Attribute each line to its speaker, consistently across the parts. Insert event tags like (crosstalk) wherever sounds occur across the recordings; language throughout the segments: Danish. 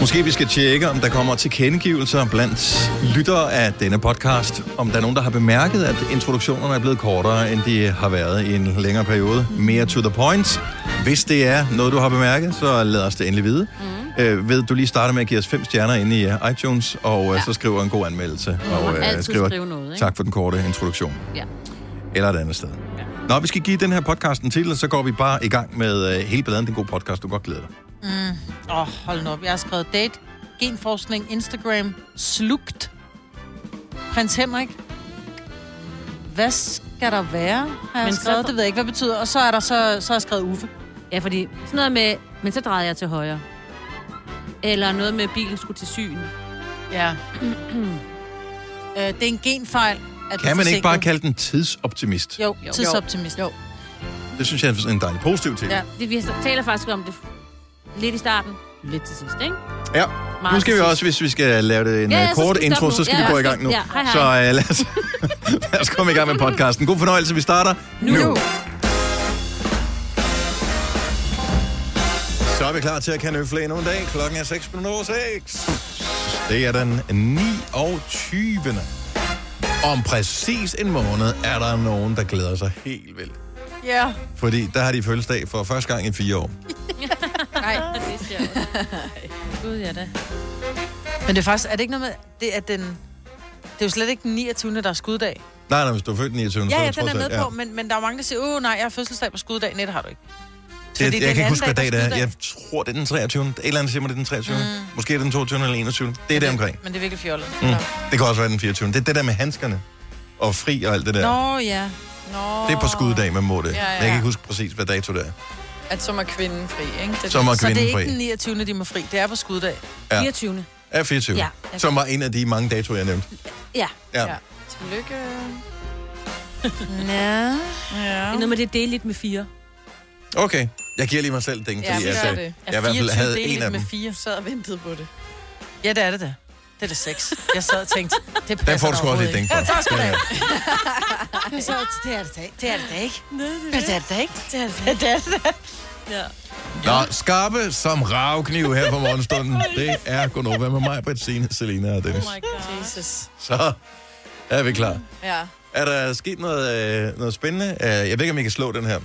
Speaker 1: Måske vi skal tjekke, om der kommer tilkendegivelser blandt lyttere af denne podcast. Om der er nogen, der har bemærket, at introduktionerne er blevet kortere, end de har været i en længere periode. Mere to the point. Hvis det er noget, du har bemærket, så lad os det endelig vide. Mm. Øh, ved du lige starte med at give os fem stjerner inde i øh, iTunes, og øh, ja. så skriver en god anmeldelse. Og øh,
Speaker 2: altid skrive noget, ikke?
Speaker 1: tak for den korte introduktion.
Speaker 2: Ja.
Speaker 1: Eller et andet sted. Ja. Nå, vi skal give den her podcast en titel, så går vi bare i gang med øh, hele balladen. Den gode podcast, du kan godt glæder dig.
Speaker 3: Åh, oh, hold nu op. Jeg har skrevet date, genforskning, Instagram, slugt. Prins Henrik. Hvad skal der være, har jeg
Speaker 2: Men
Speaker 3: Men
Speaker 2: så-
Speaker 3: skrevet. Det ved jeg ikke, hvad det betyder. Og så er der så, så er skrevet Uffe.
Speaker 2: Ja, fordi sådan noget med, men så drejede jeg til højre. Eller noget med, at bilen skulle til syn.
Speaker 3: Ja. (clears throat) øh, det er en genfejl. At du er
Speaker 1: Kan man ikke bare
Speaker 3: forsinket.
Speaker 1: kalde den tidsoptimist?
Speaker 3: Jo,
Speaker 2: Jo.
Speaker 3: tidsoptimist. Jo.
Speaker 1: Det synes jeg er en dejlig positiv ting.
Speaker 3: Ja.
Speaker 2: Det, vi taler faktisk om det lidt i starten, lidt til sidst, ikke?
Speaker 1: Ja.
Speaker 2: Meget
Speaker 1: Nu skal vi
Speaker 2: præcis.
Speaker 1: også, hvis vi skal lave det en
Speaker 2: Ja,
Speaker 1: ja,
Speaker 2: ja,
Speaker 1: ja,
Speaker 2: så skal
Speaker 1: kort
Speaker 2: vi
Speaker 1: intro,
Speaker 2: stoppe nu.
Speaker 1: så skal
Speaker 2: Ja,
Speaker 1: vi gå i
Speaker 2: ja.
Speaker 1: gang nu.
Speaker 2: Ja, hej, hej.
Speaker 1: Så uh, lad, os, lad os komme i gang med podcasten. God fornøjelse, vi starter nu. nu. Så er vi klar til at kan øfle endnu en dag. Klokken er 6 minutter over 6. Det er den 29. Om præcis en måned er der nogen, der glæder sig helt vildt.
Speaker 3: Ja.
Speaker 1: Fordi der har de fødselsdag for første gang i fire år.
Speaker 3: (laughs) Nej.
Speaker 2: Det er sjovt. Gud, ja da.
Speaker 3: Men det er faktisk, er det ikke noget med, det er den... Det er jo slet ikke den 29. der er skuddag.
Speaker 1: Nej, nej, hvis du er født den 29. så
Speaker 3: Ja, ja,
Speaker 1: det
Speaker 3: den er
Speaker 1: trods alt-
Speaker 3: med på, men, men der er mange, der siger, åh nej, jeg har fødselsdag på skuddag. Nej, det har du ikke. Fordi
Speaker 1: Det, jeg
Speaker 3: det er
Speaker 1: kan
Speaker 3: en
Speaker 1: ikke huske, hvad
Speaker 3: anden
Speaker 1: dag
Speaker 3: dag,
Speaker 1: det
Speaker 3: der
Speaker 1: er.
Speaker 3: skyder
Speaker 1: Jeg tror, det er den 23. Et eller andet siger mig, det er den 23. Mm. Måske er det den 22. eller 21. Det er det omkring.
Speaker 3: Men det er virkelig fjollet.
Speaker 1: Mm. Det kan også være den 24. Det er det der med handskerne og fri og alt det der.
Speaker 3: Nå, ja. Nå.
Speaker 1: Det er på skuddag, man må det.
Speaker 4: Ja, ja,
Speaker 1: Men Jeg kan
Speaker 4: ja.
Speaker 1: ikke huske præcis, hvad dato det er.
Speaker 4: At så er kvinden fri, ikke? Det,
Speaker 1: Som er
Speaker 3: Så det
Speaker 1: kvinden
Speaker 3: er ikke den
Speaker 1: fri.
Speaker 3: 29. de må fri, det er på skuddag.
Speaker 1: Ja.
Speaker 2: 24.
Speaker 1: Er 24.
Speaker 2: Ja,
Speaker 1: Ja,
Speaker 2: jeg
Speaker 1: som var en af de mange datoer, jeg nævnte.
Speaker 2: Ja,
Speaker 1: Ja.
Speaker 4: Ja. Tillykke.
Speaker 3: Ja.
Speaker 4: Ja.
Speaker 2: det er noget med, det er deligt med fire.
Speaker 1: Okay. Jeg giver lige mig selv den, fordi
Speaker 4: Ja,
Speaker 1: jeg,
Speaker 4: gør
Speaker 1: sagde-
Speaker 4: det.
Speaker 1: jeg i hvert fald havde en af dem.
Speaker 3: med 4.
Speaker 4: Du sad og ventede på det.
Speaker 3: Ja, det er det da. Det er det 6. Jeg sad og tænkte, det passer
Speaker 1: Den får du
Speaker 3: da
Speaker 1: sgu også
Speaker 3: overhovedet
Speaker 1: lidt ding
Speaker 3: ikke.
Speaker 1: for.
Speaker 3: Ja, tak skal du
Speaker 1: Ja,
Speaker 3: have.
Speaker 1: ja.
Speaker 3: Jeg sad og tænkte, Det er det da ikke. Det er det da ikke. Men Det er det da ikke. Det er det da ikke. Det er det da ikke.
Speaker 4: Ja.
Speaker 1: Nå, skarpe som ravkniv her på morgenstunden. Det er Gunova med mig, Britt, Signe, Selina og Dennis.
Speaker 4: Oh my god. Jesus.
Speaker 1: Så er vi klar.
Speaker 4: Ja.
Speaker 1: Er der sket noget, øh, noget spændende? Øh, jeg ved ikke, om I kan slå den her.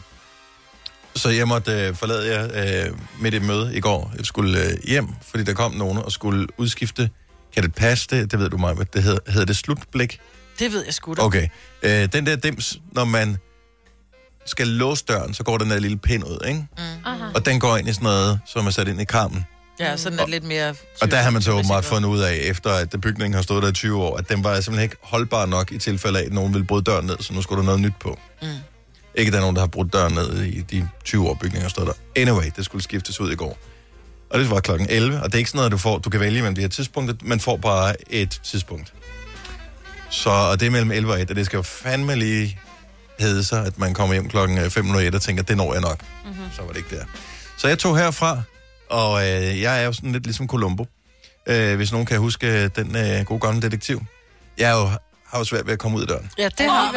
Speaker 1: Så jeg måtte øh, forlade jer øh, med et møde i går. Jeg skulle øh, hjem, fordi der kom nogen og skulle udskifte. Kan det passe det? Det ved du mig, hvad det hedder. Hedder det slutblik?
Speaker 3: Det ved jeg sgu da.
Speaker 1: Okay. Øh, den der dims, når man skal låse døren, så går den der lille pind ud, ikke?
Speaker 2: Aha.
Speaker 1: Og den går ind i sådan noget, som er sat ind i krammen.
Speaker 3: Ja, sådan er det lidt mere...
Speaker 1: Og der har man så åbenbart fundet ud af, efter at bygningen har stået der i 20 år, at den var simpelthen ikke holdbar nok i tilfælde af, at nogen ville bryde døren ned, så nu skulle der noget nyt på. Mm. Ikke at der er nogen, der har brudt døren ned i de 20 år, bygningen har stået der. Anyway, det skulle skiftes ud i går. Og det var klokken 11, og det er ikke sådan noget, du, får, du kan vælge mellem de her tidspunkter. Man får bare et tidspunkt. Så og det er mellem 11 og 1, og det skal jo fandme lige hedde sig, at man kommer hjem klokken øh, 5.01 og tænker, det når jeg nok. Mm-hmm. Så var det ikke der. Så jeg tog herfra, og øh, jeg er jo sådan lidt ligesom Columbo. Øh, hvis nogen kan huske øh, den øh, gode gamle detektiv. Jeg er jo, har jo svært ved at komme ud af døren.
Speaker 3: Ja, det har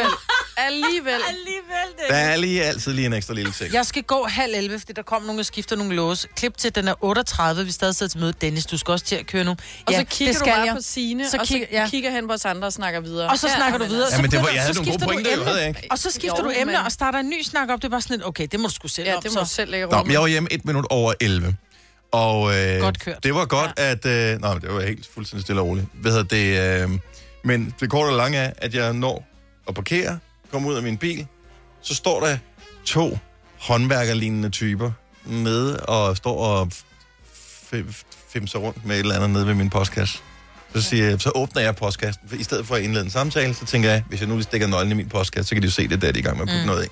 Speaker 4: Alligevel. Alligevel.
Speaker 1: Der er lige altid lige en ekstra lille ting.
Speaker 3: Jeg skal gå halv 11, fordi der kom nogen og skifter nogle låse. Klip til, den er 38, vi stadig sidder til møde. Dennis, du skal også til at køre nu.
Speaker 4: Og
Speaker 3: Ja,
Speaker 4: så kigger
Speaker 3: det
Speaker 4: du
Speaker 3: skal
Speaker 4: bare
Speaker 3: jeg.
Speaker 4: på sine,
Speaker 3: Så
Speaker 4: og så
Speaker 3: kigger- ja.
Speaker 4: kigger han på os andre og snakker videre.
Speaker 3: Og så snakker du
Speaker 4: men
Speaker 3: videre.
Speaker 4: altså.
Speaker 3: så
Speaker 1: Jamen, det var,
Speaker 3: begynder-
Speaker 1: jeg havde
Speaker 3: så
Speaker 1: nogle gode
Speaker 3: skifter du
Speaker 1: pointer, jo,
Speaker 3: emne.
Speaker 1: havde jeg ikke?
Speaker 3: Og så skifter
Speaker 4: Jo,
Speaker 3: du emne
Speaker 4: men-
Speaker 3: og starter en ny snak op. Det er bare sådan lidt, okay, det må du sgu selv
Speaker 4: Ja,
Speaker 3: om,
Speaker 4: det må
Speaker 3: så.
Speaker 4: du selv lægge
Speaker 1: Nå,
Speaker 4: rum.
Speaker 1: men jeg var hjemme et minut over 11. Og øh,
Speaker 3: Godt kørt.
Speaker 1: det var godt, ja. at... Øh, nej, men det var helt fuldstændig stille og roligt. Hvad hedder det? Øh, men det korte og lange er, at jeg når at parkere, kommer ud af min bil, så står der to håndværkerlignende typer nede og står og f- f- femser rundt med et eller andet nede ved min postkasse. Så, siger jeg, så åbner jeg postkassen. For I stedet for at indlede en samtale, så tænker jeg, hvis jeg nu lige stikker nøglen i min postkasse, så kan de jo se det, der de er i gang med at putte mm. noget i.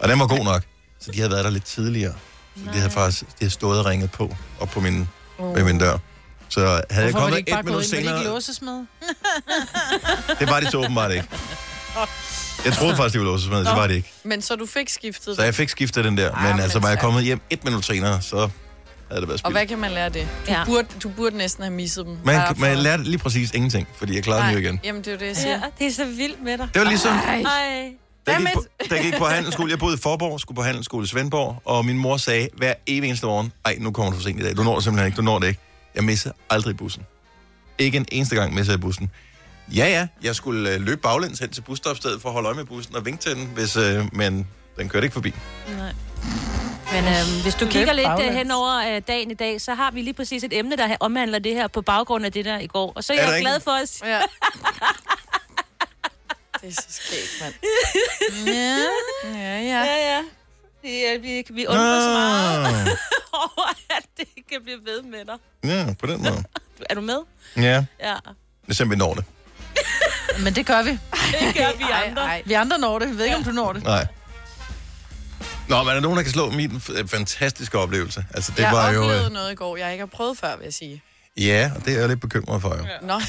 Speaker 1: Og den var god nok. Så de havde været der lidt tidligere. Så de havde faktisk de havde stået og ringet på, op på min, oh. ved min dør. Så havde jeg
Speaker 3: Hvorfor var
Speaker 1: kommet
Speaker 3: det ikke bare
Speaker 1: et minut
Speaker 3: gået ind? Var det
Speaker 1: senere...
Speaker 3: ikke
Speaker 4: (laughs)
Speaker 3: låses med?
Speaker 1: (laughs) Det var de så åbenbart ikke. Jeg troede faktisk, de ville låses med, det var det ikke.
Speaker 4: Men så du fik skiftet
Speaker 1: Så jeg fik skiftet den der, men
Speaker 4: Ah,
Speaker 1: altså,
Speaker 4: men
Speaker 1: var jeg
Speaker 4: tak.
Speaker 1: kommet hjem et minut senere, så havde det været
Speaker 4: Og
Speaker 1: spildt.
Speaker 4: hvad kan man lære af det? Du,
Speaker 2: Ja.
Speaker 4: ja. burde, du burde næsten have misset dem. Bare
Speaker 1: Man,
Speaker 4: for-
Speaker 1: man lærte lige præcis ingenting, fordi jeg klarede den jo
Speaker 4: Nej,
Speaker 1: igen.
Speaker 4: Jamen, det er jo det, jeg siger.
Speaker 2: det er så vildt med dig.
Speaker 1: Det var ligesom,
Speaker 2: Ej.
Speaker 1: da jeg, gik på, da jeg gik på
Speaker 4: (laughs)
Speaker 1: handelsskole, jeg boede i Forborg, skulle på handelsskole i Svendborg, og min mor sagde hver evig eneste morgen, ej, nu kommer du for sent i dag, du når det simpelthen ikke, du når det ikke. Jeg missede aldrig bussen. Ikke en eneste gang missede jeg bussen. Ja, ja, jeg skulle øh, løbe baglæns hen til busstopstedet for at holde øje med bussen og vinke til den, hvis, øh, men den kørte ikke forbi.
Speaker 4: Nej.
Speaker 2: Men øh, hvis du
Speaker 3: Lidt
Speaker 2: kigger lidt øh,
Speaker 3: baglæns.
Speaker 2: hen over øh, dagen i dag, så har vi lige præcis et emne, der ha- omhandler det her på baggrund af det der i går. Og så er
Speaker 1: Er
Speaker 2: jeg
Speaker 1: der
Speaker 2: er
Speaker 1: ikke-
Speaker 2: glad for
Speaker 3: (laughs)
Speaker 2: os.
Speaker 4: Ja. det er så skægt, mand.
Speaker 3: Ja.
Speaker 4: Ja, ja.
Speaker 2: Ja, ja. ja vi, vi undrer
Speaker 1: Ah.
Speaker 2: så meget (laughs) over, at det kan blive ved med dig.
Speaker 1: Ja, på den måde.
Speaker 2: Er du med?
Speaker 1: Ja,
Speaker 2: Ja.
Speaker 1: det er simpelthen når det.
Speaker 3: Men det gør vi.
Speaker 2: Det gør vi andre.
Speaker 4: Ej,
Speaker 3: Vi andre når det. Vi ved ikke, om du når det.
Speaker 1: Nej. Nå, men er der nogen, der kan slå min f- fantastiske oplevelse? Altså, det
Speaker 4: jeg
Speaker 1: var jo...
Speaker 4: oplevede
Speaker 1: Øh,
Speaker 4: noget i går, jeg ikke har prøvet før, vil jeg sige.
Speaker 1: ja, og det er jeg lidt bekymret for, jo.
Speaker 4: Nå,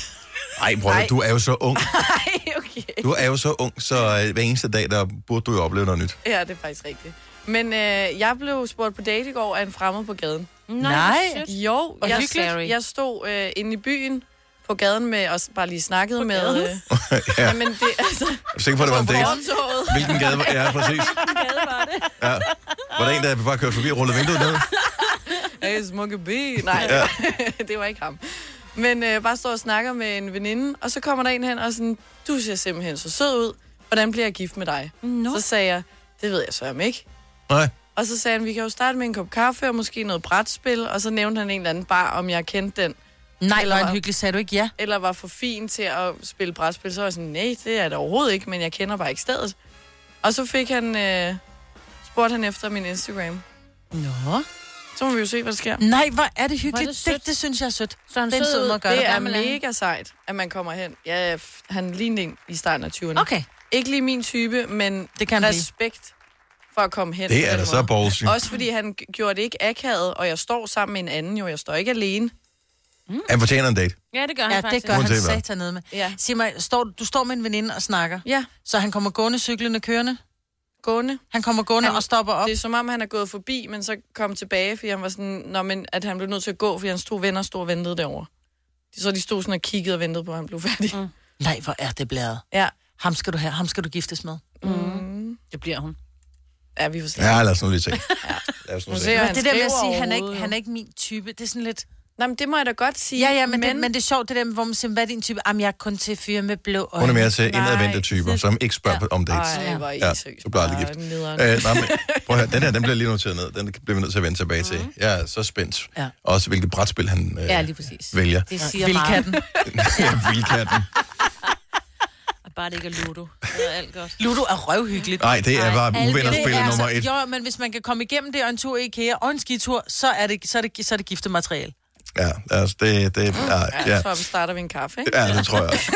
Speaker 1: Ej, prøv at-
Speaker 4: Nej.
Speaker 1: du er jo så
Speaker 4: (laughs)
Speaker 1: ung.
Speaker 4: Ej, okay.
Speaker 1: Du er jo så ung, så øh, hver eneste dag, der burde du jo opleve noget nyt.
Speaker 4: Ja, det er faktisk rigtigt. Men øh, jeg blev spurgt på date i går af en fremmed på gaden.
Speaker 2: Nej.
Speaker 3: Nej.
Speaker 2: hvor sødt.
Speaker 4: Jo,
Speaker 2: Og
Speaker 4: jeg,
Speaker 2: hyggeligt.
Speaker 4: stod, jeg stod øh, inde i byen på gaden med, og s- bare lige snakkede med...
Speaker 2: gaden?
Speaker 4: Øh,
Speaker 1: (laughs) ja, jeg
Speaker 4: jamen, det, altså,
Speaker 1: er sikker på, det var en
Speaker 4: på
Speaker 1: date.
Speaker 4: fortovet.
Speaker 1: Hvilken gade var det? Ja, præcis. Ja. Var der en, der bare kørte forbi og rullede vinduet ned?
Speaker 4: (laughs) Hey, smukke bi. Nej,
Speaker 1: Ja.
Speaker 4: ja. (laughs) det var ikke ham. Men øh, bare står og snakker med en veninde, og så kommer der en hen og sådan, du ser simpelthen så sød ud. Hvordan bliver jeg gift med dig?
Speaker 2: Nå.
Speaker 4: Så sagde jeg, det ved jeg så om ikke.
Speaker 1: Nej.
Speaker 4: Og så sagde han, vi kan jo starte med en kop kaffe og måske noget brætspil. Og så nævnte han en eller anden bar, om jeg kendte den.
Speaker 3: Nej,
Speaker 4: Eller
Speaker 3: hvor
Speaker 4: hvad?
Speaker 3: er det hyggeligt. Sagde du ikke ja?
Speaker 4: Eller var for fin til at spille brætspil. Så var jeg sådan, nej, det er det overhovedet ikke, men jeg kender bare ikke stedet. Og så fik han, øh, spurgte han efter min Instagram.
Speaker 3: Nå.
Speaker 4: Så må vi jo se, hvad der sker.
Speaker 3: Nej, hvor er det
Speaker 2: Hvor er
Speaker 3: hyggeligt.
Speaker 2: det
Speaker 3: det,
Speaker 2: sødt.
Speaker 3: det, det, synes jeg er sødt.
Speaker 2: Så han
Speaker 3: Den
Speaker 2: sød
Speaker 3: sød
Speaker 2: ud.
Speaker 3: måde at gøre
Speaker 4: Det
Speaker 3: det.
Speaker 4: er
Speaker 2: gammel er han?
Speaker 4: mega sejt, at man kommer hen. Ja, f- han lignede en i starten af 20'erne.
Speaker 3: Okay,
Speaker 4: Ikke lige min type, men
Speaker 3: det kan det.
Speaker 4: respekt for at komme hen. på
Speaker 1: Det er
Speaker 4: den
Speaker 1: da
Speaker 4: måde.
Speaker 1: så ballsy.
Speaker 4: Også fordi han g- gjorde det ikke akavet, og jeg står sammen med en anden jo. Jeg står ikke alene.
Speaker 1: Han fortjener en date.
Speaker 2: Ja, det gør han
Speaker 3: Ja,
Speaker 2: faktisk.
Speaker 3: det gør
Speaker 1: Uanset
Speaker 3: han
Speaker 1: hvad.
Speaker 3: satan ned med.
Speaker 4: Ja.
Speaker 3: Sig mig, står, du står med en veninde og snakker,
Speaker 4: Ja,
Speaker 3: så han kommer gående, cyklende, kørende.
Speaker 4: gående.
Speaker 3: Han kommer gående
Speaker 4: Han-
Speaker 3: og stopper op.
Speaker 4: Det er som om, han er gået forbi, men så kom tilbage, fordi han var sådan, Nå, men, at han blev nødt til at gå, fordi hans to venner stod og ventede derovre. Så de stod sådan og kiggede og ventede på, at han blev færdig. Mm.
Speaker 3: Nej, hvor er det blæret.
Speaker 4: Ja. Mm.
Speaker 3: Ham skal du have, ham skal du giftes med.
Speaker 2: Det bliver hun.
Speaker 4: ja, vi får se.
Speaker 1: Ja, lad os nu lige se. Lad os nu
Speaker 4: Nu
Speaker 1: se.
Speaker 4: ser jeg,
Speaker 3: Men
Speaker 4: han
Speaker 3: det der med at
Speaker 4: skriver
Speaker 3: sige, han er, ikke,
Speaker 4: overhovedet,
Speaker 3: han
Speaker 4: jo.
Speaker 3: er ikke min type, det er sådan lidt...
Speaker 4: Nå, men det må jeg da godt sige.
Speaker 3: Ja, ja, men, men... Det, men det er sjovt, det der med, hvor man siger, hvad er din type? Jamen, jeg er kun til fyre med blå øjne.
Speaker 1: Hun er mere til indadvendte
Speaker 4: Nej.
Speaker 1: typer, som ikke spørger om dates.
Speaker 4: Ej, hvor er I
Speaker 1: Ja,
Speaker 4: seriøst.
Speaker 1: du bliver aldrig gift.
Speaker 4: Ej, nederen.
Speaker 1: Øh, nej, men, prøv at høre, den her, den bliver lige noteret ned. Den bliver vi nødt til at vende tilbage til.
Speaker 4: Mm.
Speaker 1: Jeg er så spændt.
Speaker 3: Ja.
Speaker 1: Også hvilket brætspil han øh,
Speaker 2: Ja, lige præcis.
Speaker 1: vælger.
Speaker 2: Det siger meget.
Speaker 3: Vildkatten.
Speaker 1: (laughs) Vildkatten.
Speaker 2: Bare det ikke er Ludo. Det er alt godt.
Speaker 3: Ludo er røvhyggeligt.
Speaker 1: Nej, (laughs) det er
Speaker 2: Ej,
Speaker 1: bare
Speaker 2: alle de der-
Speaker 1: uvennerspillet nummer et.
Speaker 3: Altså,
Speaker 5: Altså,
Speaker 3: Jo, men hvis man kan komme igennem det og en tur i IKEA og en skitur, så er det, så er det, så er det giftet materiale.
Speaker 1: Ja, altså, det, det, ja,
Speaker 4: Mm. Ja.
Speaker 1: ja.
Speaker 4: Jeg tror, vi starter ved en kaffe, ikke?
Speaker 1: ja, det tror jeg også.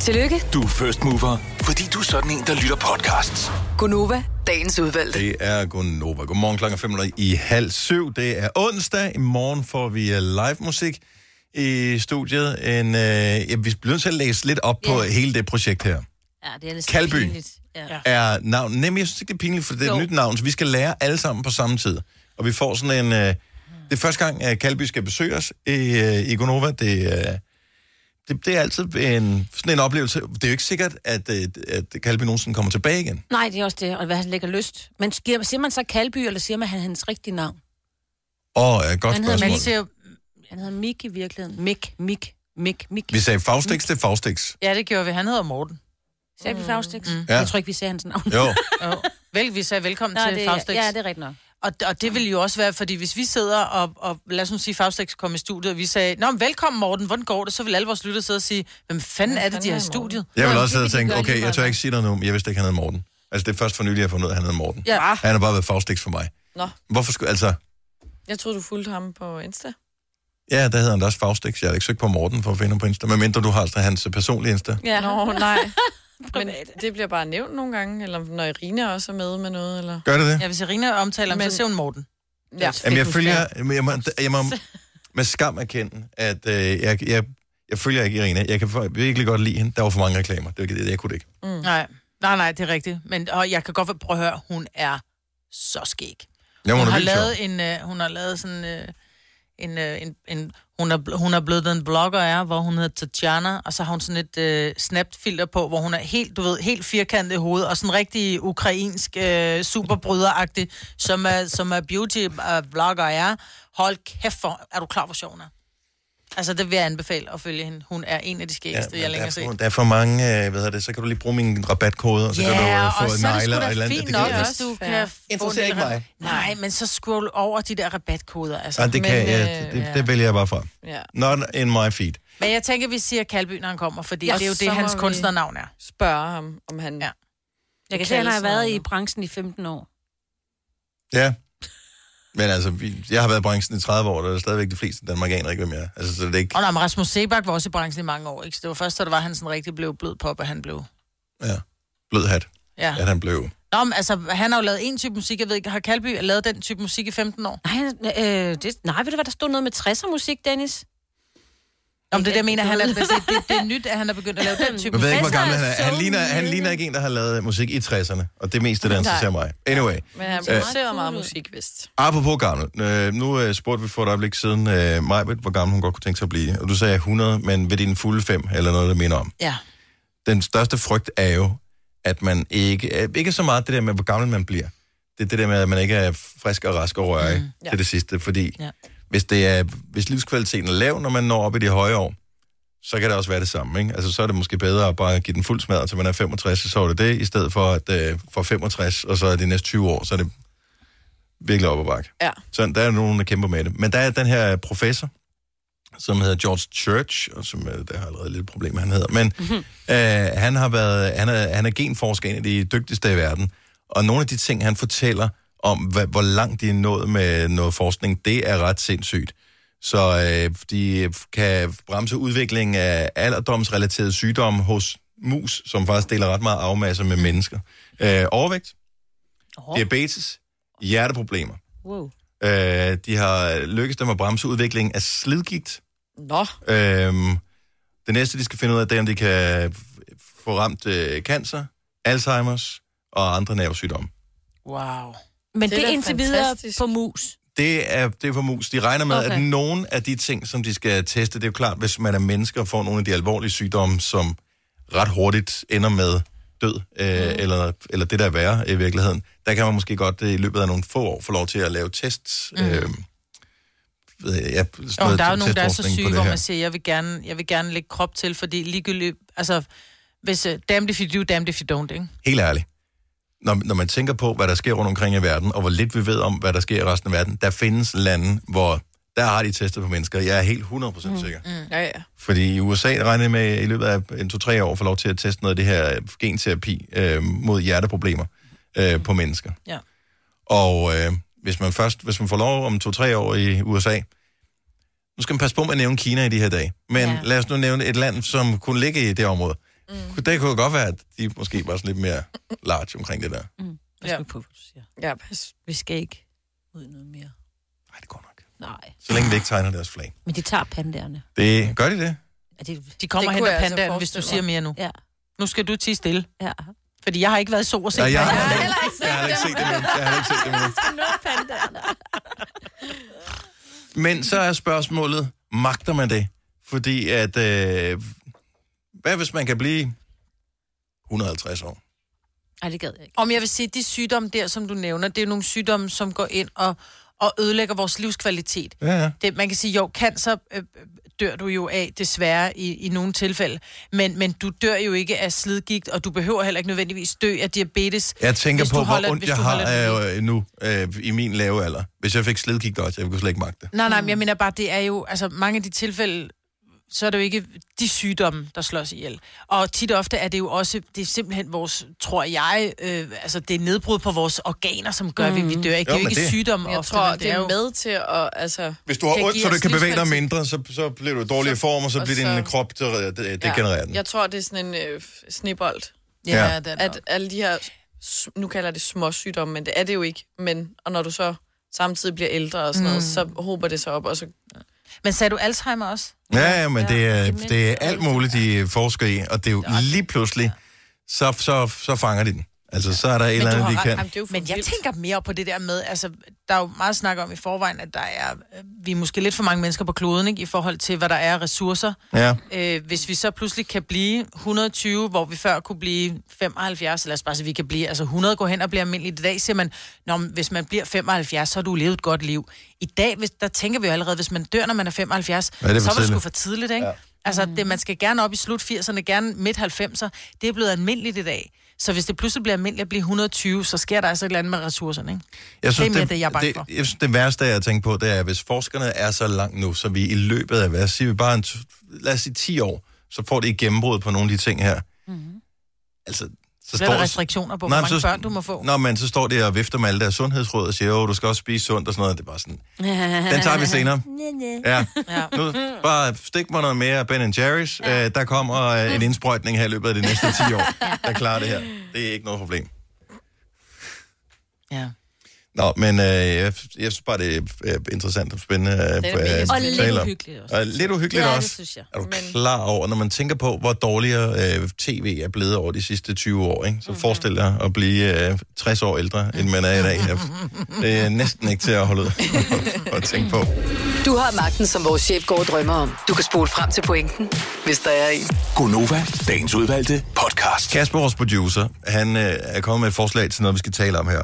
Speaker 6: Tillykke,
Speaker 7: Du er first mover, fordi du er sådan en, der lytter podcasts.
Speaker 6: Gunova, dagens udvalgte.
Speaker 1: Det er Gunnova. Godmorgen klokken 5 i halv syv. Det er onsdag. I morgen får vi øh, live musik i studiet. En, øh, ja, vi bliver nødt til at læse lidt op på
Speaker 2: Ja.
Speaker 1: hele det projekt her.
Speaker 2: Ja, det er næsten
Speaker 1: Kalby.
Speaker 2: pinligt. Ja.
Speaker 1: er navn. Nemlig, jeg synes ikke, det er pinligt, for det er
Speaker 2: Jo.
Speaker 1: et nyt navn, så vi skal lære alle sammen på samme tid. Og vi får sådan en... Øh, det er første gang, at Kalby skal besøge os i, øh, i Gonova. Det, øh, det, det er altid en, sådan en oplevelse. Det er jo ikke sikkert, at, øh, at Kalby nogensinde kommer tilbage igen.
Speaker 2: Nej, det er også det, og hvad han lægger lyst. Men sker- siger man så Kalby, eller siger man han, hans rigtige navn?
Speaker 1: Åh, oh, godt
Speaker 2: Han hedder
Speaker 1: spørgsmål.
Speaker 3: Man ser jo...
Speaker 2: Han hedder Mik i virkeligheden. Mik, Mik, Mik, Mik.
Speaker 1: Vi sagde Faustix til Faustix.
Speaker 3: Ja, det gjorde vi. Han hedder Morten.
Speaker 2: Sagde vi Faustix? Mm.
Speaker 1: Ja.
Speaker 2: Jeg tror ikke, vi sagde hans navn.
Speaker 1: Jo,
Speaker 3: Jo. Vel, vi sagde velkommen
Speaker 2: Nå,
Speaker 3: til
Speaker 2: det,
Speaker 3: Faustix.
Speaker 2: ja, det er rigtigt nok.
Speaker 3: Og, og det ville jo også være, fordi hvis vi sidder og, og lad os nu sige, Faustix kom i studiet, og vi sagde, Nå, men velkommen Morten, hvordan går det? Så vil alle vores lyttere sidde og sige, hvem fanden er det, de har i studiet?
Speaker 1: jeg vil
Speaker 2: Nå,
Speaker 1: også sidde og
Speaker 2: det kan de
Speaker 1: tænke,
Speaker 2: gøre
Speaker 1: okay,
Speaker 2: lige
Speaker 1: jeg tør
Speaker 2: meget.
Speaker 1: ikke sige noget nu, men jeg vidste ikke, han hed Morten. Altså, det er først for nylig, jeg har fundet ud af, at han hed Morten.
Speaker 3: Ja.
Speaker 1: Han har bare været Faustix for mig.
Speaker 4: Nå.
Speaker 1: Hvorfor skulle, altså,
Speaker 4: Jeg troede, du fulgte ham på Insta.
Speaker 1: ja, der hedder han da også Faustix. Jeg har da ikke søgt på Morten for at finde ham på Insta, medmindre du har altså hans personlige Insta.
Speaker 4: Ja. Nå, (laughs) nej. men det bliver bare nævnt nogle gange, eller når Irina også er med med noget, eller...
Speaker 1: Gør det det?
Speaker 3: Ja, hvis Irina omtaler ham,
Speaker 4: Men-
Speaker 3: så ser hun Morten.
Speaker 4: Ja.
Speaker 1: Jamen, jeg
Speaker 3: Fedt,
Speaker 1: følger... Jeg, jeg, må, jeg må med skam erkende, at øh, jeg, jeg, jeg følger ikke Irina. Jeg kan for- virkelig godt lide hende. Der var for mange reklamer. Det, var- det, jeg kunne det ikke.
Speaker 3: Mm. Nej, nej, nej, det er rigtigt. Men og jeg kan godt prøve at høre, hun er så skæg.
Speaker 1: Jeg må
Speaker 3: Hun
Speaker 1: hun
Speaker 3: har
Speaker 1: vildt sjov.
Speaker 3: lavet en, øh, hun har lavet sådan øh, en, øh, en, en hun, er, bl- hun er blevet den blogger er, hvor hun hedder Tatjana, og så har hun sådan et øh, snapfilter på, hvor hun er helt, du ved, helt firkantet i hovedet, og sådan rigtig ukrainsk øh, superbryderagtig, som er, som er beauty-blogger er. Hold kæft for, er du klar, hvor sjov hun er? Altså, det vil jeg anbefale at følge hende. Hun er en af de skæggeste, ja, jeg
Speaker 1: men
Speaker 3: længe
Speaker 1: der, er
Speaker 3: har set.
Speaker 1: for, der er for mange, øh, hvad hedder det, så kan du lige bruge min rabatkode, og så kan du øh,
Speaker 3: og
Speaker 1: få
Speaker 3: så er det
Speaker 1: negler
Speaker 3: sgu
Speaker 1: og et
Speaker 3: da
Speaker 1: eller andet.
Speaker 3: fint
Speaker 1: Det kan
Speaker 3: nok,
Speaker 1: jeg
Speaker 4: jeg
Speaker 3: hvis
Speaker 1: ikke.
Speaker 4: også.
Speaker 3: du
Speaker 4: Ja.
Speaker 3: kan få
Speaker 1: Interesserer
Speaker 3: en
Speaker 1: ikke mig.
Speaker 3: Nej, men så scroll over de der rabatkoder, altså.
Speaker 1: Nej, Ah, det, kan,
Speaker 4: Men,
Speaker 1: jeg,
Speaker 4: øh,
Speaker 1: det, det vælger jeg bare fra.
Speaker 4: Ja.
Speaker 1: Not in my feed.
Speaker 3: Men jeg tænker, vi siger Kalby, når han kommer, fordi
Speaker 4: Ja,
Speaker 3: ja, det er jo
Speaker 4: så
Speaker 3: det,
Speaker 4: må
Speaker 3: hans
Speaker 4: vi-
Speaker 3: kunstnernavn er.
Speaker 4: Spørge ham, om han...
Speaker 3: Ja.
Speaker 4: Ja.
Speaker 2: Jeg kan
Speaker 4: Det
Speaker 2: se, at han har
Speaker 4: kaldes
Speaker 2: været
Speaker 4: noget
Speaker 2: i
Speaker 4: nu.
Speaker 2: branchen i 15 år.
Speaker 1: Ja. Men altså, vi, jeg har været i branchen i 30 år, og der er stadigvæk de fleste danmarkanere ikke, hvem jeg er. Altså, så det er ikke...
Speaker 3: Og nej, men Rasmus Sebak var også i branchen i mange år, ikke? Så det var først, da det var, han sådan rigtig blev blød pop, at han blev...
Speaker 1: Ja. Blød hat,
Speaker 3: Ja.
Speaker 1: at han blev.
Speaker 3: Nå, men altså, han har jo lavet en type musik, jeg ved ikke, har Kalby lavet den type musik i 15 år?
Speaker 2: Nej, øh, det, nej, ved du hvad, der stod noget med 60'er musik, Dennis?
Speaker 3: Nå, men det er det, jeg mener, han
Speaker 2: (laughs)
Speaker 3: er, det, det, det, er nyt, at han har begyndt at lave den type
Speaker 1: Jeg ved
Speaker 3: musik.
Speaker 1: ikke, hvor
Speaker 2: Masser
Speaker 1: gammel
Speaker 2: af
Speaker 1: han er. Han
Speaker 2: soul
Speaker 1: ligner, han
Speaker 2: music.
Speaker 1: ligner ikke en, der har lavet musik i 60'erne, og det er mest det, der interesserer mig. Anyway,
Speaker 4: Men han producerer
Speaker 1: Øh.
Speaker 2: Meget
Speaker 4: meget
Speaker 2: cool ud.
Speaker 4: musik, vist.
Speaker 1: apropos gammel. Øh, nu øh, spurgte vi for et øjeblik siden øh, Majbet, hvor gammel hun godt kunne tænke sig at blive. Og du sagde 100, men ved dine fulde fem, eller noget, der minder om.
Speaker 3: Ja.
Speaker 1: den største frygt er jo, at man ikke... øh, Ikke så meget det der med, hvor gammel man bliver. Det er det der med, at man ikke er frisk og rask og rørig mm, ja.
Speaker 4: Ja.
Speaker 1: til det sidste. Fordi ja.
Speaker 3: Ja.
Speaker 1: hvis, det er, hvis livskvaliteten er lav, når man når op i de høje år, så kan det også være det samme. Ikke? Altså, så er det måske bedre at bare give den fuld smadret, til man er 65, så er det det, i stedet for at øh, for 65, og så er de næste 20 år, så er det virkelig op ad bakke.
Speaker 4: Ja.
Speaker 1: Så der er nogen, der kæmper med det. Men der er den her professor, som hedder George Church, og som øh, der har allerede lidt problem, han hedder. Men øh, han, har været, han, er, han er genforsker, en af de dygtigste i verden. Og nogle af de ting, han fortæller om, hvad, hvor langt de er nået med noget forskning, det er ret sindssygt. Så øh, de kan bremse udviklingen af alderdomsrelaterede sygdomme hos mus, som faktisk deler ret meget afmasser med mennesker. Øh, overvægt,
Speaker 3: Oh,
Speaker 1: diabetes, hjerteproblemer.
Speaker 2: Wow.
Speaker 1: Øh, de har lykkes dem at bremse udviklingen af slidgigt.
Speaker 4: Nå,
Speaker 1: Øhm, det næste, de skal finde ud af, det er, om de kan f- få ramt øh, cancer, Alzheimer's og andre nervesygdomme.
Speaker 3: wow.
Speaker 4: Det er
Speaker 2: Men det, det er
Speaker 4: da
Speaker 2: indtil videre
Speaker 4: fantastisk.
Speaker 2: på mus.
Speaker 1: Det er, det er for mus. De regner med, okay.
Speaker 2: Okay.
Speaker 1: at nogle af de ting, som de skal teste, det er jo klart, hvis man er menneske og får nogle af de alvorlige sygdomme, som ret hurtigt ender med død, øh, mm. eller, eller det, der er værre i virkeligheden, der kan man måske godt øh, i løbet af nogle få år få lov til at lave tests. Mm. Øh, ved jeg, ja, sådan
Speaker 3: Jo, men
Speaker 1: noget
Speaker 3: der er jo nogen, der er så
Speaker 1: testforskning på
Speaker 3: syge,
Speaker 1: det
Speaker 3: hvor
Speaker 1: her.
Speaker 3: man siger, jeg vil gerne, jeg vil gerne lægge krop til, fordi ligegyldigt, altså, hvis uh, damned if you do, damned if you don't, ikke?
Speaker 1: helt ærligt, når, når man tænker på, hvad der sker rundt omkring i verden, og hvor lidt vi ved om, hvad der sker i resten af verden, der findes lande, hvor der har de testet på mennesker. Jeg er helt 100% mm. sikker. Mm.
Speaker 4: ja, ja.
Speaker 1: Fordi i USA regner jeg med, at i løbet af en, to, tre år får lov til at teste noget af det her genterapi øh, mod hjerteproblemer øh, på mennesker.
Speaker 3: Ja.
Speaker 1: Og øh, hvis man først, hvis man får lov om to-tre år i USA, nu skal man passe på med at nævne Kina i de her dage, men ja.
Speaker 2: Ja.
Speaker 1: lad os nu nævne et land, som kunne ligge i det område. Mm. Det kunne godt være, at de måske var sådan lidt mere large omkring det der.
Speaker 4: Ja.
Speaker 2: Ja. På, hvad du siger.
Speaker 4: ja pas.
Speaker 2: Vi skal ikke ud i noget mere.
Speaker 1: Nej, det går nok.
Speaker 2: Nej.
Speaker 1: Så længe de ikke tegner deres flag.
Speaker 2: Men de tager panderne.
Speaker 1: Det, gør de det?
Speaker 2: Er det,
Speaker 3: De kommer
Speaker 4: Det
Speaker 3: hen
Speaker 4: kunne
Speaker 3: og
Speaker 4: jeg altså
Speaker 3: pandaen, hvis du
Speaker 4: forestille
Speaker 3: siger mere nu. (laughs)
Speaker 2: ja, (laughs)
Speaker 3: Nu skal du tige stille,
Speaker 2: ja.
Speaker 3: fordi jeg har ikke været i sol og set
Speaker 1: Ja, jeg,
Speaker 3: pandaen.
Speaker 1: har, jeg har ikke set det nu. Jeg har ikke set det nu.
Speaker 2: Nå, panderne.
Speaker 1: Men så er spørgsmålet, magter man det? Fordi at, øh, hvad hvis man kan blive 150 år?
Speaker 2: Ej, det gad jeg ikke.
Speaker 3: Om jeg vil sige, de sygdomme der, som du nævner, det er jo nogle sygdomme, som går ind og, og ødelægger vores livskvalitet.
Speaker 1: Ja, ja.
Speaker 3: Det, man kan sige, jo, cancer øh, øh, dør du jo af, desværre, i, i nogle tilfælde. Men, men du dør jo ikke af slidgigt, og du behøver heller ikke nødvendigvis dø af diabetes.
Speaker 1: Jeg tænker
Speaker 3: Hvis
Speaker 1: på,
Speaker 3: du
Speaker 1: hvor
Speaker 3: holder-
Speaker 1: ondt
Speaker 3: hvis
Speaker 1: jeg
Speaker 3: du
Speaker 1: har
Speaker 3: holder det
Speaker 1: øh, nu øh, i min lave alder. Hvis jeg fik slidgigt også, jeg kunne slet ikke magte det.
Speaker 3: Nej, nej, men jeg mener bare, det er jo, altså mange af de tilfælde, så er det jo ikke de sygdomme, der slås ihjel. Og tit og ofte er det jo også, det er simpelthen vores, tror jeg, øh, altså det er nedbrud på vores organer, som gør, mm. at vi dør. Ikke?
Speaker 1: Jo,
Speaker 3: det er jo
Speaker 1: men
Speaker 3: ikke
Speaker 1: det-
Speaker 3: sygdomme
Speaker 4: Jeg
Speaker 3: ofte,
Speaker 4: tror,
Speaker 3: men
Speaker 4: det er med til at... Altså,
Speaker 1: Hvis du har
Speaker 4: det
Speaker 1: ondt, så
Speaker 4: giver
Speaker 1: du
Speaker 4: os
Speaker 1: kan bevæge dig
Speaker 4: livskvalitet.
Speaker 1: mindre, så, så bliver du i dårlig
Speaker 4: Så-
Speaker 1: form, og så
Speaker 4: og
Speaker 1: bliver
Speaker 4: så-
Speaker 1: din krop til at det, degenerere den.
Speaker 4: Jeg tror, det er sådan en øh, f- snebold.
Speaker 3: Ja,
Speaker 1: Ja.
Speaker 3: ja. Det er
Speaker 4: At alle de her, s- nu kalder jeg det små sygdomme, men det er det jo ikke. Men, og når du så samtidig bliver ældre og sådan noget, så hober det sig op, og så
Speaker 3: Mm. Men sagde du Alzheimer også?
Speaker 1: Ja, ja, men det er,
Speaker 2: demens
Speaker 1: det er
Speaker 2: og
Speaker 1: alt muligt, de forsker i, og det er jo lige pludselig, så, så, så fanger de den. Altså, så er der et eller
Speaker 3: du
Speaker 1: andet,
Speaker 3: har
Speaker 1: de
Speaker 3: ret.
Speaker 1: kan.
Speaker 4: Jamen, det er jo for
Speaker 3: Men jeg
Speaker 4: vildt.
Speaker 3: tænker mere på det der med, altså, der er jo meget snak om i forvejen, at der er, øh, vi er måske lidt for mange mennesker på kloden, ikke, i forhold til, hvad der er af ressourcer.
Speaker 1: Ja.
Speaker 3: Øh, hvis vi så pludselig kan blive 120, hvor vi før kunne blive 75, lad os bare sige, vi kan blive, altså 100 går hen og bliver almindeligt. I dag siger man, Nå, men hvis man bliver 75, så har du levet et godt liv. I dag, hvis, der tænker vi jo allerede, hvis man dør, når man er 75,
Speaker 1: Ja, det er for
Speaker 3: så er det sgu
Speaker 1: tidligt.
Speaker 3: for tidligt, ikke? Ja. Altså, det, man skal gerne op i slut 80'erne, gerne midt 90'er. Det er blevet almindeligt i dag. Så hvis det pludselig bliver almindeligt at blive 120, så sker der altså et eller andet med ressourcerne, ikke?
Speaker 1: Jeg synes,
Speaker 3: det er mere det, jeg er bange for.
Speaker 1: Jeg synes, det værste, jeg tænker på, det er, hvis forskerne er så langt nu, så vi i løbet af, hvad siger vi bare, en, t- lad os sige 10 år, så får det et gennembrud på nogle af de ting her. Mm-hmm. Altså, så
Speaker 3: Bliver Mhm. der restriktioner på, hvor mange børn du må få?
Speaker 1: Nå, men så står det og vifter med alle deres sundhedsråd og siger, jo, du skal også spise sundt og sådan noget. Det er bare sådan, den tager vi senere. Ja.
Speaker 3: Ja.
Speaker 1: Nu, bare stik mig noget mere Ben Jerry's. Ja. Øh, der kommer øh, en indsprøjtning her i løbet af de næste 10 år, der klarer det her. Det er ikke noget problem.
Speaker 3: Ja.
Speaker 1: Nå, men øh, jeg, jeg synes bare, det er øh, interessant og spændende øh, at
Speaker 4: mega spændende.
Speaker 2: Og lidt
Speaker 1: tale om.
Speaker 2: uhyggeligt også.
Speaker 1: Og lidt uhyggeligt
Speaker 2: Ja, det
Speaker 1: også.
Speaker 2: synes jeg.
Speaker 1: Er du
Speaker 4: Men-
Speaker 1: klar over, når man tænker på, hvor dårligere øh, tv er blevet over de sidste 20 år, ikke? så
Speaker 2: Mhm.
Speaker 1: mm-hmm. forestil dig at blive øh, 60 år ældre, end man er i dag. Det er næsten ikke til at holde ud (laughs) og tænke på.
Speaker 6: Du har magten, som vores chef går og drømmer om. Du kan spole frem til pointen, hvis der er en.
Speaker 7: Gonova, dagens udvalgte podcast.
Speaker 1: Kasper, vores producer, han øh, er kommet med et forslag til noget, vi skal tale om her.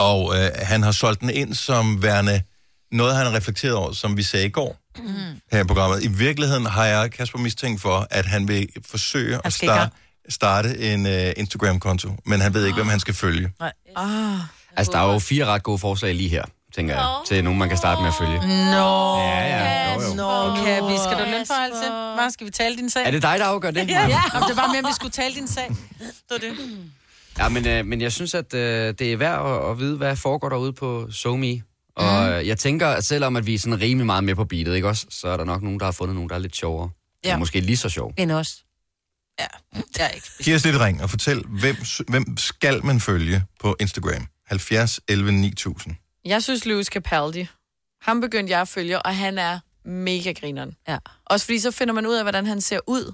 Speaker 1: Og øh, han har solgt den ind som værende noget, han har reflekteret over, som vi sagde i går mm. her i programmet. I virkeligheden har jeg Kasper mistænkt for, at han vil forsøge at
Speaker 3: skal i gang.
Speaker 1: starte, starte en øh, Instagram-konto, men han ved ikke, hvem han skal følge.
Speaker 4: Ah.
Speaker 8: Altså, der er jo fire ret gode forslag lige her, tænker jeg, til nogen, man kan starte med at følge.
Speaker 3: Mm. Nå,
Speaker 8: Ja, ja, jo, jo.
Speaker 3: Nå, okay, vi skal du have lønforholdelse? Hvad skal vi tale din sag?
Speaker 8: Er det dig, der
Speaker 3: (laughs)
Speaker 8: afgør det? Ja,
Speaker 3: Om det var mere, at vi skulle tale din sag. Det var det.
Speaker 8: ja men, øh, men jeg synes, at øh, det er værd at, at vide, hvad foregår derude på SoMe.
Speaker 3: Mm.
Speaker 8: Og øh, jeg tænker, at selvom at vi er sådan rimelig meget med på beatet, ikke også, så er der nok nogen, der har fundet nogen, der er lidt sjovere.
Speaker 3: Ja.
Speaker 8: Ja. Måske lige så sjov.
Speaker 2: End os.
Speaker 3: Ja, det er ikke.
Speaker 1: Giv os lidt ring og fortæl, hvem, s- hvem skal man følge på Instagram? 70 11 9000.
Speaker 4: Jeg synes, Lewis Capaldi, ham begyndte jeg at følge, og han er mega grineren.
Speaker 2: Ja.
Speaker 4: Også fordi så finder man ud af, hvordan han ser ud.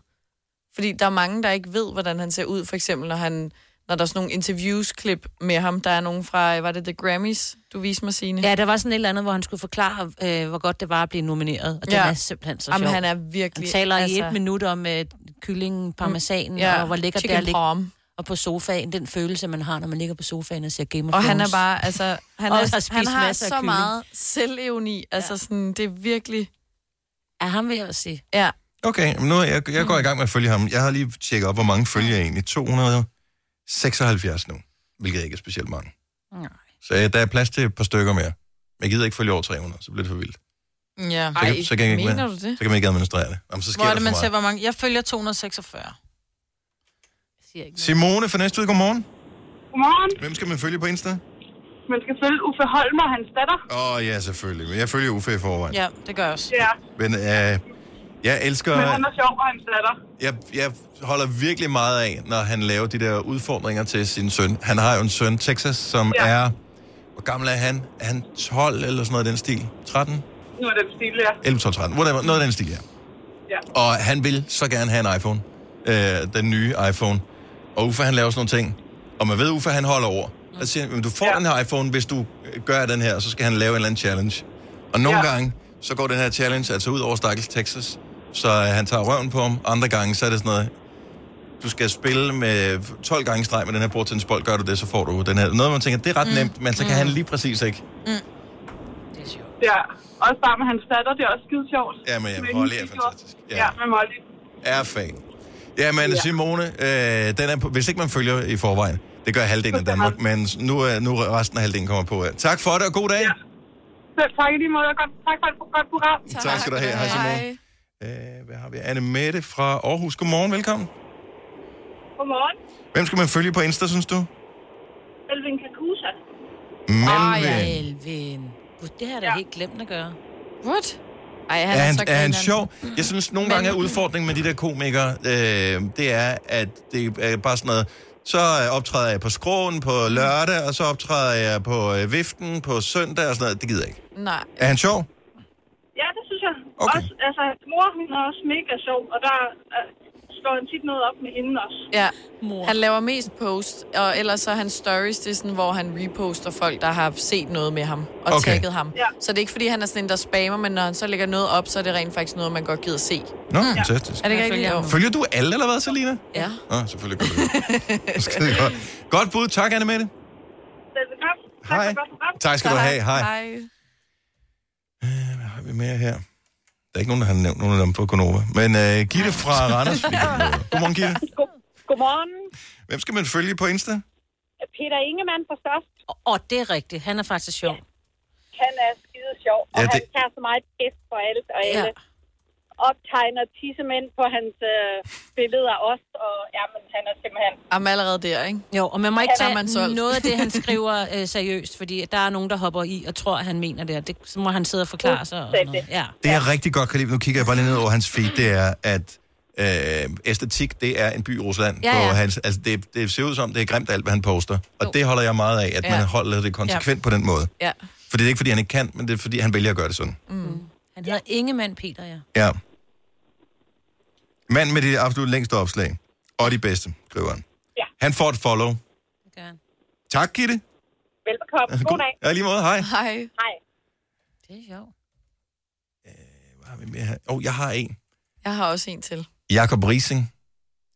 Speaker 4: Fordi der er mange, der ikke ved, hvordan han ser ud. For eksempel, når, han, når der er sådan nogle interviews-klip med ham. Der er nogen fra, øh, var det The Grammys, du viste mig, Signe?
Speaker 2: Ja, der var sådan et eller andet, hvor han skulle forklare, øh, hvor godt det var at blive nomineret. Og det
Speaker 4: Ja.
Speaker 2: er simpelthen så sjovt.
Speaker 4: Jamen, han
Speaker 2: han,
Speaker 4: er virkelig... Mm.
Speaker 2: taler altså... i et minut om øh, kyllingen, parmesanen, ja. og hvor lækkert det er
Speaker 4: Chicken
Speaker 2: at ligge
Speaker 4: parm.
Speaker 2: og på sofaen. Den følelse, man har, når man ligger på sofaen og ser Game of
Speaker 4: Og han er
Speaker 2: Thrones.
Speaker 4: bare, altså... Han,
Speaker 2: (laughs) Og
Speaker 4: er,
Speaker 2: har spist
Speaker 4: han har
Speaker 2: masser af
Speaker 4: så
Speaker 2: kylling.
Speaker 4: meget selvevni. Altså, sådan, det er virkelig...
Speaker 2: Er ham vil jeg også sige.
Speaker 4: Ja,
Speaker 1: Okay, men nu er jeg, jeg går i gang med at følge ham. Jeg har lige tjekket op, hvor mange følger jeg egentlig. 276 nu, hvilket ikke er specielt mange.
Speaker 2: Nej.
Speaker 1: Så øh, der er plads til et par stykker mere. Men Jeg gider ikke følge over 300, så bliver det for vildt.
Speaker 3: Ja.
Speaker 1: Så,
Speaker 4: Ej,
Speaker 1: kan, så, kan jeg ikke
Speaker 4: mener
Speaker 1: med,
Speaker 4: du det?
Speaker 1: så kan man ikke administrere det. Jamen, så sker
Speaker 3: Hvor er
Speaker 1: der
Speaker 3: det,
Speaker 1: for
Speaker 3: man ser,
Speaker 1: meget.
Speaker 3: hvor mange? Jeg følger 246.
Speaker 2: Jeg siger ikke noget.
Speaker 1: Simone fra Næstved, godmorgen.
Speaker 9: Godmorgen.
Speaker 1: Hvem skal man følge på Insta?
Speaker 9: Man skal følge Uffe Holm og hans datter.
Speaker 1: Åh, oh, ja, selvfølgelig. Men jeg følger Uffe i forvejen. Ja.
Speaker 3: Ja, det gør jeg også.
Speaker 9: Ja,
Speaker 1: Men øh, jeg elsker...
Speaker 9: men han er sjov og hans datter.
Speaker 1: jeg, jeg holder virkelig meget af, når han laver de der udfordringer til sin søn. Han har jo en søn, Texas, som ja.
Speaker 9: Ja.
Speaker 1: er... Hvor gammel er han? Er han 12 eller sådan noget i den stil? 13?
Speaker 9: Nu er den stille, ja.
Speaker 1: 11, 12, 13. Whatever. Noget af den stil, ja.
Speaker 9: Ja.
Speaker 1: Og han vil så gerne have en iPhone. Øh, den nye iPhone. Og Uffe, han laver sådan nogle ting. Og man ved, Uffe, han holder over. Og siger, han, "Men du får ja.
Speaker 9: Ja.
Speaker 1: den her iPhone, hvis du øh, gør den her, så skal han lave en eller anden challenge. Og nogle ja.
Speaker 9: Ja.
Speaker 1: gange, så går den her challenge altså ud over Stakkels Texas. Så øh, han tager røven på ham. Andre gange, så er det sådan noget, du skal spille med 12 gange i streg med den her bordtennisbold. Gør du det, så får du den her. Noget, man tænker, det er ret mm. nemt, men så kan mm. han lige præcis ikke.
Speaker 2: Det er sjovt.
Speaker 9: ja. Også bare med hans datter, det er også skide sjovt.
Speaker 1: Ja, men ja,
Speaker 9: Med
Speaker 1: Molly er
Speaker 9: hendes
Speaker 1: fantastisk. Ja.
Speaker 9: Ja. ja, med Molly.
Speaker 1: er fan. Jamen, ja.
Speaker 9: Ja.
Speaker 1: Simone, øh, den er på, hvis ikke man følger i forvejen, det gør halvdelen af Danmark, men nu er nu er resten af halvdelen kommer på. her. Tak for det, og god dag.
Speaker 9: Ja.
Speaker 1: Ja.
Speaker 9: Selv tak i lige måde, og godt, tak for et godt program.
Speaker 1: Tak skal du have. Hej, Simone. Øh, hvad har vi? Anne Mette fra Aarhus. Godmorgen, velkommen.
Speaker 9: Godmorgen.
Speaker 1: Hvem skal man følge på Insta, synes du?
Speaker 9: Elvin Kakusa.
Speaker 1: Melvin.
Speaker 2: Elvin. Gud, det har jeg da
Speaker 9: Ja.
Speaker 2: helt glemt at gøre.
Speaker 4: What? Ej, han
Speaker 1: Er
Speaker 4: er,
Speaker 1: han,
Speaker 4: så
Speaker 1: er han
Speaker 4: grineren.
Speaker 1: sjov? Jeg synes, nogle gange er udfordringen med de der komikere, øh, det er, at det er bare sådan noget, så øh, optræder jeg på skråen på lørdag, og så optræder jeg på øh, viften på søndag og sådan noget. Det gider jeg ikke.
Speaker 4: Nej.
Speaker 1: Er han sjov?
Speaker 9: Ja, det synes jeg.
Speaker 1: Okay.
Speaker 9: Også, altså, hans mor, hun er også mega sjov, og der er slår han tit noget op med hende også.
Speaker 4: Ja.
Speaker 2: Mor.
Speaker 4: Han laver mest post, og ellers så er hans stories, det er sådan, hvor han reposter folk, der har set noget med ham og
Speaker 1: Okay.
Speaker 4: okay. tagget ham.
Speaker 9: Ja.
Speaker 4: Så det er ikke, fordi han er sådan en, der spammer, men når han så lægger noget op, så er det rent faktisk noget, man godt gider se.
Speaker 1: Nå, fantastisk.
Speaker 4: Er det ikke rigtigt? Jo.
Speaker 1: Følger du alle, eller hvad, Selina?
Speaker 4: Ja.
Speaker 1: Nå, selvfølgelig gør du det. Skide godt. Godt bud. Tak, Annemette.
Speaker 9: Velbekomme. Tak for
Speaker 1: Hej.
Speaker 9: et godt program.
Speaker 1: Tak skal du have. Hej.
Speaker 4: Hej.
Speaker 1: Hvad har vi mere her? Der er ikke nogen, der har nævnt nogen af dem på Konova. Men øh, Gitte fra Randers. vi kan ikke nå det. Godmorgen, Gitte.
Speaker 9: God- Godmorgen.
Speaker 1: Hvem skal man følge på Insta?
Speaker 9: Peter Ingemann fra Størst,
Speaker 2: Åh, oh, det er rigtigt. Han er faktisk sjov.
Speaker 9: han er skide sjov, og
Speaker 1: Ja,
Speaker 9: ja, det...
Speaker 1: det-
Speaker 9: han tager så meget pis for alt og alle. Ja. Optegner tissemænd på hans øh, billeder også, og jamen, han er simpelthen...
Speaker 4: Jamen allerede der, ikke?
Speaker 2: Jo, og man må ikke
Speaker 4: Ja, der er
Speaker 2: tage
Speaker 4: man solgt.
Speaker 2: noget af det, han (laughs) skriver øh, seriøst, fordi der er nogen, der hopper i og tror, at han mener det, og det, så må han sidde og forklare sig. Og sådan noget. Ja.
Speaker 1: Det, jeg rigtig godt kan lide, nu kigger jeg bare lige ned over hans feed, det er, at øh, æstetik, det er en by i Rusland.
Speaker 2: Ja, ja.
Speaker 1: På hans, altså det, det ser ud som, det er grimt alt, hvad han poster. Og det holder jeg meget af, at
Speaker 4: Ja.
Speaker 1: man holder det konsekvent på den måde.
Speaker 4: Ja.
Speaker 1: For det er ikke, fordi han ikke kan, men det er, fordi han vælger at gøre det sådan.
Speaker 2: Mm. Han hedder Ingemann Peter, ja.
Speaker 1: Ja. Mand med det absolut længste opslag. Og de bedste, skriver han.
Speaker 9: Ja.
Speaker 1: Han får et follow.
Speaker 2: Det gør han.
Speaker 1: Tak, Gitte.
Speaker 9: Velbekomme. God dag.
Speaker 1: Ja, i lige måde. Hej.
Speaker 4: Hej.
Speaker 9: Hej.
Speaker 2: Det er sjovt.
Speaker 1: Hvad har vi mere her? Åh, oh, jeg har en.
Speaker 4: Jeg har også en til.
Speaker 1: Jakob Rising.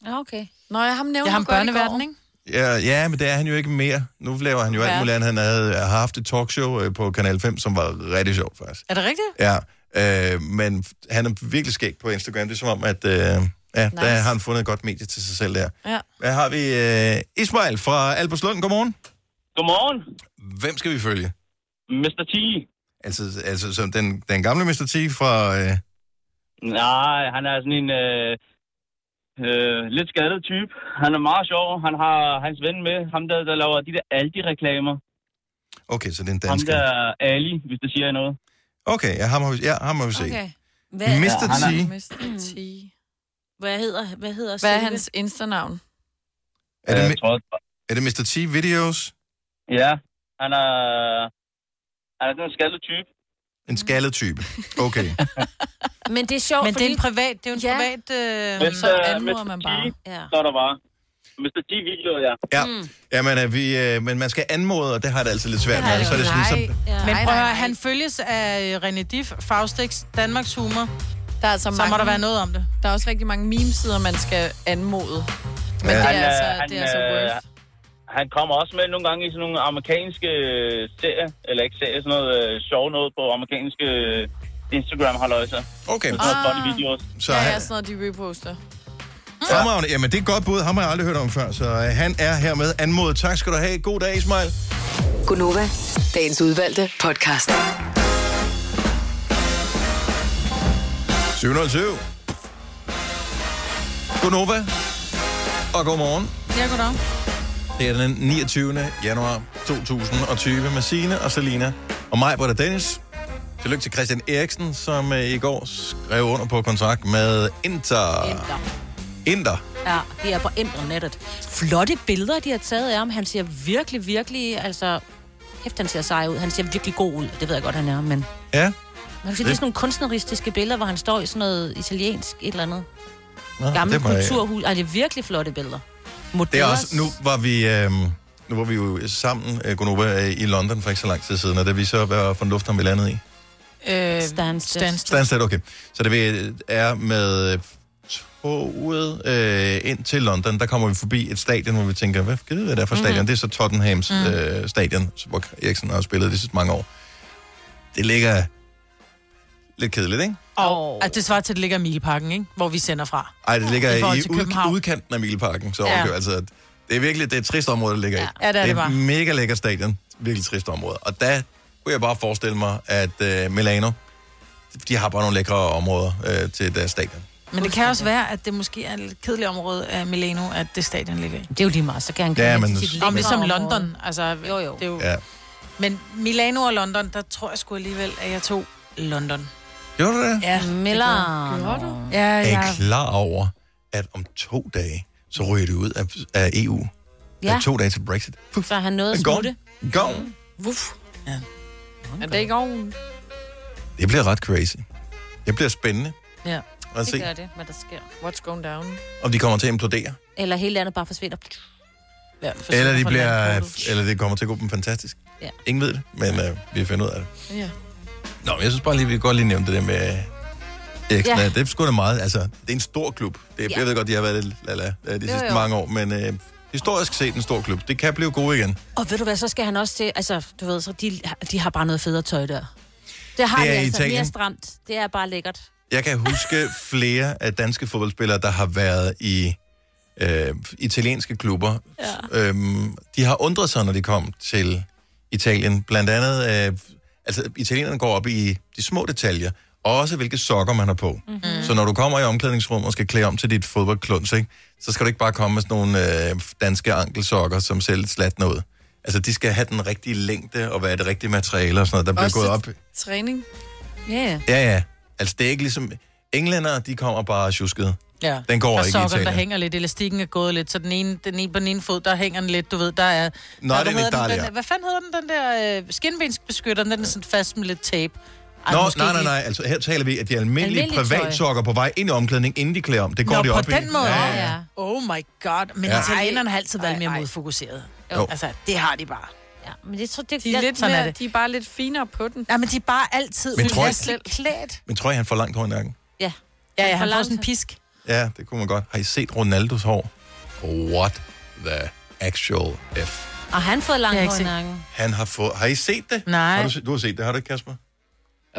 Speaker 2: Ja, okay.
Speaker 4: Nå, jeg ham nævnte
Speaker 3: Jeg har
Speaker 4: du
Speaker 3: en
Speaker 4: godt i går.
Speaker 3: børneverden, ikke?
Speaker 1: Ja, ja, men det er han jo ikke mere. Nu laver han jo alt
Speaker 4: Ja.
Speaker 1: muligt andet. Han havde, øh, har haft et talkshow øh, på Kanal 5, som var rigtig sjovt, faktisk.
Speaker 3: Er det rigtigt?
Speaker 1: Ja, øh, men f- han er virkelig skæg på Instagram. Det er som om, at øh, ja, nice. der har han fundet et godt medie til sig selv der.
Speaker 4: Ja.
Speaker 1: Hvad har vi? Øh, Ismail fra Alberslund. Godmorgen.
Speaker 10: Godmorgen,
Speaker 1: Hvem skal vi følge?
Speaker 10: Mr. T.
Speaker 1: Altså, altså som den, den gamle Mr. T fra... Øh,
Speaker 10: Nej, han er sådan en øh, øh, lidt skadet type. Han er meget sjov. Han har hans ven med, ham der, der laver de der Aldi-reklamer.
Speaker 1: okay, så det er en
Speaker 10: Ham
Speaker 1: dansker.
Speaker 10: der er Ali, hvis det siger jer noget.
Speaker 1: Okay, ja, ham har vi, ja, ham har vi set. Okay.
Speaker 4: Okay.
Speaker 2: Hvad,
Speaker 1: Mr.
Speaker 10: Ja,
Speaker 1: T,
Speaker 10: han
Speaker 4: Mr. T.
Speaker 2: hvad hedder, hvad hedder
Speaker 4: Hvad er
Speaker 2: selve-
Speaker 4: hans Insta-navn?
Speaker 1: er det,
Speaker 10: Øh,
Speaker 1: mi-
Speaker 10: tror,
Speaker 1: er det Mr. T videos?
Speaker 10: ja, han er, han er sådan en skadet type.
Speaker 1: En skaldet type. (laughs) Okay.
Speaker 2: Men det er sjovt,
Speaker 3: Men det
Speaker 2: fordi...
Speaker 3: er en privat, det er jo en
Speaker 2: Ja.
Speaker 3: ja. privat... Øh...
Speaker 10: Men,
Speaker 4: så anmoder man bare.
Speaker 2: Ja.
Speaker 10: Så er der bare. Mr. T videoer, ja.
Speaker 1: Ja, Jamen, er vi, øh, men man skal anmode, og det har det altid lidt svært med. Så er det sådan, så,
Speaker 2: Ja.
Speaker 3: Men
Speaker 4: Nej,
Speaker 3: prøv at
Speaker 4: nej,
Speaker 3: høre,
Speaker 4: nej.
Speaker 3: han følges af René Diff, Faustix, Danmarks Humor.
Speaker 4: Der er altså
Speaker 3: Så
Speaker 4: mange,
Speaker 3: må der være noget om det.
Speaker 4: der er også rigtig mange meme-sider, man skal anmode. Men
Speaker 1: Ja.
Speaker 4: ja. det,
Speaker 10: Han,
Speaker 4: er
Speaker 10: øh,
Speaker 4: altså,
Speaker 10: han,
Speaker 4: det er altså
Speaker 10: øh,
Speaker 4: worth.
Speaker 10: Han kommer også med nogle gange i sådan nogle amerikanske øh, serier, eller ikke serier, sådan noget øh, sjov noget på amerikanske øh, Instagram-halløjser.
Speaker 1: okay.
Speaker 10: Sådan noget funny videos.
Speaker 1: Så
Speaker 4: Ah. Ja,
Speaker 1: han,
Speaker 4: ja, sådan noget, de reposter.
Speaker 1: fremragende. Jamen, det er et godt bud. Ham har jeg aldrig hørt om før, så øh, han er hermed anmodet. Tak skal du have. God dag, Ismail.
Speaker 6: Gunova, dagens udvalgte podcast.
Speaker 1: 707. Godnova. Og godmorgen.
Speaker 3: Ja, goddag.
Speaker 1: Det er den 29. januar 2020 med Signe og Selina og mig, Britta Dennis. Tillykke til Christian Eriksen, som øh, i går skrev under på kontrakt med Inter. Inter.
Speaker 2: Enter.
Speaker 1: Inter.
Speaker 2: Ja, de er på internettet. Flotte billeder, de har taget af ham. Han ser virkelig, virkelig, altså... Hæft, han ser sej ud. Han ser virkelig god ud. Det ved jeg godt, han er, men...
Speaker 1: Ja.
Speaker 2: Man kan se, det er sådan nogle kunstneristiske billeder, hvor han står i sådan noget italiensk et eller andet.
Speaker 1: Nå,
Speaker 2: Gammel
Speaker 1: det må jeg-
Speaker 2: kulturhus. Ej, det er virkelig flotte billeder.
Speaker 1: Det er
Speaker 2: Modeller.
Speaker 1: også, nu var vi... Øh, nu var vi jo sammen, øh, Gunova, øh, i London for ikke så lang tid siden, og da vi så var for en lufthavn, vi landede i.
Speaker 3: Øh,
Speaker 2: Stansted.
Speaker 3: Stansted.
Speaker 1: Stansted, okay. Så det vi er med øh, toget øh, ind til London, der kommer vi forbi et stadion, hvor vi tænker, hvad kan det være der for stadion? Mm-hmm. Det er så Tottenhams mm. øh, stadion, som- hvor Eriksen har spillet de sidste mange år. Det ligger lidt kedeligt, ikke?
Speaker 3: Og at det svarer til, at det ligger i Mileparken, ikke? Hvor vi sender fra.
Speaker 1: Ej, det ligger
Speaker 3: I
Speaker 1: i,
Speaker 3: forhold
Speaker 1: i
Speaker 3: til
Speaker 1: ud,
Speaker 3: København.
Speaker 1: udkanten af Mileparken, så
Speaker 3: Ja.
Speaker 1: okay, altså, det er virkelig det er et trist område, det ligger ja. i.
Speaker 3: Ja, det er det
Speaker 1: er
Speaker 3: bare.
Speaker 1: et mega lækker stadion, virkelig trist område. Og der kunne jeg bare forestille mig, at øh, Milano, de har bare nogle lækre områder øh, til deres stadion.
Speaker 3: Men det kan også være, at det måske er et lidt kedeligt område af Milano, at det stadion ligger i.
Speaker 2: Det er jo lige meget, så kan han
Speaker 1: Ja,
Speaker 2: ja,
Speaker 1: men-
Speaker 2: men...
Speaker 3: Om det er som London, altså...
Speaker 2: Jo, jo.
Speaker 3: Det er jo...
Speaker 1: Ja.
Speaker 3: Men Milano og London, der tror jeg sgu alligevel, at jeg tog London.
Speaker 1: Gjorde du det?
Speaker 3: Ja.
Speaker 2: Milano. Gjorde du?
Speaker 3: Ja,
Speaker 1: Er
Speaker 3: ja.
Speaker 1: I klar over, at om to dage, så ryger det ud af, af EU? Ja.
Speaker 2: Ja,
Speaker 1: Er to dage til Brexit. Puff,
Speaker 2: så han nåede at
Speaker 1: gone.
Speaker 2: smutte.
Speaker 1: Gone.
Speaker 4: Wuff.
Speaker 3: Ja.
Speaker 4: Er det ikke oven?
Speaker 1: Det bliver ret crazy. Det bliver spændende.
Speaker 3: ja.
Speaker 1: Lad os
Speaker 2: Det gør
Speaker 1: se,
Speaker 2: det, hvad der sker.
Speaker 4: What's going down?
Speaker 1: om de kommer til at implodere.
Speaker 2: Eller hele landet bare forsvinder.
Speaker 3: Ja,
Speaker 1: Eller, de bliver, eller det kommer til at gå dem fantastisk.
Speaker 2: Ja.
Speaker 1: Ingen ved det, men øh, vi finder ud af det.
Speaker 4: Ja.
Speaker 1: Nå, men jeg synes bare lige, vi kan godt lige nævne det der med Ekstra. Ja.
Speaker 2: Ja.
Speaker 1: Det er sgu da meget. Altså, det er en stor klub. Det,
Speaker 2: Ja.
Speaker 1: Jeg ved godt, de har været lidt lala øh, de sidste
Speaker 4: jo.
Speaker 1: mange år, men øh, historisk set en stor klub. Det kan blive god igen.
Speaker 2: Og ved du hvad, så skal han også til... Altså, du ved, så de, de har bare noget federe tøj der. Det har
Speaker 1: Det
Speaker 2: det de
Speaker 1: er
Speaker 2: altså
Speaker 1: Italien.
Speaker 2: mere stramt. Det er bare lækkert.
Speaker 1: Jeg kan huske flere af danske fodboldspillere, der har været i øh, italienske klubber. Ja. Øhm, de har undret sig, når de kom til Italien. Blandt andet, øh, altså italienerne går op i de små detaljer, og også hvilke sokker man har på. Mm-hmm. Så når du kommer i omklædningsrummet og skal klæde om til dit fodboldklunds, ikke, så skal du ikke bare komme med sådan nogle øh, danske ankelsokker, som ser lidt slatne ud. Altså, de skal have den rigtige længde og være det rigtige materiale og sådan noget, der bliver
Speaker 4: Også
Speaker 1: gået
Speaker 4: til
Speaker 1: op
Speaker 4: Træning.
Speaker 2: Ja, yeah.
Speaker 1: Ja, ja. Altså, det er ikke ligesom... Englænder, de kommer bare tjusket.
Speaker 3: Ja.
Speaker 1: Den går
Speaker 3: der er
Speaker 1: ikke i
Speaker 3: sokkerne, der
Speaker 1: Italien.
Speaker 3: hænger lidt, elastikken er gået lidt, så den ene, den ene, på den ene fod, der hænger den lidt, du ved, der er...
Speaker 1: Nå,
Speaker 3: der,
Speaker 1: det er en
Speaker 3: den,
Speaker 1: Italia.
Speaker 3: den, Hvad fanden hedder den, den der øh, skinbensbeskytter, den er sådan fast med lidt tape. Ej,
Speaker 1: Nå,
Speaker 3: måske
Speaker 1: nej, nej,
Speaker 3: ikke-
Speaker 1: nej. Altså, her taler vi, at de almindelige
Speaker 2: Almindeligt
Speaker 1: privatsokker på vej ind i omklædning, inden de klæder om. Det går
Speaker 3: Nå,
Speaker 1: de
Speaker 3: på
Speaker 1: op i.
Speaker 3: den måde.
Speaker 1: Ja,
Speaker 3: Ja,
Speaker 1: ja.
Speaker 3: ja. Oh my god. Men
Speaker 1: Ja.
Speaker 3: ja. italienerne har altid været
Speaker 4: Ej,
Speaker 3: mere
Speaker 4: ej.
Speaker 3: modfokuseret.
Speaker 1: Jo.
Speaker 3: Altså, det har de bare.
Speaker 2: ja men det, så, det,
Speaker 4: De er,
Speaker 2: jeg-
Speaker 4: lidt
Speaker 3: sådan er
Speaker 4: mere,
Speaker 3: det.
Speaker 4: de er bare lidt finere på den.
Speaker 3: Nej, men de er bare altid
Speaker 1: Men tror I-
Speaker 3: upasselig klædt.
Speaker 1: Men tror jeg, han får langt hår i nakken?
Speaker 2: Ja.
Speaker 3: Ja, ja, han
Speaker 2: For
Speaker 3: får
Speaker 2: langt.
Speaker 3: sådan en pisk.
Speaker 1: Ja, det kunne man godt. Har I set Ronaldos hår? What the actual F?
Speaker 2: Og han har fået langt
Speaker 3: Det har jeg
Speaker 2: hår i
Speaker 3: ikke
Speaker 2: nakken.
Speaker 1: Han har fået... Har I set det?
Speaker 3: Nej.
Speaker 1: Har du, se- du har set det, har du ikke, Kasper?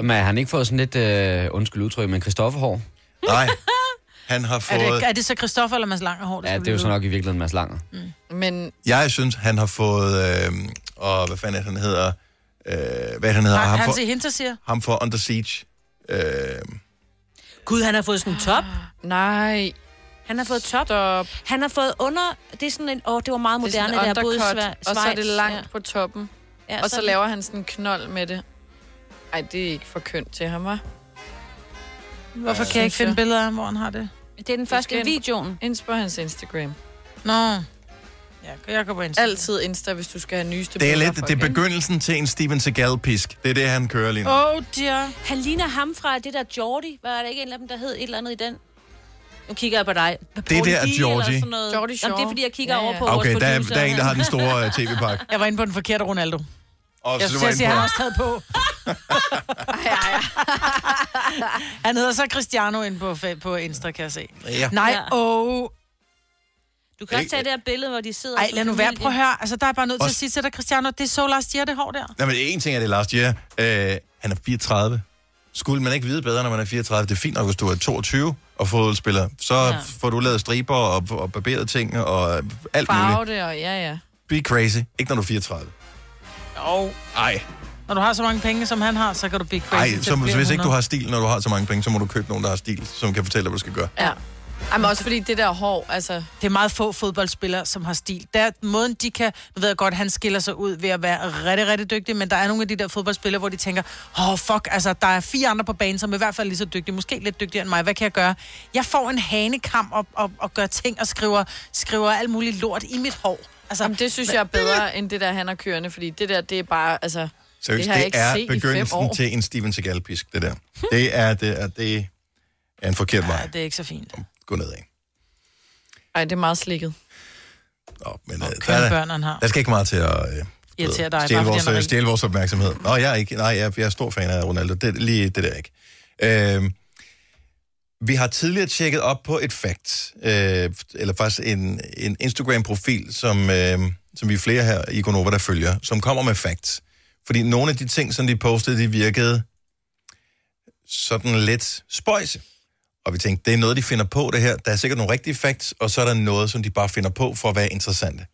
Speaker 8: Men har han ikke fået sådan lidt, øh, undskyld udtryk, men Christofferhår?
Speaker 1: Nej. Han har
Speaker 3: Er
Speaker 1: fået...
Speaker 3: det, er det så Christoffer eller Mads Langerhår?
Speaker 8: Ja, det er jo så nok i virkeligheden Mads Langer.
Speaker 4: Men
Speaker 1: Jeg synes, han har fået... Øh, og hvad fanden er det, han hedder? Øh, hvad er det, han hedder?
Speaker 3: Han,
Speaker 1: ham,
Speaker 3: han
Speaker 1: for,
Speaker 3: til Hinter siger,
Speaker 1: ham for Under Siege. Øh,
Speaker 2: Gud, han har fået sådan en top.
Speaker 4: Ah, nej,
Speaker 2: Han har fået top.
Speaker 4: stop.
Speaker 2: Han har fået under... Det er sådan en... Åh, det var meget
Speaker 4: Det er
Speaker 2: moderne,
Speaker 4: sådan
Speaker 2: det er både i
Speaker 4: undercut,
Speaker 2: Sver- Schweiz.
Speaker 4: og så er det langt
Speaker 2: Ja.
Speaker 4: på toppen.
Speaker 2: Ja,
Speaker 4: Og så
Speaker 2: er det-
Speaker 4: laver han sådan en knold med det. Ej, det er ikke for kønt til ham, var.
Speaker 3: hvorfor kan jeg ikke finde billeder af ham, hvor han har det?
Speaker 2: Det er den første
Speaker 4: skal ind-
Speaker 2: videoen.
Speaker 4: Ind på hans Instagram.
Speaker 3: Nå. Ja, jeg går på Instagram.
Speaker 4: Altid Insta, hvis du skal have nyeste
Speaker 1: det er
Speaker 4: billeder
Speaker 1: lidt...
Speaker 4: fra
Speaker 1: Det er
Speaker 4: igen.
Speaker 1: begyndelsen til en Steven Seagal-pisk. Det er det, han kører lige nu.
Speaker 3: Oh dear.
Speaker 2: Han ligner ham fra det der Geordie. Var der ikke en af dem, der hed et eller andet i den? Nu kigger jeg på dig. Paul
Speaker 1: der er
Speaker 2: Lee eller
Speaker 1: Geordie.
Speaker 2: sådan noget.
Speaker 4: Geordie Shore.
Speaker 2: Jamen, det er, fordi jeg kigger
Speaker 4: Ja, ja.
Speaker 2: over på
Speaker 1: Okay,
Speaker 2: vores
Speaker 1: der er,
Speaker 2: producer
Speaker 1: der er en, der
Speaker 2: her.
Speaker 1: har den store øh, tv-pakke.
Speaker 3: (laughs) Jeg var inde på den forkerte Ronaldo.
Speaker 1: Og
Speaker 3: Jeg
Speaker 1: så
Speaker 3: skulle
Speaker 1: var
Speaker 3: til at
Speaker 1: jeg
Speaker 3: sige,
Speaker 1: inde
Speaker 3: han
Speaker 1: på-
Speaker 3: har også taget
Speaker 2: (laughs)
Speaker 3: på. (laughs) Han hedder så Cristiano inde på, fa- på Insta, kan jeg se.
Speaker 1: Ja.
Speaker 3: Nej,
Speaker 2: Ja.
Speaker 3: åh. Oh.
Speaker 2: Du kan også
Speaker 1: Ikke-
Speaker 2: tage det her billede, hvor de sidder...
Speaker 3: Ej,
Speaker 2: som
Speaker 3: lad nu være.
Speaker 2: familie.
Speaker 3: Prøv at høre. Altså, der er bare nødt til at
Speaker 1: Også-
Speaker 3: sige til dig, Cristiano, det er så last year, det hår der.
Speaker 1: Nej, men en ting er det er last year. Øh, han er 34. Skulle man ikke vide bedre, når man er 34? Det er fint nok, hvis du er 22 og fodboldspiller. Så ja. får du lavet striber og, og barberet ting og øh, alt
Speaker 4: Farve
Speaker 1: muligt.
Speaker 4: det, og ja, ja.
Speaker 1: Be crazy. Ikke når du er 34.
Speaker 3: Jo.
Speaker 1: Ej,
Speaker 3: Når du har så mange penge, som han har, så kan du blive crazy.
Speaker 1: Ej så, hvis ikke du har stil, når du har så mange penge, så må du købe nogen, der har stil, som kan fortælle dig, hvad du skal gøre.
Speaker 4: ja. Jamen også fordi det der hår, altså...
Speaker 3: Det er meget få fodboldspillere, som har stil. Der, måden de kan... Nu ved jeg godt, han skiller sig ud ved at være rigtig, rigtig dygtig, men der er nogle af de der fodboldspillere, hvor de tænker, åh, oh, fuck, altså, der er fire andre på banen, som er i hvert fald lige så dygtige, måske lidt dygtigere end mig. Hvad kan jeg gøre? Jeg får en hanekam og, og, og gør ting og skriver, skriver alt muligt lort i mit hår. Altså,
Speaker 4: Jamen, det synes jeg er bedre, end det der, han er kørende, fordi det der, det er bare, altså...
Speaker 1: Seriøst,
Speaker 4: har jeg
Speaker 1: det,
Speaker 4: ikke
Speaker 1: det er
Speaker 4: set i fem
Speaker 1: begyndelsen
Speaker 4: år.
Speaker 1: til en Steven Seagal-pisk, det der. Det er, det er, det er en forkert
Speaker 3: ja,
Speaker 1: vej.
Speaker 3: det er ikke så fint.
Speaker 1: Gå nedad.
Speaker 4: Ej, det er meget slikket.
Speaker 1: Nå, men, okay, øh, der,
Speaker 3: Hvad
Speaker 1: er-
Speaker 3: børn, han har.
Speaker 1: Der skal ikke meget til at øh,
Speaker 3: Irritere dig, bare fordi
Speaker 1: stjæle, vores, øh,
Speaker 3: han er rig.
Speaker 1: stjæle vores opmærksomhed. Nå, jeg er ikke. Nej, jeg, jeg er stor fan af Ronaldo. Det, lige det der ikke. Øh, vi har tidligere tjekket op på et fact, øh, eller faktisk en, en Instagram-profil, som, øh, som vi er flere her i Gonova, der følger, som kommer med facts. Fordi nogle af de ting, som de postede, de virkede sådan lidt spøjse. Og vi tænkte, det er noget, de finder på, det her. Der er sikkert nogle rigtige facts, og så er der noget, som de bare finder på for at være interessante.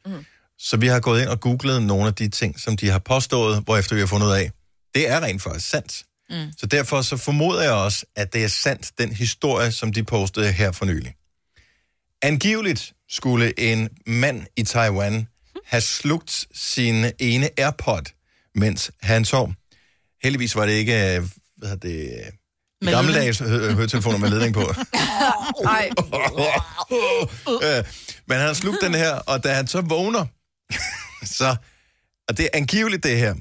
Speaker 1: Så vi har gået ind og googlet nogle af de ting, som de har påstået, hvorefter vi har fundet ud af, det er rent faktisk sandt. Mm. Så derfor så formoder jeg også, at det er sandt, den historie, som de postede her for nylig. Angiveligt skulle en mand i Taiwan have slugt sin ene AirPod, mens han sov. Heldigvis var det ikke, øh, hvad hedder det,
Speaker 3: Med
Speaker 1: med gammeldags hø- høretelefoner med ledning på.
Speaker 4: (laughs) Ej,
Speaker 1: Øh, Men han har slugt den (laughs) her, og da han så vågner, så, og det er angiveligt det her,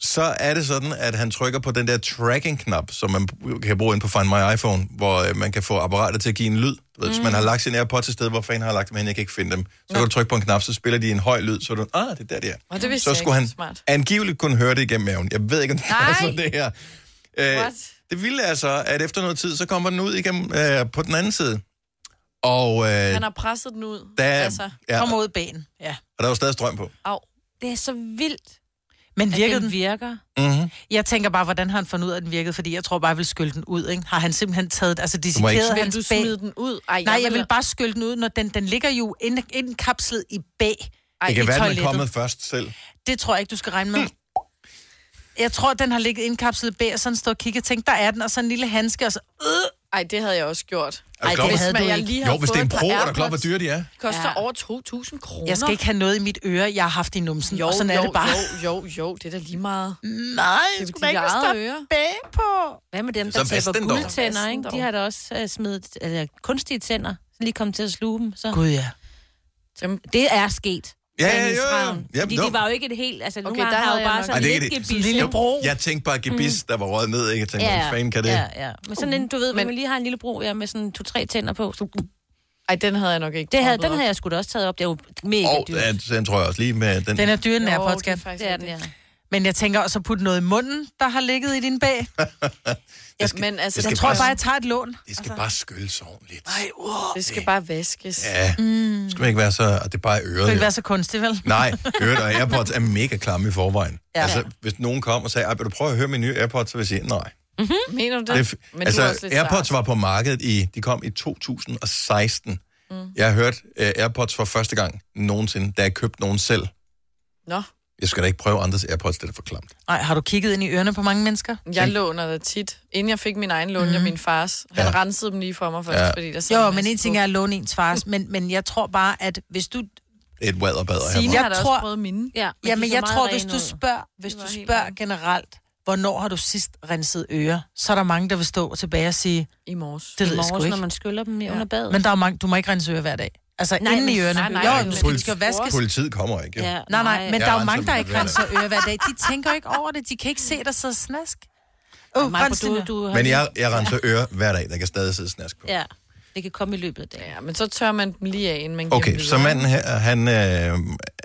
Speaker 1: så er det sådan, at han trykker på den der tracking-knap, som man kan bruge ind på Find My iPhone, hvor øh, man kan få apparatet til at give en lyd. Du ved, Hvis
Speaker 4: Mm.
Speaker 1: man har lagt sin AirPods et sted, hvor fanden har jeg lagt dem hen, jeg kan ikke finde dem. Så kan du trykke på en knap, så spiller de en høj lyd, så er du, ah, det er der, det er.
Speaker 4: Og det vidste
Speaker 1: Så
Speaker 4: jeg
Speaker 1: skulle
Speaker 4: ikke.
Speaker 1: han
Speaker 4: Smart.
Speaker 1: angiveligt kunne høre det igennem maven. Jeg ved ikke, om det er
Speaker 4: Nej.
Speaker 1: sådan det her. Øh,
Speaker 4: What?
Speaker 1: det vilde er så, at efter noget tid, så kommer den ud igennem øh, på den anden side. Og, øh,
Speaker 4: Han har presset den ud.
Speaker 1: der,
Speaker 4: Altså,
Speaker 1: ja,
Speaker 3: Kom ud i ben. Ja.
Speaker 1: og der var stadig strøm på.
Speaker 4: au.
Speaker 2: Det er så vildt,
Speaker 3: Men
Speaker 2: at
Speaker 3: virkede
Speaker 2: den
Speaker 3: den?
Speaker 2: virker.
Speaker 1: Mm-hmm.
Speaker 3: Jeg tænker bare, hvordan har han fundet ud af, at den virkede? Fordi jeg tror bare, jeg vil skylle den ud, ikke? Har han simpelthen taget... Altså,
Speaker 1: må ikke-
Speaker 3: dissekeret
Speaker 4: Vil du
Speaker 3: hans bag...
Speaker 4: smide den ud? Ej,
Speaker 3: Nej, jeg vil bare skylle den ud, når den, den ligger jo ind- indkapslet i bag.
Speaker 4: Ej,
Speaker 1: Det kan
Speaker 3: i
Speaker 1: være, den er
Speaker 3: toilettet.
Speaker 1: kommet først selv.
Speaker 3: Det tror jeg ikke, du skal regne med. Jeg tror, den har ligget indkapslet i bag, og sådan stået og kigget og tænkt, der er den, og så en lille handske, og så... Øh,
Speaker 4: Ej, det havde jeg også gjort.
Speaker 1: Er du klar
Speaker 3: det
Speaker 1: over-
Speaker 3: havde
Speaker 4: Men
Speaker 3: du
Speaker 4: jeg
Speaker 3: ikke.
Speaker 4: lige har
Speaker 1: Jo, hvis det er en
Speaker 4: fået et
Speaker 1: pro,
Speaker 4: par
Speaker 1: er der klar, hvor
Speaker 4: AirPods.
Speaker 1: dyre de er.
Speaker 4: koster
Speaker 2: Ja.
Speaker 4: over 2.000 kroner.
Speaker 3: jeg skal ikke have noget i mit øre, jeg har haft i numsen.
Speaker 4: Jo,
Speaker 3: og sådan
Speaker 4: jo,
Speaker 3: er det bare. (laughs)
Speaker 4: jo, jo, jo, det er da lige meget.
Speaker 3: Nej,
Speaker 4: Det er
Speaker 3: det
Speaker 4: jo
Speaker 3: skulle da ikke
Speaker 4: dit eget
Speaker 3: stå
Speaker 4: øre.
Speaker 3: bag på.
Speaker 2: Hvad med dem,
Speaker 1: Så
Speaker 2: der
Speaker 1: vask
Speaker 2: taber
Speaker 1: den dog.
Speaker 2: guldtænder,
Speaker 4: Vask den
Speaker 2: ikke? De
Speaker 4: dog.
Speaker 2: har da også uh, smidt eller, kunstige tænder, så lige kom til at sluge dem. Så.
Speaker 3: Gud ja.
Speaker 4: Dem,
Speaker 2: Det er sket.
Speaker 1: Ja,
Speaker 2: sagde
Speaker 1: ja,
Speaker 2: hendes
Speaker 1: jo, jo.
Speaker 2: ravn.
Speaker 1: Jamen,
Speaker 2: Fordi
Speaker 1: jo.
Speaker 2: de var jo ikke et helt... Altså,
Speaker 4: Okay,
Speaker 2: nogle
Speaker 4: der
Speaker 2: gange har
Speaker 4: havde
Speaker 2: jo
Speaker 4: jeg
Speaker 2: bare
Speaker 4: nok
Speaker 2: sådan
Speaker 1: Ej, det er
Speaker 2: lidt
Speaker 1: ikke det.
Speaker 2: gebis.
Speaker 1: Sådan en
Speaker 2: ikke?
Speaker 3: lille bro.
Speaker 1: Jeg tænkte bare, gebis, der var røget ned, ikke? Jeg tænkte, ja, hvad fanden kan det?
Speaker 2: Ja, ja. Men sådan en, du ved,
Speaker 4: Men-
Speaker 2: men... man lige har en lille bro ja, med sådan to-tre tænder på. Så...
Speaker 4: ej, den havde jeg nok ikke.
Speaker 2: Det her,
Speaker 4: proppet
Speaker 2: den havde jeg sgu da også taget op. Det er jo mega
Speaker 1: Og
Speaker 2: dyrt.
Speaker 1: den, den tror jeg også lige med den.
Speaker 3: Den
Speaker 1: den
Speaker 3: er dyre,
Speaker 4: op.
Speaker 3: den
Speaker 4: Jo,
Speaker 3: er
Speaker 4: det er
Speaker 3: podcast.
Speaker 4: faktisk
Speaker 2: Det er den,
Speaker 4: rigtigt.
Speaker 2: ja.
Speaker 3: Men jeg tænker også at putte noget i munden, der har ligget i din bag.
Speaker 1: (laughs)
Speaker 4: Men altså,
Speaker 1: jeg
Speaker 3: Jeg
Speaker 1: skal
Speaker 3: tror bare, jeg tager et lån. Altså.
Speaker 1: Det skal bare skylles ordentligt. Nej,
Speaker 4: det skal bare vaskes.
Speaker 1: ja. Mm. Skal man ikke være så... Og det er bare i
Speaker 3: Det
Speaker 1: øret.
Speaker 3: vil ikke
Speaker 1: jo.
Speaker 3: være så kunstigt, vel?
Speaker 1: Nej, øret og AirPods er mega klamme i forvejen. Ja.
Speaker 3: Ja.
Speaker 1: Altså, hvis nogen kom og sagde, "Ej, vil du prøve at høre min nye AirPods, så vil jeg sige, nej.
Speaker 3: Mhm.
Speaker 4: Mener du
Speaker 1: Det, er
Speaker 4: det?
Speaker 1: f-
Speaker 4: Men
Speaker 1: altså,
Speaker 4: du er også lidt
Speaker 1: AirPods
Speaker 4: sart.
Speaker 1: var på markedet i... De kom i 2016. Mm. Jeg har hørt uh, AirPods for første gang nogensinde, da jeg købte nogen selv.
Speaker 4: Nå,
Speaker 1: Jeg skal da ikke prøve andres AirPods, det er da for klamt.
Speaker 3: Nej, (laughs) har du kigget ind i ørerne på mange mennesker?
Speaker 4: jeg låner det tit. Inden jeg fik min egen lån, jeg min fars. Han
Speaker 1: Ja.
Speaker 4: rensede dem lige for mig først,
Speaker 1: Ja.
Speaker 4: fordi der sad
Speaker 3: Mhm. Jo,
Speaker 4: en
Speaker 3: men
Speaker 4: masse
Speaker 3: en ting
Speaker 4: på.
Speaker 3: er at låne ens fars, men, men jeg tror bare, at hvis du...
Speaker 1: Det er et vaderbad at have.
Speaker 4: Signe
Speaker 1: mig.
Speaker 4: har da
Speaker 3: tror-
Speaker 4: også prøvet mine.
Speaker 2: Ja, men
Speaker 3: Jamen,
Speaker 2: de er
Speaker 3: jeg
Speaker 2: meget
Speaker 3: tror, hvis
Speaker 2: rene
Speaker 3: du
Speaker 2: ud.
Speaker 3: spørger, hvis
Speaker 4: De
Speaker 3: du
Speaker 4: var helt
Speaker 3: spørger
Speaker 4: rene.
Speaker 3: generelt, hvornår har du sidst renset ører, så er der mange, der vil stå tilbage og sige,
Speaker 4: I morges.
Speaker 3: det
Speaker 2: I
Speaker 3: ved jeg sgu
Speaker 2: morges, når
Speaker 3: ikke.
Speaker 2: man skyller dem i under badet.
Speaker 3: Men der er mange, du må ikke rense ører hver dag. Altså, nej, inden
Speaker 2: men-
Speaker 3: i ørerne.
Speaker 2: nej, nej,
Speaker 3: jo,
Speaker 2: nej,
Speaker 3: men
Speaker 1: men-
Speaker 3: det skal vaskes.
Speaker 1: Politiet kommer ikke, jo.
Speaker 2: Ja,
Speaker 3: Nej, nej, men
Speaker 1: Jeg
Speaker 3: der er jo
Speaker 1: renser
Speaker 3: mange, der
Speaker 1: dem
Speaker 3: ikke
Speaker 1: hver dag.
Speaker 3: renser ører hver dag. De tænker jo ikke over det. De kan ikke se, der sidder snask. Åh, oh,
Speaker 2: Maja,
Speaker 3: rens
Speaker 2: du,
Speaker 3: dine-
Speaker 2: du har
Speaker 1: Men jeg, jeg renser ører hver dag, der kan stadig sidde snask på.
Speaker 2: Ja, det kan komme i løbet af dagen.
Speaker 4: Ja, men så tør man dem lige af, inden man giver
Speaker 1: Okay,
Speaker 4: dem
Speaker 1: så
Speaker 4: videre.
Speaker 1: manden her, han, øh,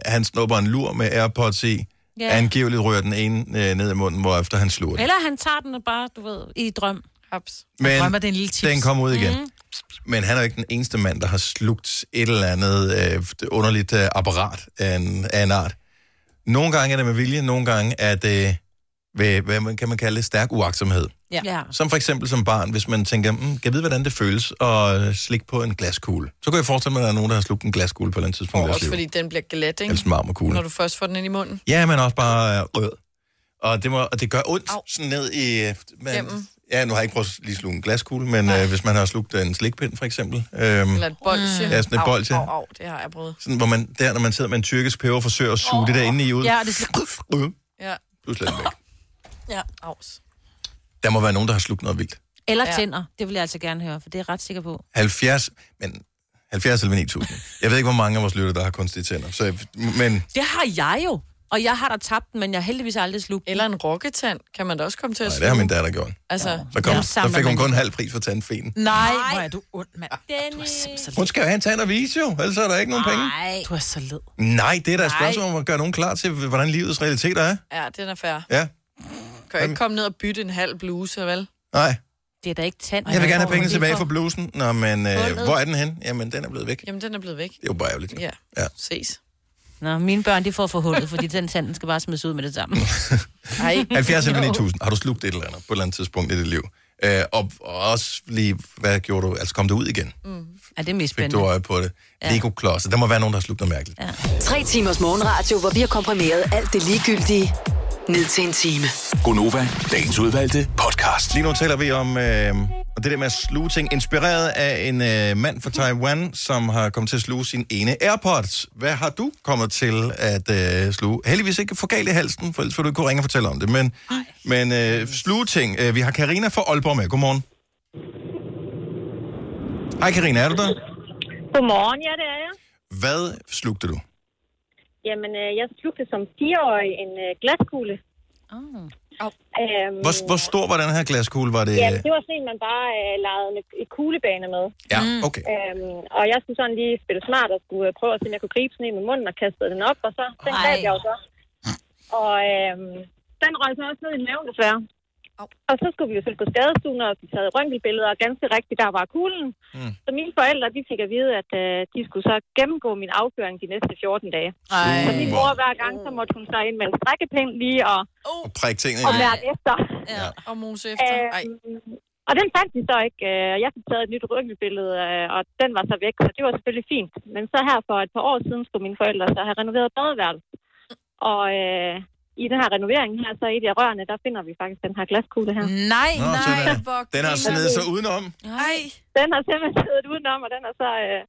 Speaker 1: han snupper en lur med AirPods i.
Speaker 2: Ja.
Speaker 1: Yeah. Angiveligt rører den ene øh, ned i munden, hvorefter han sluger den.
Speaker 2: Eller han tager den og bare, du ved, i drøm. Mhm.
Speaker 4: Haps.
Speaker 3: Jeg
Speaker 1: Men
Speaker 3: drømmer, det er en lille tips.
Speaker 1: den kommer ud igen. Mm. Men han er jo ikke den eneste mand, der har slugt et eller andet øh, underligt øh, apparat af en, af en art. Nogle gange er det med vilje, nogle gange er det ved, hvad man kan man kalde det, stærk uagtsomhed.
Speaker 2: Ja. ja.
Speaker 1: Som for eksempel som barn, hvis man tænker, mm, kan jeg vide, hvordan det føles at slikke på en glaskugle? Så kan jeg forestille mig, at der er nogen, der har slugt en glaskugle på et eller andet tidspunkt. i
Speaker 4: Og
Speaker 1: deres
Speaker 4: også
Speaker 1: liv.
Speaker 4: fordi den bliver glat, ikke?
Speaker 1: Eller sådan en marmorkugle.
Speaker 4: Når du først får den ind i munden.
Speaker 1: Ja, men også bare øh, rød. Og det, må, og det gør ondt, Au. sådan ned i... øh, Man,
Speaker 4: Gennem.
Speaker 1: ja, nu har jeg ikke prøvet at lige sluge en glaskugle, men øh, hvis man har slugt en slikpind, for eksempel. Øhm,
Speaker 4: Eller et bolsje.
Speaker 1: Ja, sådan et
Speaker 4: Au,
Speaker 1: bolsje.
Speaker 4: Au, au, det har jeg prøvet.
Speaker 1: sådan, hvor man, der, når man sidder med en tyrkisk peber, forsøger at suge oh. det der inde i ud.
Speaker 3: Ja, og det skal...
Speaker 1: Øh,
Speaker 4: Ja,
Speaker 1: Pludselig er den væk.
Speaker 4: ja, aus.
Speaker 1: Der må være nogen, der har slugt noget vildt.
Speaker 2: Eller
Speaker 4: Ja.
Speaker 2: tænder. Det vil jeg altså gerne høre, for det er jeg ret sikker på.
Speaker 1: 70, men 70 eller 9000. Jeg ved ikke, hvor mange af vores lytter, der har kunstige tænder. Så, men
Speaker 2: Det har jeg jo. Og jeg har da tabt den, men jeg har heldigvis aldrig slugt den.
Speaker 4: Eller en rokketand kan man da også komme til at
Speaker 1: nej, det
Speaker 4: sluge.
Speaker 1: har min datter gjort.
Speaker 4: Altså,
Speaker 1: Så, kom,
Speaker 2: Ja,
Speaker 1: ja, så
Speaker 2: samler
Speaker 1: fik hun
Speaker 2: man
Speaker 1: kun halv pris for tandfenen.
Speaker 3: Nej, hvor er du ond, mand.
Speaker 2: Dennis.
Speaker 1: Hun skal jo have en tand og vise jo, ellers er der ikke nogen penge.
Speaker 2: Nej.
Speaker 3: Du er så led.
Speaker 1: Nej, det er da et spørgsmål om at gøre nogen klar til, hvordan livets realiteter er.
Speaker 4: ja, den er fair.
Speaker 1: Ja,
Speaker 4: Kan jo ikke komme ned og bytte en halv bluse, vel?
Speaker 1: nej.
Speaker 2: Det er da ikke tand.
Speaker 1: Jeg vil gerne have pengene
Speaker 2: Hvor er det
Speaker 1: tilbage
Speaker 2: fra?
Speaker 1: for blusen. Nå, men øh, hvor er den hen? Jamen, den er blevet væk. Det
Speaker 4: Jamen, den er blevet væk.
Speaker 1: er jo bare ærgerligt.
Speaker 4: Ja,
Speaker 1: Ja.
Speaker 4: ses.
Speaker 2: Nå, mine børn, de får for hullet, fordi den tanden skal bare smides ud med det samme.
Speaker 1: (laughs)
Speaker 4: Ej,
Speaker 1: 70 eller 9000. Har du slugt et eller andet på et eller andet tidspunkt i dit liv? Øh, og, og også lige, hvad gjorde du? Altså, kom det ud igen?
Speaker 2: Ja, det er mest
Speaker 1: Fik du
Speaker 2: Mm, spændende.
Speaker 1: øje på det? Lego-klodser. Der må være nogen, der har slugt noget mærkeligt. Ja.
Speaker 6: Tre timers morgenradio, hvor vi har komprimeret alt det ligegyldige ned til en time.
Speaker 7: Gonova, dagens udvalgte podcast.
Speaker 1: Lige nu taler vi om øh, og det der med at sluge ting, inspireret af en øh, mand fra Taiwan, som har kommet til at sluge sin ene AirPods. Hvad har du kommet til at øh, sluge? Heldigvis ikke for galt i halsen, for ellers ville du ikke kunne ringe og fortælle om det. Men, men øh, sluge ting. Øh, Vi har Karina fra Aalborg med. Godmorgen. Hej Karina, er du der?
Speaker 9: Godmorgen, ja, det er jeg.
Speaker 1: Hvad slugte du?
Speaker 9: Jamen, øh, jeg slugte som fireårig en øh, glaskugle. Øhm,
Speaker 1: Hvor, hvor stor var den her glaskugle? Var det...
Speaker 9: Jamen, det var sådan en, man bare øh, legede en, en kuglebane med.
Speaker 1: Ja, okay.
Speaker 9: Øhm, og jeg skulle sådan lige spille smart og skulle øh, prøve at se, om jeg kunne gribe sådan en med munden og kastede den op, og så den
Speaker 2: Ej.
Speaker 9: greb jeg jo så. Og øhm, den røg så også ned i maven desværre. Og så skulle vi jo selv på skadestuen og blive taget røntgenbilleder, og ganske rigtigt, der var kuglen.
Speaker 1: Mm.
Speaker 9: Mm. Så mine forældre, de fik at vide, at øh, de skulle så gennemgå min afføring de næste 14 dage.
Speaker 3: Ej.
Speaker 9: Så min mor hver gang, så måtte hun så ind med en strækkepind lige og,
Speaker 1: Og prik tingene
Speaker 9: og
Speaker 1: i.
Speaker 9: mærke efter.
Speaker 1: Ja.
Speaker 4: Og mose efter. Ej.
Speaker 9: Øhm, og den fandt de så ikke. Øh, Jeg fik taget et nyt ryggenbillede, øh, og den var så væk, så det var selvfølgelig fint. Men så her for et par år siden skulle mine forældre så have renoveret badeværelset. Og øh, i den her renovering her, så i de af rørene, der finder vi faktisk den her glaskugle her.
Speaker 3: Nej,
Speaker 1: Nå,
Speaker 3: nej.
Speaker 1: sådan er det.
Speaker 4: Hvor
Speaker 1: Den har snedet sig udenom.
Speaker 4: Ej.
Speaker 9: Den har simpelthen siddet udenom, og den er så... Øh,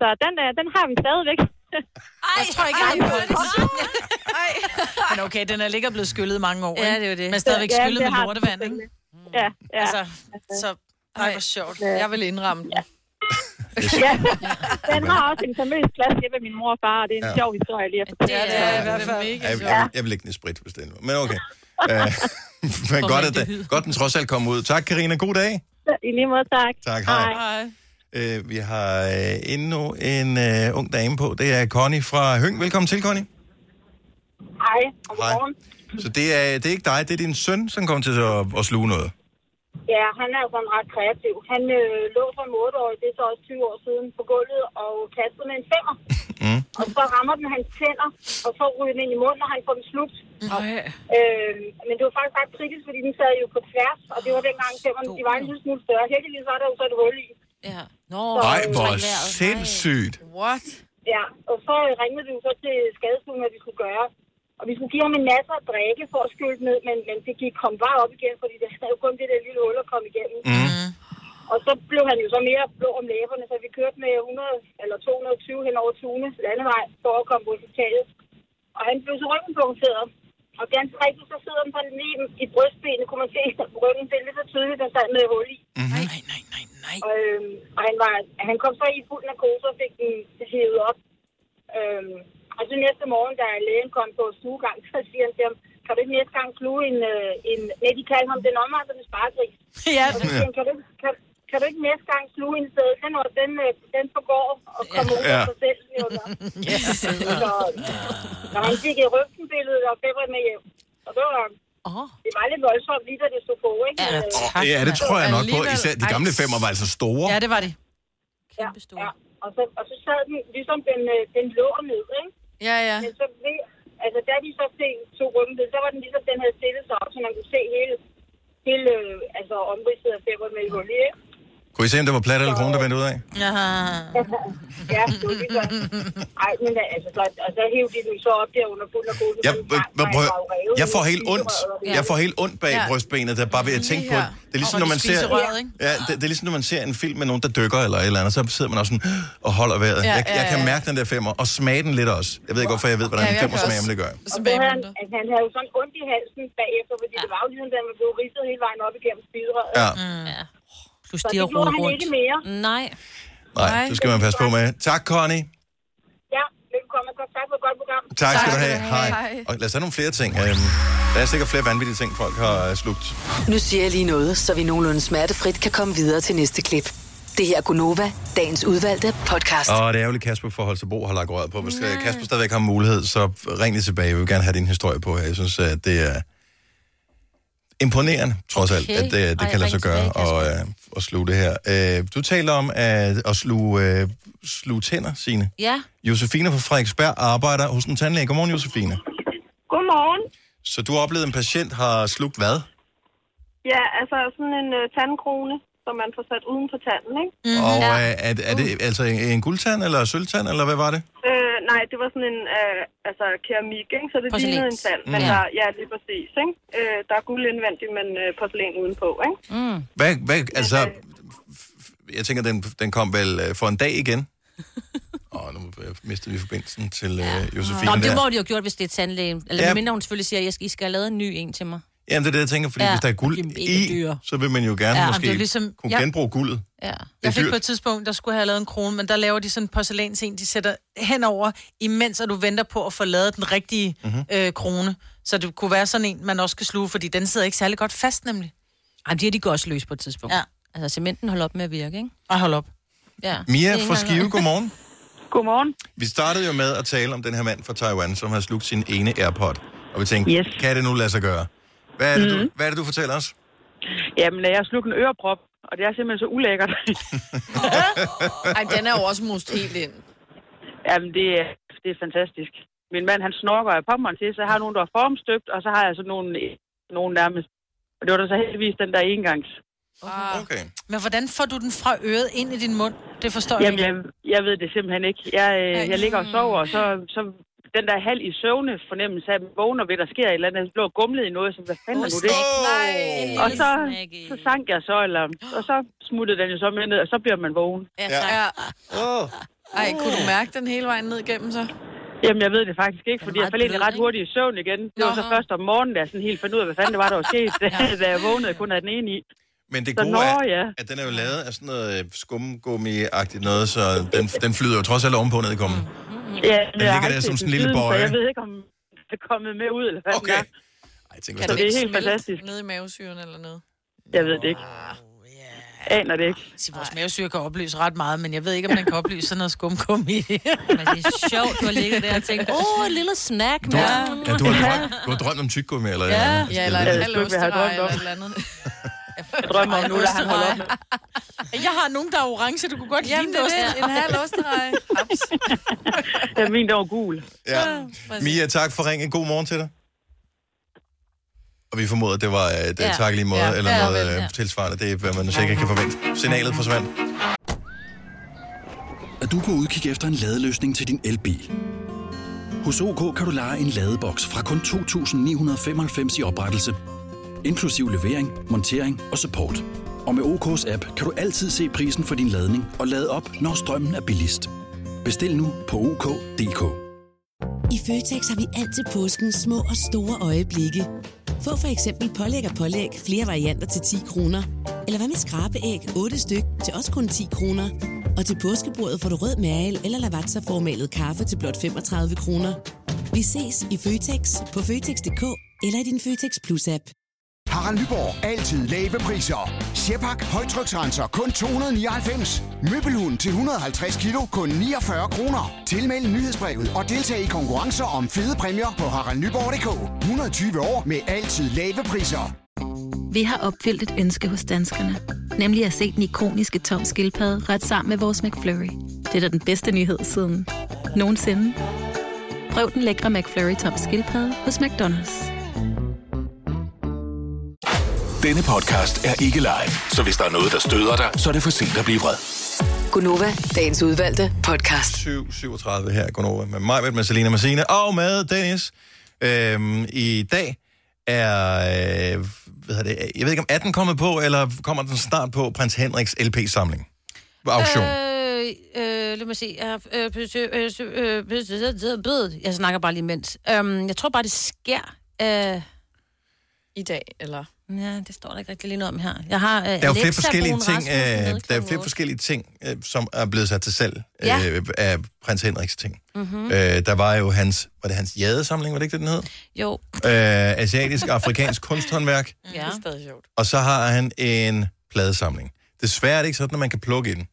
Speaker 9: så den, øh, den har vi stadigvæk. (laughs)
Speaker 3: Ej, jeg tror ikke, jeg har
Speaker 4: hvor
Speaker 3: prøvet det. Men okay, den er ligger blevet skyllet i mange år,
Speaker 4: Ja,
Speaker 3: ikke?
Speaker 4: det er jo det.
Speaker 3: Men stadigvæk
Speaker 9: Ja,
Speaker 3: skyllet
Speaker 9: det
Speaker 3: med
Speaker 9: har den
Speaker 3: lortevand, ikke?
Speaker 4: Mm.
Speaker 9: Ja, ja.
Speaker 3: Altså, så... Ej, hvor sjovt.
Speaker 4: Jeg vil indramme den.
Speaker 9: ja. Den har også en famøs plads hjemme med min mor og far, og det er en
Speaker 1: Ja.
Speaker 9: ja. sjov historie lige at
Speaker 4: Det
Speaker 9: fortælle.
Speaker 4: er, det er i hvert fald.
Speaker 1: Jeg, jeg, jeg, jeg vil lægge den i sprit, hvis det er Men okay. Øh, (laughs) men godt, at den, godt, den trods alt kom ud. Tak, Karina. God dag.
Speaker 9: I lige måde, tak.
Speaker 1: Tak, hej. Øh, vi har øh, endnu en øh, ung dame på. Det er Connie fra Høng. Velkommen til, Connie.
Speaker 9: Hej, og
Speaker 1: Hej.
Speaker 9: godmorgen.
Speaker 1: Så det er, det er ikke dig, det er din søn, som kommer til at, at sluge noget.
Speaker 9: Ja, han er jo sådan ret kreativ. Han øh, lå som 8 år, det er så også 20 år siden, på gulvet og kastede med en femmer.
Speaker 1: Mm.
Speaker 9: Og så rammer den hans tænder, og så ryger den ind i munden, og han får den slugt. Øh, men det var faktisk ret kritisk, fordi den sad jo på tværs, og det var dengang femmerne, de var en lille smule større. Heldigvis var der jo så et hul i.
Speaker 2: Ja. Nå,
Speaker 1: Nej, hvor
Speaker 2: træk vejret.
Speaker 1: sindssygt.
Speaker 4: What?
Speaker 9: Ja, og så ringede vi jo så til skadestuen, hvad vi skulle gøre. Og vi skulle give ham en masse at drikke for at skylle ned, men, men det gik kom bare op igen, fordi det havde jo kun det der lille hul at komme igennem. Mm-hmm.
Speaker 1: Mm.
Speaker 9: Og så blev han jo så mere blå om læberne, så vi kørte med 100 eller 220 hen over Tune landevej for at komme på hospitalet. Og han blev så ryggenpunkteret. Og ganske rigtigt, så sidder han sådan lige i brystbenet, kunne man se på ryggen. Det er lidt så tydeligt, der sad med et hul i.
Speaker 4: Mhm.
Speaker 3: Nej, nej, nej, nej.
Speaker 9: Og, øhm, og han, var, han kom så i fuld narkose og fik den hævet op. Øhm, og så næste morgen, da lægen kom på stuegang, så siger han til ham, kan du ikke næste gang sluge en... Øh, en nej, de kaldte ham den omvandrende sparegris.
Speaker 3: Ja,
Speaker 9: Og så siger han, kan du, ikke- kan, kan du ikke næste gang sluge en sted? Den, og den, øh, den forgår og kommer ud af
Speaker 1: Ja.
Speaker 9: sig selv.
Speaker 3: (laughs)
Speaker 9: siger han så. Så, så han fik et røntgenbillede og febret med hjem. Og det var,
Speaker 2: Åh.
Speaker 9: det var lidt voldsomt, lige da det stod på, ikke?
Speaker 3: Ja,
Speaker 9: Men, øh,
Speaker 3: tak.
Speaker 1: Ja, det tror jeg nok på.
Speaker 4: Alligevel-
Speaker 1: Især de gamle femmer var altså store.
Speaker 3: Ja, det var det.
Speaker 2: Kæmpe store.
Speaker 9: Ja, og så, og så sad den, ligesom den, øh, den lå ned, ikke?
Speaker 4: Ja, ja.
Speaker 9: Men så ved, altså da de så fik to rømmeled, så var den ligesom, den havde stillet sig op, så man kunne se hele, hele øh, altså omridset af femmeren med hul i, ikke?
Speaker 1: Kunne I se, om det var plat eller kroner, der vendte ud af?
Speaker 3: Ja.
Speaker 9: (laughs) Ja, det var lige sådan. Ej, men altså, så, og så hævde de den så op der under bund og gulvet.
Speaker 1: Jeg,
Speaker 9: så den
Speaker 1: jeg,
Speaker 9: gang var
Speaker 1: jeg, prøv,
Speaker 9: jo revet
Speaker 1: jeg får
Speaker 9: i
Speaker 1: helt ondt.
Speaker 9: spiserøret.
Speaker 1: Jeg får helt ondt bag
Speaker 4: Ja.
Speaker 1: brystbenet, der bare ved at tænke på det. Det er ligesom,
Speaker 3: Og
Speaker 1: når
Speaker 3: de
Speaker 1: man ser...
Speaker 3: spiser røret, ikke?
Speaker 1: Ja, det, det er ligesom, når man ser en film med nogen, der dykker eller et eller andet, så sidder man også sådan og holder vejret.
Speaker 4: Ja,
Speaker 1: Jeg,
Speaker 4: ja,
Speaker 1: jeg
Speaker 4: ja.
Speaker 1: kan mærke den der femmer, og smage den lidt også. Jeg ved ikke, hvorfor jeg ved, hvordan
Speaker 4: Ja,
Speaker 1: en
Speaker 4: jeg
Speaker 1: femmer
Speaker 4: kan
Speaker 1: smager, men
Speaker 4: også.
Speaker 1: det gør jeg.
Speaker 9: Og så havde han,
Speaker 4: Tilbagemunter.
Speaker 9: altså, han havde jo sådan ondt i halsen bagefter, fordi ja. det var jo ligesom, da man blev ridset hele vejen op igennem spiserøret.
Speaker 1: Ja,
Speaker 2: Ja. Plus
Speaker 9: Så
Speaker 2: de har
Speaker 9: det gjorde
Speaker 2: rodet
Speaker 9: han ikke
Speaker 2: rundt.
Speaker 9: mere.
Speaker 2: Nej.
Speaker 1: nej, det skal man passe på med. Tak, Connie.
Speaker 9: Ja, velkommen og tak for et godt program.
Speaker 1: Tak, skal du have. Hej.
Speaker 4: Hej.
Speaker 1: Og lad os have nogle flere ting. Øhm, Der er sikkert flere vanvittige ting, folk har øh, slugt.
Speaker 6: Nu siger jeg lige noget, så vi nogenlunde smertefrit kan komme videre til næste klip. Det her er Gunova, dagens udvalgte podcast.
Speaker 1: Og det er ærgerligt, Kasper fra Holstebro har lagt røret på. Hvis Nej. Kasper stadigvæk har mulighed, så ring lige tilbage. Jeg vil gerne have din historie på her. Jeg synes, at det er imponerende, trods okay. alt,
Speaker 2: Okay.
Speaker 1: at det, det
Speaker 2: Ej,
Speaker 1: kan lade sig
Speaker 2: ring
Speaker 1: gøre
Speaker 2: tilbage,
Speaker 1: at, øh, at sluge det her. Øh, du taler om at, at sluge, øh, sluge tænder, sine.
Speaker 2: Ja.
Speaker 1: Josefine fra Frederiksberg arbejder hos en tandlæge. Godmorgen, Josefine.
Speaker 9: Godmorgen.
Speaker 1: Så du har oplevet, at en patient har slugt hvad?
Speaker 2: Mhm.
Speaker 9: Ja, altså sådan en øh, tandkrone, som man får sat uden på tanden, ikke?
Speaker 1: Mm, og øh, er, er det
Speaker 2: Uh.
Speaker 1: altså en, en guldtand eller sølvtand, eller hvad var det?
Speaker 9: Øh, nej, det var sådan en øh, altså, keramik, ikke? så det
Speaker 2: Porcelæns.
Speaker 9: lignede en tand. Men
Speaker 2: Ja.
Speaker 9: ja. Der, ja, lige præcis. Ikke? Øh, der er guld indvendigt, men øh, porcelæn udenpå. Ikke?
Speaker 1: Hvad, hvad, altså, f- f- jeg tænker, den, den kom vel øh, for en dag igen? Åh, oh, nu øh, mistede vi forbindelsen til øh, Josefine
Speaker 2: Nå, men det
Speaker 1: der.
Speaker 2: må de jo have gjort, hvis det er tandlægen. Eller
Speaker 1: Ja.
Speaker 2: ja. mindre hun selvfølgelig siger, at jeg skal, I skal have lavet en ny en til mig.
Speaker 1: Jamen, det er det, jeg tænker, fordi ja,
Speaker 2: Ja,
Speaker 1: hvis der
Speaker 2: og
Speaker 1: er
Speaker 2: de
Speaker 1: guld
Speaker 2: er mega
Speaker 1: i,
Speaker 2: dyre.
Speaker 1: så vil man jo gerne
Speaker 3: Ja,
Speaker 1: ja,
Speaker 3: men
Speaker 1: måske
Speaker 3: det er ligesom-
Speaker 1: kunne
Speaker 3: jeg-
Speaker 1: genbruge guldet.
Speaker 2: Ja.
Speaker 1: Det er
Speaker 3: Jeg fik
Speaker 1: dyrt.
Speaker 3: på et tidspunkt, der skulle have lavet en krone, men der laver de sådan en porcelæns en, de sætter henover, imens at du venter på at få lavet den rigtige mm-hmm. øh, krone. Så det kunne være sådan en, man også kan sluge, fordi den sidder ikke særlig godt fast nemlig.
Speaker 2: Ej, det er de går også løs på et tidspunkt.
Speaker 3: Ja.
Speaker 2: Altså, cementen holder op med at virke, ikke?
Speaker 3: Og hold op.
Speaker 2: Ja. Det er
Speaker 1: Mia
Speaker 2: ikke
Speaker 1: fra
Speaker 2: engang
Speaker 1: Skive,
Speaker 2: noget. (laughs)
Speaker 1: godmorgen.
Speaker 9: Godmorgen.
Speaker 1: Vi startede jo med at tale om den her mand fra Taiwan, som har slugt sin ene AirPod. Og vi tænkte, yes.
Speaker 9: Yes.
Speaker 1: kan det nu lade sig gøre? Hvad er det, du, hvad er det, du fortæller os?
Speaker 9: Jamen, jeg har slugt en øreprop, og det er simpelthen så ulækkert.
Speaker 4: (laughs) Ej, den er jo også must helt ind.
Speaker 9: Jamen, det er, det er fantastisk. Min mand, han snorker af pommeren til, så jeg har nogen, der er formstøbt, og så har jeg så nogen, nogen nærmest. Og det var da så heldigvis den der engangs.
Speaker 4: Ah,
Speaker 1: Okay.
Speaker 3: Men hvordan får du den fra øret ind i din mund? Det forstår jeg
Speaker 9: Jamen,
Speaker 3: ikke.
Speaker 9: jeg, jeg ved det simpelthen ikke. Jeg, øh, jeg ligger og sover, og så, så den der halv i søvne fornemmelse af, at man vågner ved, der sker et eller andet. Jeg lå og gumlede i noget, som hvad fanden er nu det?
Speaker 1: Nej.
Speaker 9: Og så, så sank jeg så, eller, og så smuttede den jo så med ned, og så bliver man vågen.
Speaker 2: Ja,
Speaker 1: Ja.
Speaker 2: tak.
Speaker 4: Ja.
Speaker 1: Oh.
Speaker 4: Ej, kunne du mærke den hele vejen ned igennem så?
Speaker 9: Jamen, jeg ved det faktisk ikke,
Speaker 2: Den er
Speaker 9: fordi jeg
Speaker 2: meget
Speaker 9: faldt egentlig
Speaker 2: blød,
Speaker 9: ret
Speaker 2: ikke?
Speaker 9: hurtigt i søvn igen. Det var
Speaker 4: Nå.
Speaker 9: så først om morgenen, da jeg sådan helt fandt ud af, hvad fanden det var, der var sket, (laughs) da- da jeg vågnede kun af den ene i.
Speaker 1: Men det
Speaker 9: Så
Speaker 1: gode
Speaker 9: nå,
Speaker 1: er,
Speaker 9: ja.
Speaker 1: at den er jo lavet af sådan noget øh, skumgummi-agtigt noget, så den, den flyder jo trods alt ovenpå ned i kummen.
Speaker 9: Ja, men
Speaker 1: Den
Speaker 9: jeg har
Speaker 1: ligger
Speaker 9: ikke
Speaker 1: der
Speaker 9: set
Speaker 1: som
Speaker 9: den
Speaker 1: sådan en lille
Speaker 9: siden, så
Speaker 1: bøje.
Speaker 9: Jeg ved ikke, om det er kommet med ud, eller hvad okay.
Speaker 1: Okay.
Speaker 9: er.
Speaker 1: Ej, jeg tænker,
Speaker 4: Kan den
Speaker 9: det er
Speaker 1: hvis der-
Speaker 4: ikke
Speaker 9: helt
Speaker 4: smelte
Speaker 9: fantastisk.
Speaker 4: ned i mavesyren eller noget?
Speaker 9: Jeg ved det ikke. Aner det ikke.
Speaker 3: Så Ah, Altså, vores mavesyre kan oplyse ret meget, men jeg ved ikke, om den kan oplyse sådan noget skumkummi. (laughs)
Speaker 2: Men det er sjovt, du har ligget der og tænkt, åh, oh, en lille snack,
Speaker 1: du,
Speaker 2: mand.
Speaker 1: har, ja, du, har drømt, du har drømt om tyggegummi eller ja. eller andet.
Speaker 4: Ja, eller en
Speaker 9: ved
Speaker 4: halv
Speaker 9: ikke, hvad jeg har
Speaker 4: osterrej
Speaker 9: drømt om.
Speaker 4: eller et eller andet.
Speaker 9: Jeg drømmer om nu, der han holder op med.
Speaker 3: jeg har nogen, der er orange, du kunne godt
Speaker 4: Jamen, det er det. En
Speaker 3: (laughs)
Speaker 4: halv osterrej. Haps.
Speaker 9: Ja, min, der var gul.
Speaker 1: Ja. Mia, tak for ringen. God morgen til dig. Og vi formoder, at det var et ja.
Speaker 2: Ja.
Speaker 1: tak i lige måde, ja.
Speaker 2: Ja.
Speaker 1: eller
Speaker 2: Ja,
Speaker 1: noget øh,
Speaker 2: vel,
Speaker 1: ja.
Speaker 2: ja.
Speaker 1: tilsvarende. Det er, hvad man sikkert kan forvente. Signalet forsvandt.
Speaker 7: Er du på udkig efter en ladeløsning til din elbil? Hos OK kan du lege en ladeboks fra kun 2.995 i oprettelse, inklusiv levering, montering og support. Og med OK's app kan du altid se prisen for din ladning og lade op, når strømmen er billigst. Bestil nu på OK.dk.
Speaker 5: I Føtex har vi altid påsken små og store øjeblikke. Få for eksempel pålæg og pålæg flere varianter til 10 kroner. Eller hvad med skrabeæg 8 styk til også kun 10 kroner. Og til påskebordet får du rød mal eller lavatserformalet kaffe til blot 35 kroner. Vi ses i Føtex på Føtex.dk eller i din Føtex Plus-app.
Speaker 11: Harald Nyborg. Altid lave priser. Sjehpak. Højtryksrenser. Kun 299. Møbelhund til 150 kilo. Kun 49 kroner. Tilmeld nyhedsbrevet og deltag i konkurrencer om fede præmier på haraldnyborg.dk. 120 år med altid lave priser.
Speaker 5: Vi har opfyldt et ønske hos danskerne. Nemlig at se den ikoniske tom skildpadde ret sammen med vores McFlurry. Det er da den bedste nyhed siden nogensinde. Prøv den lækre McFlurry tom skildpadde hos McDonald's.
Speaker 7: Denne podcast er ikke live, så hvis der er noget, der støder dig, så er det for sent at blive vred.
Speaker 6: Gunova, dagens udvalgte podcast.
Speaker 1: 7.37 her i Gonova med mig, med Selina Massina og med Dennis. Øhm, I dag er, øh, hvad hedder det, jeg ved ikke om 18 kommet på, eller kommer den snart på Prins Henriks LP-samling? Auktion. Øh.
Speaker 2: Øh, øh, lad mig se. Jeg, øh, øh, øh, øh, øh, øh, jeg snakker bare lige imens. Øhm, jeg tror bare, det sker. Øh,
Speaker 4: I dag, eller?
Speaker 2: ja, det står der ikke rigtig lige noget om her. Jeg har, øh,
Speaker 1: Der er jo flere forskellige ting, øh, der er flere forskellige ting, øh, som er blevet sat til salg
Speaker 2: Ja. Mm.
Speaker 1: øh, af prins Henriks ting. Mm-hmm. Øh, der var jo hans, var det hans jadesamling, var det ikke det, den hed?
Speaker 2: Jo,
Speaker 1: Øh, Asiatisk-afrikansk kunsthåndværk.
Speaker 2: ja.
Speaker 4: Det er stadig sjovt.
Speaker 1: og så har han en pladesamling. Desværre er det ikke sådan, at man kan plukke i den.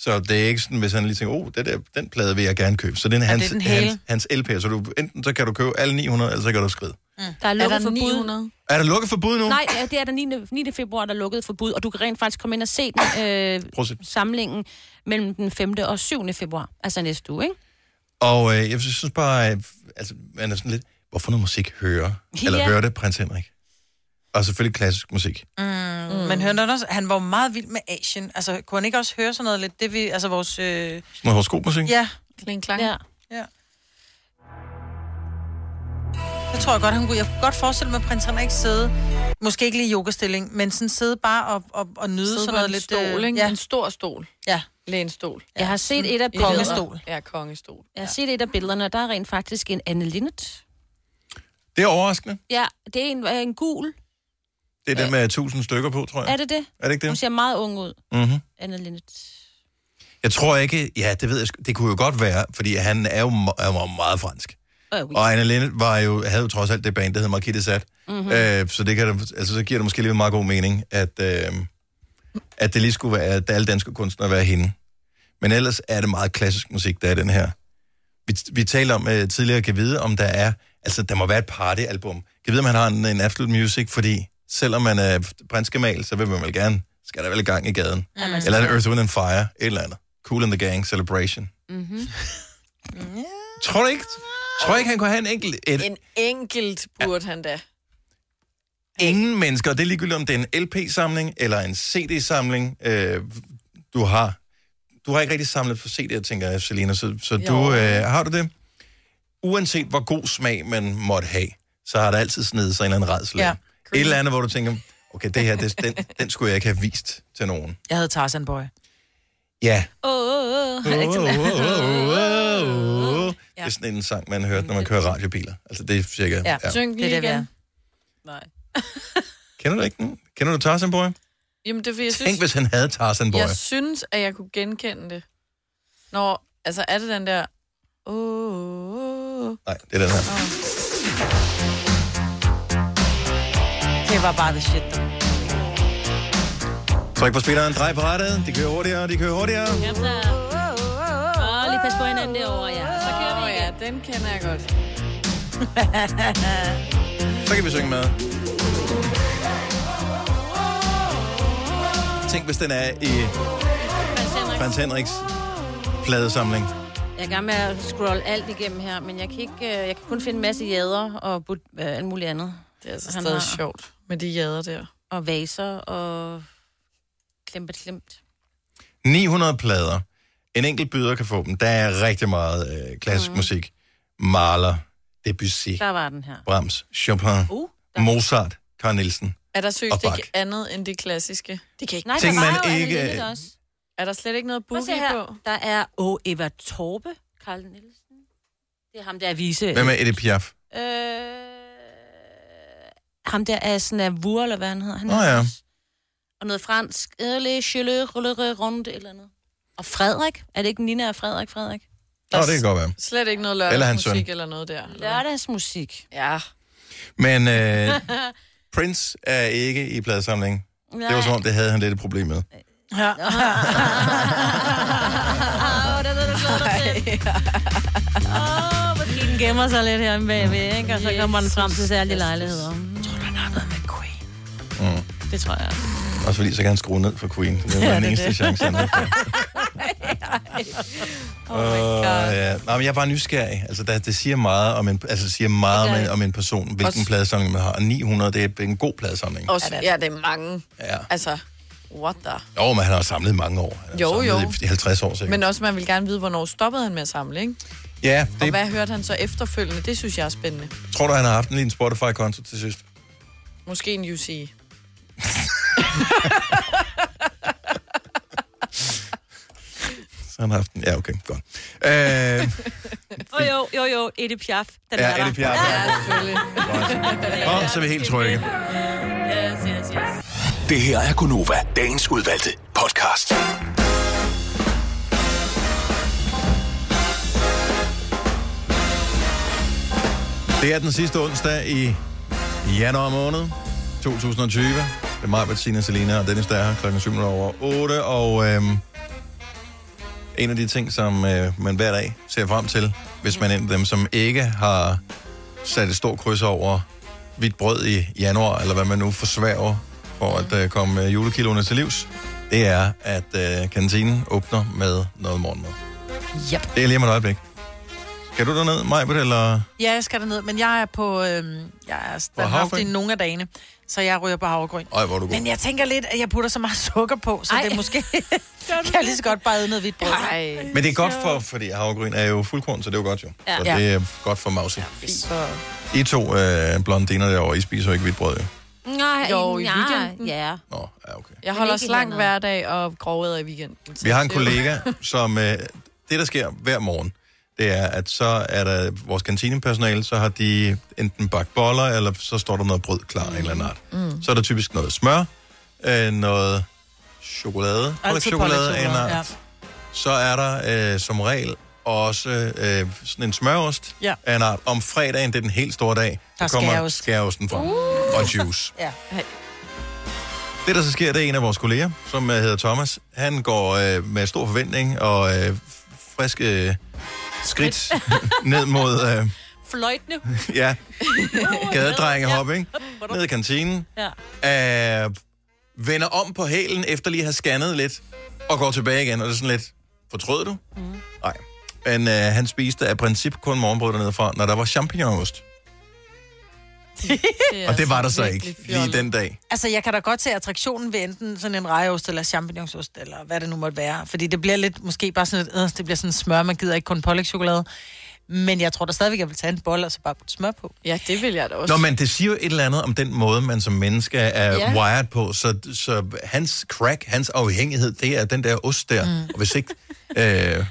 Speaker 1: Så det er ikke sådan, hvis han lige tænker, oh, det der, den plade vil jeg gerne købe. Så den er hans,
Speaker 3: det er den hele?
Speaker 1: hans, hans LP, så du, enten så kan du købe alle 900, eller så kan du skride.
Speaker 2: Der er
Speaker 4: Er
Speaker 2: lukket
Speaker 4: der
Speaker 2: for bud.
Speaker 4: 900?
Speaker 1: Er der lukket for bud nu?
Speaker 2: Nej, ja, det er den 9. 9. februar, der er lukket for bud, og du kan rent faktisk komme ind og se den, øh,
Speaker 1: Prøv at se.
Speaker 2: samlingen mellem den 5. og 7. februar, altså næste uge, ikke?
Speaker 1: Og øh, jeg synes bare, øh, altså, man er sådan lidt, hvorfor noget musik hører? Eller
Speaker 2: Ja.
Speaker 1: hører det prins Henrik? Og selvfølgelig klassisk musik.
Speaker 3: Mm. Men hørte han også, han var jo meget vild med Asien. Altså, kunne han ikke også høre sådan noget lidt? Det vi, altså vores... Øh,
Speaker 1: Noget horoskopmusik.
Speaker 3: ja,
Speaker 4: Kling klang.
Speaker 2: Ja.
Speaker 3: ja. Det tror jeg godt, han kunne. Jeg kunne godt forestille mig, at prins Henrik sidde, måske ikke lige i yogastilling, men sådan sidde bare og, og, og nyde
Speaker 4: Sidde
Speaker 3: sådan
Speaker 4: på
Speaker 3: noget
Speaker 4: en
Speaker 3: lidt... øh,
Speaker 4: stol, ikke?
Speaker 3: ja,
Speaker 4: En stor stol.
Speaker 3: ja.
Speaker 4: Lænestol.
Speaker 2: Jeg har set et af billederne,
Speaker 3: Kongestol.
Speaker 4: Ja, kongestol.
Speaker 2: jeg har set et af billederne, og der er rent faktisk en Anne Linnet.
Speaker 1: Det er overraskende.
Speaker 2: Ja, det er en, øh, en gul.
Speaker 1: Det er den med 1000 stykker på, tror jeg.
Speaker 2: Er det det?
Speaker 1: er det ikke
Speaker 2: Hun
Speaker 1: det?
Speaker 2: ser meget ung ud,
Speaker 1: Mm-hmm.
Speaker 2: Anne Linnet.
Speaker 1: Jeg tror ikke, ja, det ved jeg, sgu- det kunne jo godt være, fordi han er jo, me- er jo meget fransk.
Speaker 2: Oh,
Speaker 1: Og Anna Linnet var jo, havde jo trods alt det band, der hed Marquis de Sat.
Speaker 2: Mhm.
Speaker 1: Mm-hmm. Øh, så, det kan, da- altså, så giver det måske lige meget god mening, at, øh, at det lige skulle være, at alle danske kunstnere være hende. Men ellers er det meget klassisk musik, der er i den her. Vi, vi talte om øh, tidligere, kan vide, om der er, altså der må være et partyalbum. Kan vide, om han har en, en Absolute Music, fordi selvom man er prinskemal, så vil man vel gerne, skal der vel i gang i gaden.
Speaker 2: Ja, man skal
Speaker 1: eller en
Speaker 2: gerne.
Speaker 1: Earth, Wind and Fire, et eller andet. Cool and the Gang, Celebration.
Speaker 2: Mm-hmm.
Speaker 1: Tror du ikke, tror du ikke han kunne have en enkelt, et,
Speaker 4: En enkelt burde ja. han da.
Speaker 1: ingen mennesker, og det er ligegyldigt, om det er en LP-samling eller en CD-samling, øh, du har. Du har ikke rigtig samlet på CD'er, tænker jeg, Selina, så, så
Speaker 12: Jo.
Speaker 1: du, øh, har du det? Uanset hvor god smag man måtte have, så har der altid snedet sig en eller anden redsel.
Speaker 3: Ja.
Speaker 1: ind. Et eller andet, hvor du tænker, okay, det her, det, den, den skulle jeg ikke have vist til nogen.
Speaker 3: Jeg havde Tarzan Boy.
Speaker 1: Ja.
Speaker 3: Åh, oh,
Speaker 1: Oh, oh, oh, oh. Det er sådan en sang, man hørte, når man kører radiobiler. Altså, det er cirka... Ja.
Speaker 4: Synk lige det er
Speaker 3: det, vi er.
Speaker 4: igen.
Speaker 1: Kender du ikke den? Kender du Tarzan Boy?
Speaker 4: Jamen, det er, fordi jeg synes,
Speaker 1: Tænk, hvis han havde Tarzan Boy.
Speaker 4: jeg synes, at jeg kunne genkende det. Når, altså er det den der... Åh, oh,
Speaker 1: Nej, det er den her.
Speaker 3: Det var bare the shit.
Speaker 1: Tryk på spilleren, drej på rettet. De kører hurtigere, de kører hurtigere.
Speaker 2: Kom så. Åh, lige pas på hinanden derovre, ja. Så kører vi igen.
Speaker 4: ja, den kender jeg godt.
Speaker 1: Så kan vi synge med. Tænk, hvis den er i Frans Henriks pladesamling.
Speaker 2: (laughs) Jeg er i gang med at scrolle alt igennem her, men jeg kan, ikke, øh, jeg kan kun finde en masse jader og but, øh, alt muligt andet.
Speaker 4: Det er altså
Speaker 2: Han
Speaker 4: stadig
Speaker 2: har-
Speaker 4: sjovt med de jader der.
Speaker 2: Og vaser og klempet klemt.
Speaker 1: 900 plader. En enkelt byder kan få dem. Der er rigtig meget øh, klassisk mm. musik. Mahler, Debussy,
Speaker 2: Der var den her.
Speaker 1: Brahms, Chopin,
Speaker 2: Uh,
Speaker 1: Mozart, Carl Nielsen.
Speaker 4: Er der
Speaker 1: Og
Speaker 4: seriøst
Speaker 1: Bach.
Speaker 4: ikke andet end det klassiske?
Speaker 2: Det kan ikke. Nej,
Speaker 1: Tænk,
Speaker 2: der var
Speaker 1: man
Speaker 2: jo Anne
Speaker 1: ikke-
Speaker 2: Linnet også.
Speaker 4: Er der slet ikke noget
Speaker 2: Prøv at se
Speaker 4: boogie
Speaker 2: her.
Speaker 4: på?
Speaker 2: Der er O. Eva Torpe, Carl Nielsen. Det er ham, der er vise.
Speaker 1: Hvem er Edith Piaf?
Speaker 2: Øh, ham der er Snavur, eller hvad han hedder. Han
Speaker 1: Nå ja.
Speaker 2: Og noget fransk. Eh, Erle, chile, rulle, rundt, eller noget. Og Frederik. Er det ikke Nina og Frederik, Frederik?
Speaker 1: Nå, det kan godt være.
Speaker 4: Slet ikke noget
Speaker 1: Eller hans
Speaker 4: lørdagsmusik
Speaker 1: søn.
Speaker 4: eller, eller noget der? Eller?
Speaker 2: Lørdagsmusik.
Speaker 4: Ja.
Speaker 2: (laughs)
Speaker 1: Men øh, Prince er ikke i pladesamlingen. Det var som om, det havde han lidt et problem med.
Speaker 3: Ja. (laughs)
Speaker 2: Åh, det er det, du slår dig til. Åh, måske den gemmer sig lidt her bagved, ikke? Og så kommer den frem til særlige lejligheder.
Speaker 1: Mm.
Speaker 2: Det tror jeg.
Speaker 1: Også fordi, så kan han skrue ned for Queen. Det var
Speaker 2: Ja,
Speaker 1: ja, den
Speaker 2: det er
Speaker 1: eneste
Speaker 2: det.
Speaker 1: chance, han
Speaker 4: (laughs)
Speaker 1: havde. Oh ja. Nå, men jeg er bare nysgerrig. Altså, der, det siger meget om en, altså, det siger meget
Speaker 4: Det
Speaker 1: om
Speaker 4: gør
Speaker 1: en,
Speaker 4: det.
Speaker 1: om en person, hvilken
Speaker 4: Også-
Speaker 1: pladesamling man har. Og 900, det er en god pladesamling.
Speaker 4: Også, ja, det er mange.
Speaker 1: Ja.
Speaker 4: Altså, what the?
Speaker 1: Jo, men han har samlet i mange år. Han har
Speaker 4: Jo,
Speaker 1: samlet
Speaker 4: jo.
Speaker 1: i 50 år sikkert.
Speaker 4: Men også, man vil gerne vide, hvornår stoppede han med at samle, ikke?
Speaker 1: ja,
Speaker 4: Og
Speaker 1: det,
Speaker 4: hvad hørte han så efterfølgende? Det synes jeg er spændende.
Speaker 1: tror du, han har haft en lille Spotify-konto til sidst?
Speaker 4: Måske en UC.
Speaker 1: Så han har haft en... Ja, okay, godt. Øh,
Speaker 2: (laughs) Jo, jo, jo, jo. Edith Piaf. Den
Speaker 1: Ja,
Speaker 2: er der.
Speaker 1: Edith Piaf.
Speaker 2: Ja,
Speaker 1: (laughs)
Speaker 4: selvfølgelig.
Speaker 1: kom, (laughs) så er vi helt trygge.
Speaker 2: Yes, yes, yes.
Speaker 13: Det her er Gunova, dagens udvalgte podcast.
Speaker 1: Det er den sidste onsdag i januar måned 2020. Det er mig, Bettina, Selina og Dennis, der er her klokken 7 over 8. Og øhm, en af de ting, som øh, man hver dag ser frem til, hvis man er en af dem, som ikke har sat et stort kryds over hvidt brød i januar, eller hvad man nu forsværger for at øh, komme øh, julekiloene til livs, det er, at øh, kantinen åbner med noget morgenmad.
Speaker 3: Yep.
Speaker 1: Det er lige om et øjeblik. Skal du derned, Majbet, eller...
Speaker 3: Ja, jeg skal derned, men jeg er på... Øhm, jeg er standhaft i
Speaker 1: havregryn?
Speaker 3: nogle af dagene, så jeg ryger på havregryn.
Speaker 1: Ej, hvor er du god.
Speaker 3: Men jeg tænker lidt, at jeg putter så meget sukker på, så Ej. det er
Speaker 2: (laughs)
Speaker 3: måske... kan (laughs) jeg lige så godt bare æde noget hvidt brød. Ej.
Speaker 1: Men det er godt for, fordi havregryn er jo fuldkorn, så det er jo godt jo.
Speaker 3: Ja.
Speaker 1: Ja. Så
Speaker 3: Ja.
Speaker 1: det er godt for mause. I to øh, blondiner derovre, I spiser jo ikke hvidt brød, jo.
Speaker 2: Nej,
Speaker 4: Jo, i
Speaker 2: nej,
Speaker 4: weekenden.
Speaker 2: Ja.
Speaker 1: Nå, ja, okay.
Speaker 4: Jeg
Speaker 2: Men
Speaker 4: holder
Speaker 2: ikke
Speaker 4: slank
Speaker 2: hernede.
Speaker 4: hver dag og grovæder i weekenden.
Speaker 1: Vi har en
Speaker 4: (laughs)
Speaker 1: kollega, som... Øh, det, der sker hver morgen, det er, at så er der vores kantinepersonale, så har de enten bagt boller, eller så står der noget brød klar af en eller anden art.
Speaker 12: Mm.
Speaker 1: Så er der typisk noget smør, øh, noget chokolade,
Speaker 12: Altid
Speaker 1: chokolade af en
Speaker 12: pålægschokolade,
Speaker 1: art. Så er der øh, som regel også øh, sådan en smørost
Speaker 3: Ja.
Speaker 1: af en art. Om fredagen, det er den helt store dag,
Speaker 3: Der er
Speaker 1: så kommer
Speaker 3: skæreost.
Speaker 1: skæreosten frem.
Speaker 3: Uh.
Speaker 1: Og juice.
Speaker 3: Ja.
Speaker 1: Det, der så sker, det er en af vores kolleger, som øh, hedder Thomas. Han går øh, med stor forventning og øh, f- friske øh,
Speaker 3: (laughs)
Speaker 1: skridt ned mod øh,
Speaker 2: (laughs) Fløjtende.
Speaker 1: ja, gadedrengehop, ikke? Ned i kantinen.
Speaker 2: Ja.
Speaker 1: øh, vender om på hælen efter lige at have scannet lidt, og går tilbage igen, og det er sådan lidt, fortrød du? Mm. Nej. Men øh, han spiste af princip kun morgenbrød dernede fra, når der var champignonost.
Speaker 3: er
Speaker 1: Og det var der så
Speaker 3: altså
Speaker 1: ikke
Speaker 3: virkelig
Speaker 1: lige
Speaker 3: fjollet.
Speaker 1: den dag.
Speaker 3: Altså, jeg kan da godt se attraktionen ved enten sådan en rejeost eller champignonost, eller hvad det nu måtte være. Fordi det bliver lidt, måske bare sådan et, øh, det bliver sådan smør, man gider ikke kun pålægtschokolade. Men jeg tror da stadigvæk, jeg vil tage en bolle og så bare putte smør på.
Speaker 4: Ja, det vil jeg da
Speaker 1: Nå, men det siger jo et eller andet om den måde, man som menneske er
Speaker 3: Ja.
Speaker 1: ja. wired på. Så, så hans crack, hans afhængighed, det er den der ost der. Mm.
Speaker 3: Mm.
Speaker 1: Og hvis ikke... Øh,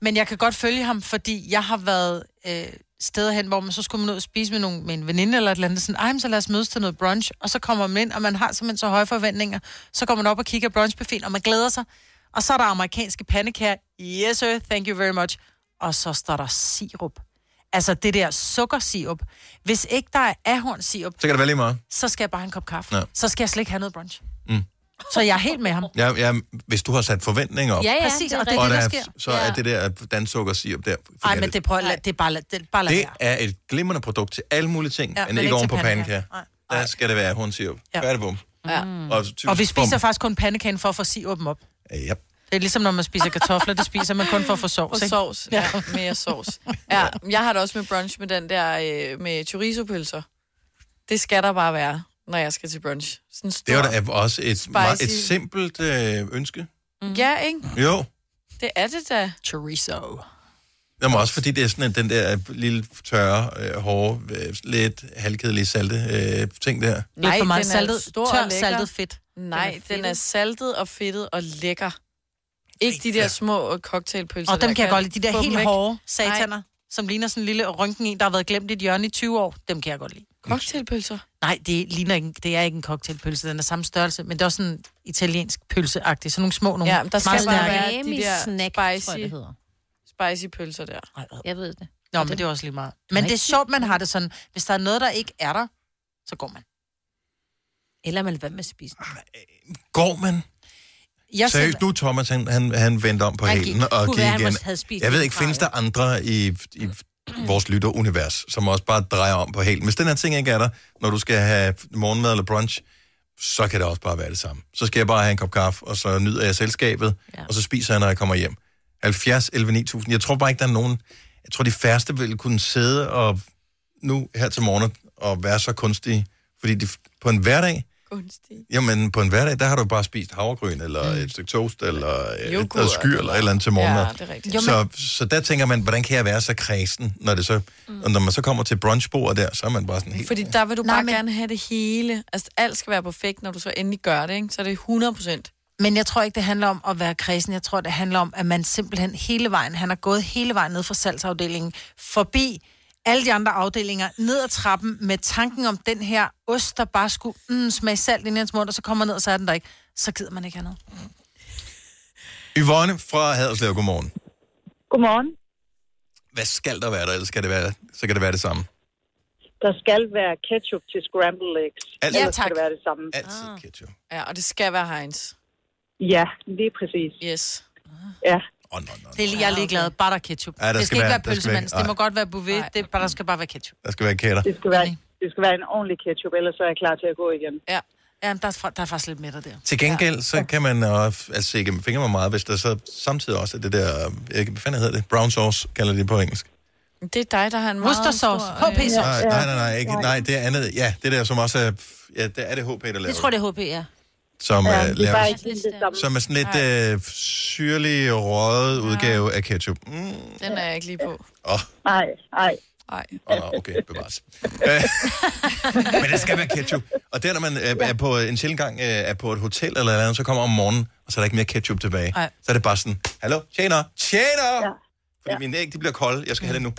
Speaker 3: Men jeg kan godt følge ham, fordi jeg har været øh, steder hen, hvor man så skulle man ud og spise med, nogle, med en veninde eller et eller andet. Sådan, Ej, men så lad os mødes til noget brunch. Og så kommer man ind, og man har simpelthen så høje forventninger. Så går man op og kigger brunchbuffeten, og man glæder sig. Og så er der amerikanske pandekager. Yes, sir. Thank you very much. Og så står der sirup. Altså det der sukkersirup. Hvis ikke der er ahornsirup,
Speaker 1: så kan det være lige meget.
Speaker 3: så skal jeg bare have en kop kaffe.
Speaker 1: Ja.
Speaker 3: Ja. Så skal jeg slet ikke have noget brunch.
Speaker 1: Mm.
Speaker 3: Så jeg er helt med ham.
Speaker 1: Ja, ja, hvis du har sat forventninger op,
Speaker 3: Ja, ja, Præcis, det er
Speaker 1: og,
Speaker 3: og det er rigtigt.
Speaker 1: der,
Speaker 3: det, der sker.
Speaker 1: så er
Speaker 3: Ja.
Speaker 1: det der dansukkersirup der.
Speaker 3: Ej,
Speaker 1: forkert.
Speaker 3: men det, prøver, det er bare, lad- det, bare lad
Speaker 1: Det
Speaker 3: være.
Speaker 1: er et glimrende produkt til alle mulige ting, ja,
Speaker 3: Ja,
Speaker 1: men,
Speaker 3: men
Speaker 1: ikke
Speaker 3: ikke
Speaker 1: oven
Speaker 3: til
Speaker 1: på pandekager.
Speaker 3: pandekager.
Speaker 1: Der skal det være hornsirup. Ja.
Speaker 3: Ja.
Speaker 1: Færdig bum.
Speaker 3: Ja.
Speaker 4: Mm.
Speaker 1: Og, typisk
Speaker 3: Og vi
Speaker 1: bum.
Speaker 3: spiser faktisk kun pandekagen for at få sirup dem op.
Speaker 1: Ja.
Speaker 3: Det er ligesom, når man spiser kartofler, det spiser man kun for at få sovs,
Speaker 4: For
Speaker 3: ikke?
Speaker 4: sovs, ja. Mere
Speaker 1: (laughs)
Speaker 4: sovs. Ja, jeg har det også med brunch med den der øh, med chorizo-pølser. Det skal der bare være, når jeg skal til brunch. Sådan stor.
Speaker 1: Det var da også et, meget, et
Speaker 4: Spicy.
Speaker 1: simpelt øh, ønske.
Speaker 4: Ja, ikke?
Speaker 1: Jo.
Speaker 4: Det er det da.
Speaker 3: Mm-hmm. Chorizo.
Speaker 1: Jamen også fordi det er sådan at den der øh, lille tørre, øh, hårde, øh, lidt halvkedelige salte øh, ting der.
Speaker 3: Lidt for meget
Speaker 4: den er
Speaker 3: saltet-
Speaker 4: stor
Speaker 3: tør
Speaker 4: og lækker.
Speaker 3: saltet fedt.
Speaker 4: Nej,
Speaker 3: Den
Speaker 4: den
Speaker 3: er
Speaker 4: er, den er saltet og fedtet og lækker. Ikke de der små øh, cocktailpølser.
Speaker 3: Og dem kan jeg godt lide. De der
Speaker 4: få dem
Speaker 3: helt
Speaker 4: væk.
Speaker 3: hårde sataner, som ligner sådan en lille rynken en, der har været glemt i et hjørne i 20 år, dem kan jeg godt lide.
Speaker 4: Cocktailpølser?
Speaker 3: Nej, det, ligner ikke, det er ikke en cocktailpølse, den er samme størrelse, men det er også sådan italiensk pølseagtig, sådan nogle små nogle.
Speaker 4: Ja, men der skal
Speaker 3: meget
Speaker 4: bare
Speaker 3: stærke.
Speaker 4: være de der
Speaker 2: snack, tror jeg,
Speaker 4: spicy,
Speaker 2: det hedder.
Speaker 4: spicy pølser der.
Speaker 2: Jeg ved det.
Speaker 3: Nå, men det er også lige meget. Men det er sjovt, man har det sådan. Hvis der er noget, der ikke er der, så går man.
Speaker 2: Eller man lader med at spise.
Speaker 1: Går man?
Speaker 3: Jeg
Speaker 1: Seriøst, nu Thomas, han, han, han vendte om på
Speaker 2: Han gik.
Speaker 1: hælen og
Speaker 2: Kunne
Speaker 1: gik
Speaker 2: være, han
Speaker 1: igen.
Speaker 2: måske havde spist
Speaker 1: Jeg ved
Speaker 2: lidt
Speaker 1: ikke,
Speaker 2: fra,
Speaker 1: findes der andre i, i vores lytterunivers, som også bare drejer om på hælen? Hvis den her ting ikke er der, når du skal have morgenmad eller brunch, så kan det også bare være det samme. Så skal jeg bare have en kop kaffe, og så nyder jeg selskabet, ja. og så spiser jeg, når jeg kommer hjem. 70, 11, 9000. Jeg tror bare ikke, der er nogen... Jeg tror, de færreste vil kunne sidde og nu her til morgen og være så kunstige. Fordi de, på en hverdag,
Speaker 4: Kunstige.
Speaker 1: Jamen, på en hverdag, der har du bare spist havregryn, eller mm. et stykke toast, eller et noget skyr, eller et eller andet til morgenmad.
Speaker 4: Ja, det er rigtigt. Jo,
Speaker 1: Så, så der tænker man, hvordan kan jeg være så kredsen, når, det så, mm. og når man så kommer til brunchbordet der, så er man bare sådan helt...
Speaker 4: Fordi der vil du Nej, bare men... gerne have det hele. Altså, alt skal være perfekt, når du så endelig gør det, ikke? Så er det 100 procent.
Speaker 3: Men jeg tror ikke, det handler om at være kredsen. Jeg tror, det handler om, at man simpelthen hele vejen, han har gået hele vejen ned fra salgsafdelingen, forbi alle de andre afdelinger, ned ad trappen med tanken om den her ost, der bare skulle mm, smage salt ind i hans mund, og så kommer ned, og så er den der ikke. Så gider man ikke andet.
Speaker 1: Yvonne fra Haderslev, godmorgen.
Speaker 12: Godmorgen.
Speaker 1: Hvad skal der være der, ellers skal det være, så kan det være det samme.
Speaker 12: Der skal være ketchup til scrambled eggs.
Speaker 1: Altid.
Speaker 12: Ellers
Speaker 1: Ja, tak.
Speaker 12: skal det være det samme.
Speaker 1: Altid ah. ketchup.
Speaker 4: Ja, og det skal være Heinz.
Speaker 12: Ja, lige præcis.
Speaker 4: Yes.
Speaker 12: Ja.
Speaker 3: Det er lige, jeg er ligeglad. Bare der er ketchup.
Speaker 1: Ja, der
Speaker 3: det
Speaker 1: skal
Speaker 3: skal ikke
Speaker 1: være-
Speaker 3: være
Speaker 1: der skal
Speaker 3: pølsemands.
Speaker 1: være-
Speaker 3: Det må godt være bouvet. Det, er bare, der skal bare være ketchup.
Speaker 1: Der skal være kætter.
Speaker 12: Det skal, være, det skal være en ordentlig ketchup, ellers så er jeg klar til at gå igen.
Speaker 3: Ja. Ja, men der, er, fra- der er faktisk lidt mætter der.
Speaker 1: Til gengæld, så kan man øh, altså, se gennem fingre med meget, hvis der så samtidig også er det der, øh, jeg, kan- hvad fanden hedder det, brown sauce, kalder de det på engelsk.
Speaker 4: Det er dig, der har en
Speaker 3: Worcestersauce.
Speaker 4: meget
Speaker 3: HP sauce.
Speaker 1: Nej, nej, nej, nej, ikke, nej, det er andet, ja, det der, som også er, ja, det er det HP, der laver
Speaker 2: Jeg tror, det er HP, ja.
Speaker 1: som ja,
Speaker 2: Ja,
Speaker 1: er,
Speaker 2: det er
Speaker 1: laver,
Speaker 2: bare ikke helt det samme.
Speaker 1: som er sådan lidt øh, syrlig, røget udgave af ketchup. Åh, mm.
Speaker 4: Den er jeg ikke lige på.
Speaker 1: oh,
Speaker 12: Nej, nej.
Speaker 4: Nej.
Speaker 1: oh, okay, bevares. Øh, Men det skal være ketchup. Og det er, når man øh, er på en sjældent gang øh, er på et hotel eller noget andet, så kommer om morgenen, og så er der ikke mere ketchup tilbage.
Speaker 3: Nej.
Speaker 1: Så er det bare sådan, hallo, tjener, tjener! Ja. Fordi mine æg, de bliver kolde, jeg skal have det nu.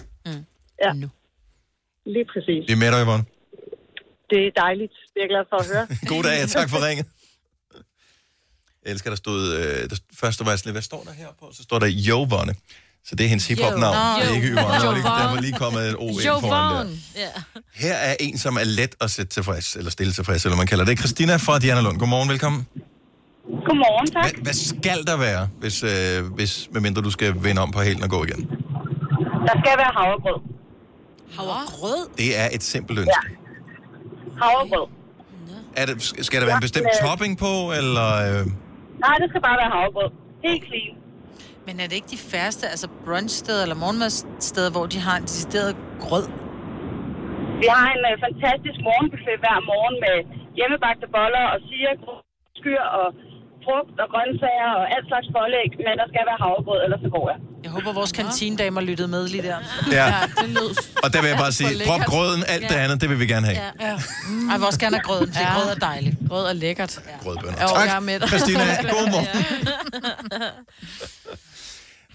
Speaker 12: Ja. Nu. Lige præcis.
Speaker 1: Vi er med dig, Yvonne.
Speaker 12: Det er dejligt. Det er jeg glad for at høre.
Speaker 1: (laughs) God dag, og tak for ringet. Jeg elsker, der stod, øh, der, først der var jeg sådan, lidt, hvad står der her på? Så står der Jovonne. Så det er hendes hiphop-navn.
Speaker 2: Jo.
Speaker 1: Det er ikke
Speaker 2: Jo.
Speaker 1: Yvonne.
Speaker 2: Jovan.
Speaker 1: Jovan. Der var lige kommet en O ind foran der.
Speaker 2: Ja. (laughs)
Speaker 1: Her er en, som er let at sætte tilfreds, eller stille tilfreds, eller man kalder det. Christina fra Diana Lund. Godmorgen, velkommen.
Speaker 12: Godmorgen, tak.
Speaker 1: Hvad skal der være, hvis, øh, hvis medmindre du skal vende om på helen og gå igen?
Speaker 12: Der skal være havregrød.
Speaker 2: Havregrød?
Speaker 1: Det er et simpelt ønske.
Speaker 12: Ja. Havregrød.
Speaker 1: Er det, skal der være en bestemt
Speaker 12: Ja.
Speaker 1: topping på, eller... Øh,
Speaker 12: Nej, det skal bare være havregrød. Helt clean.
Speaker 3: Men er det ikke de færreste, altså brunchsteder eller morgenmadssteder, hvor de har en decideret grød?
Speaker 12: Vi har en øh, fantastisk morgenbuffet hver morgen med hjemmebagte boller og sirup, skyr og frugt og grøntsager og alt slags pålæg, men der skal være havregrød, ellers så går jeg.
Speaker 3: Jeg håber, vores kantinedamer lyttede med lige der.
Speaker 1: Ja.
Speaker 3: det lød.
Speaker 1: og der vil jeg bare sige, drop grøden, alt det andet, det vil vi gerne have.
Speaker 3: Ja. ja. Mm. Ej, jeg vil også gerne have grøden, for ja. grød er dejligt.
Speaker 4: Grød er lækkert.
Speaker 3: Ja.
Speaker 1: Grødbønner.
Speaker 4: Jo,
Speaker 1: Tak,
Speaker 4: jeg er med dig. (laughs)
Speaker 1: Christina. God morgen.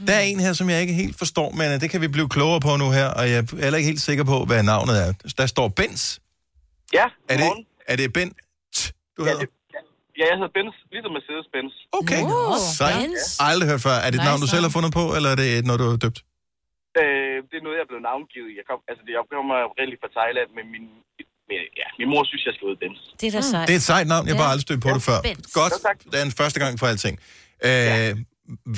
Speaker 1: Der er en her, som jeg ikke helt forstår, men øh, det kan vi blive klogere på nu her, og jeg er heller ikke helt sikker på, hvad navnet er. Der står Bens.
Speaker 10: Ja,
Speaker 1: Er det, er det Bent, du hedder?
Speaker 10: Ja, jeg hedder Benz, ligesom Mercedes-Benz.
Speaker 1: Okay. Sejt. Aldrig hørt før. Er det et
Speaker 10: Nice
Speaker 1: navn, du selv har fundet på, eller er det et, når du er døbt?
Speaker 10: Øh, det er noget, jeg er blevet navngivet. i. Jeg, kom, altså, jeg kommer oprindeligt fra Thailand, men min, men, ja, min mor synes, jeg skal ud Benz.
Speaker 2: Det er da sejt.
Speaker 1: Det er et sejt navn, jeg har bare aldrig stødt på det før.
Speaker 2: Bent.
Speaker 1: Godt, det er en første gang for alting. Øh,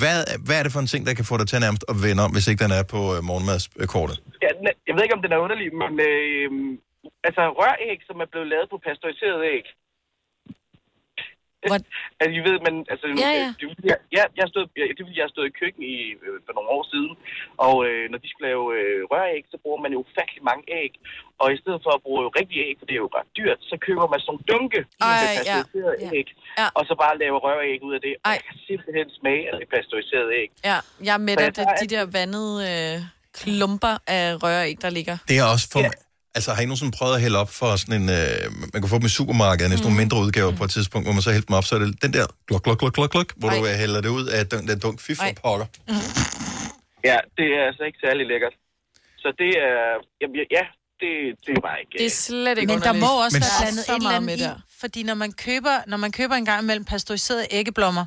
Speaker 1: hvad, hvad er det for en ting, der kan få dig til nærmest at vende om, hvis ikke den er på øh, morgenmadskortet?
Speaker 10: Ja, den er- jeg ved ikke, om den er underlig, men øh, altså røræg, som er blevet lavet på pasteuriseret æg.
Speaker 4: What?
Speaker 10: (laughs) altså, I ved, men altså,
Speaker 4: Ja,
Speaker 10: ja,
Speaker 4: ja.
Speaker 10: ja. Det, er fordi, jeg, jeg, jeg stod, jeg, det er, fordi, jeg stod i køkken i, øh, for nogle år siden, og øh, når de skulle lave øh, røræg, så bruger man jo ufattelig mange æg. Og i stedet for at bruge rigtige æg, for det er jo ret dyrt, så køber man sådan nogle dunke
Speaker 4: Ej,
Speaker 10: med
Speaker 4: ja.
Speaker 10: pasteuriseret
Speaker 4: Ja.
Speaker 10: æg, og så bare laver røræg ud af det. Og jeg kan simpelthen smage af det pasteuriserede æg.
Speaker 4: Ja, jeg er med
Speaker 10: Så
Speaker 4: dig.
Speaker 10: jeg
Speaker 4: Det,
Speaker 10: tager
Speaker 4: de der vandede øh, klumper af røræg, der ligger.
Speaker 1: Det er også for... Altså, har I nogensinde prøvet at hælde op for sådan en... Øh, man kan få dem i supermarkedet, næsten
Speaker 3: Mhm.
Speaker 1: mm. nogle mindre udgaver på et tidspunkt, hvor man så hælder dem op, så er det den der glok, glok, glok, glok, glok, hvor Ej. du øh, hælder det ud af den der dunk. Fy for pokker.
Speaker 10: Ja, det er altså ikke særlig lækkert. Så det er... Jamen, ja, ja, det, det er bare ikke...
Speaker 4: Det er slet ikke
Speaker 3: Men der må også være blandet
Speaker 4: så
Speaker 3: et eller
Speaker 4: meget
Speaker 3: andet
Speaker 4: med
Speaker 3: i,
Speaker 4: der.
Speaker 3: fordi når man køber, når man køber en gang imellem pasteuriserede æggeblommer,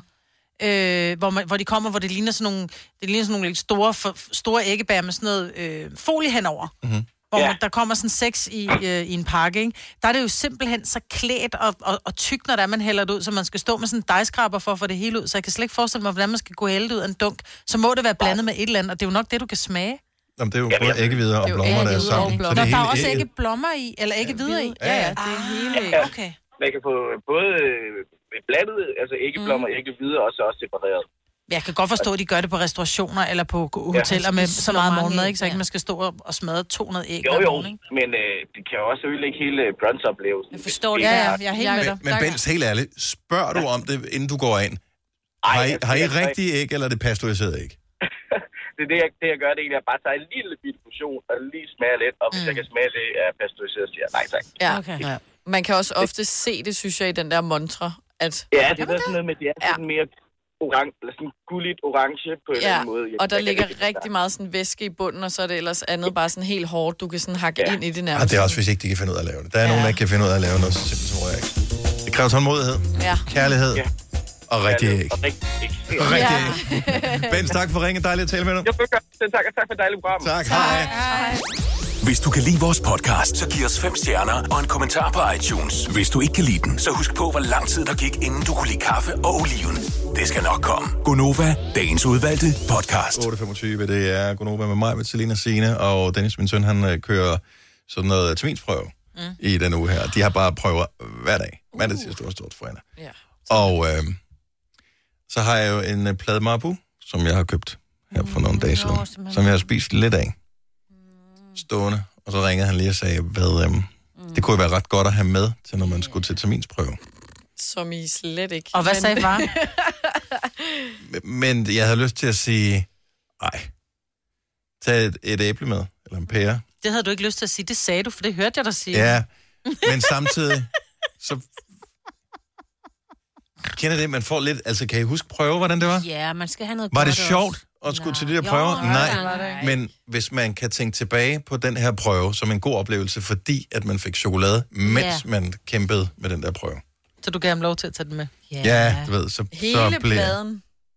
Speaker 3: øh, hvor, man, hvor de kommer, hvor det ligner sådan nogle, det ligner sådan nogle lidt store, for, store æggebær med sådan noget øh, folie henover.
Speaker 14: Mm-hmm.
Speaker 3: Hvor man, der kommer sådan seks i, øh, i en pakke, ikke? Der er det jo simpelthen så klædt og, og, og tykt, når det er, man hælder det ud, så man skal stå med sådan en dejskraber for at få det hele ud. Så jeg kan slet ikke forestille mig, hvordan man skal gå hælde det ud af en dunk. Så må det være blandet med et eller andet, og det er jo nok det, du kan smage.
Speaker 1: Jamen, det er jo både æggehvider og
Speaker 3: Det er jo
Speaker 1: blommer, der er
Speaker 3: æggehvide og
Speaker 1: sammen. Så
Speaker 3: blommer.
Speaker 1: det er
Speaker 3: Nå, der er
Speaker 1: hele
Speaker 3: også
Speaker 1: ægget.
Speaker 3: ikke blommer i, eller ikke videre i.
Speaker 4: Ja, ja, det er hele
Speaker 1: Ah.
Speaker 4: æg.
Speaker 3: Okay.
Speaker 10: Man kan få både øh, blandet, altså ikke blommer, mm. ikke videre, og så også separeret.
Speaker 3: Men Jeg kan godt forstå, at de gør det på restaurationer eller på hoteller med så meget morgenmad, ikke? så ikke man skal stå og- og smadre 200 æg.
Speaker 10: Jo,
Speaker 3: hver
Speaker 10: jo,
Speaker 3: morgen, ikke?
Speaker 10: men øh, det kan jo også ødelægge hele øh, brunch-oplevelsen. Jeg
Speaker 3: forstår det. Ja, ja, jeg er helt med dig.
Speaker 1: Men Bens, helt ærligt, spørger du om det, inden du går ind? Har I,
Speaker 10: jeg
Speaker 1: har I
Speaker 10: siger, jeg-
Speaker 1: rigtige æg, eller er det pasteuriseret æg?
Speaker 10: Det, er det, jeg, det, jeg gør, det er egentlig, at jeg bare tager en lille bitte portion og lige smager lidt, og hvis jeg kan smage det af pasteuriseret, så siger jeg nej tak.
Speaker 4: Ja.
Speaker 3: Okay.
Speaker 4: ja. Man kan også ofte se det, synes jeg, i den der montre. At,
Speaker 10: Ja, det er der sådan noget med, at det er sådan mere orange, eller sådan gulligt orange på en eller
Speaker 4: Ja,
Speaker 10: anden måde. Jeg-
Speaker 4: og der
Speaker 10: jeg kan
Speaker 4: ligger
Speaker 10: ikke-
Speaker 4: rigtig meget sådan væske i bunden, og så er det ellers andet bare sådan helt hårdt, du kan sådan hakke ind i det
Speaker 1: Og
Speaker 4: nærmest.
Speaker 1: Ah, det er også, hvis ikke de kan finde ud af at lave det. Der er ja. nogen, der ikke kan finde ud af at lave noget, så simpelthen så tror jeg ikke. Det kræver tålmodighed,
Speaker 4: Ja.
Speaker 1: kærlighed ja. og rigtige æg. Og rigtige æg.
Speaker 4: Ja.
Speaker 1: Bens, tak for ringen. Dejligt at tale med dig.
Speaker 10: Selv tak, og tak for et dejligt program.
Speaker 1: Tak, hej.
Speaker 13: Hvis du kan lide vores podcast, så giv os fem stjerner og en kommentar på iTunes. Hvis du ikke kan lide den, så husk på, hvor lang tid der gik, inden du kunne lide kaffe og oliven. Det skal nok komme.
Speaker 1: Gonova,
Speaker 13: Dagens udvalgte podcast.
Speaker 1: 8.25, det er Gonova med mig, med Selina Sine og Dennis, min søn, han øh, kører sådan noget terminsprøve mm. i den uge her. De har bare prøver hver dag. Mandag, tirsdag, onsdag, torsdag, fredag.
Speaker 4: Ja.
Speaker 1: Og øh, så har jeg jo en øh, plade marabu, som jeg har købt her for nogle dage siden, som jeg har spist lidt af. Stående. Og så ringede han lige og sagde, hvad, øh, det kunne jo være ret godt at have med, til når man skulle til terminsprøve.
Speaker 4: Som I slet ikke.
Speaker 3: Og hvad
Speaker 4: Men-
Speaker 3: sagde far?
Speaker 4: (laughs)
Speaker 1: Men jeg havde lyst til at sige, nej, tag et, et æble med, eller en pære.
Speaker 3: Det havde du ikke lyst til at sige. Det sagde du, for det hørte jeg dig sige.
Speaker 1: Ja, men samtidig, så kender det, man får lidt, altså kan I huske prøve, hvordan det var?
Speaker 2: Ja, man skal have noget
Speaker 1: Var
Speaker 2: godt
Speaker 1: det
Speaker 2: også.
Speaker 1: sjovt at skulle til de der
Speaker 2: Jo,
Speaker 1: prøver?
Speaker 2: nej, nej, nej.
Speaker 1: Nej, men hvis man kan tænke tilbage på den her prøve som en god oplevelse, fordi at man fik chokolade, mens
Speaker 3: Ja.
Speaker 1: man kæmpede med den der prøve.
Speaker 3: Så du gav ham lov til at tage den med.
Speaker 1: Ja, du ved, så, så blev...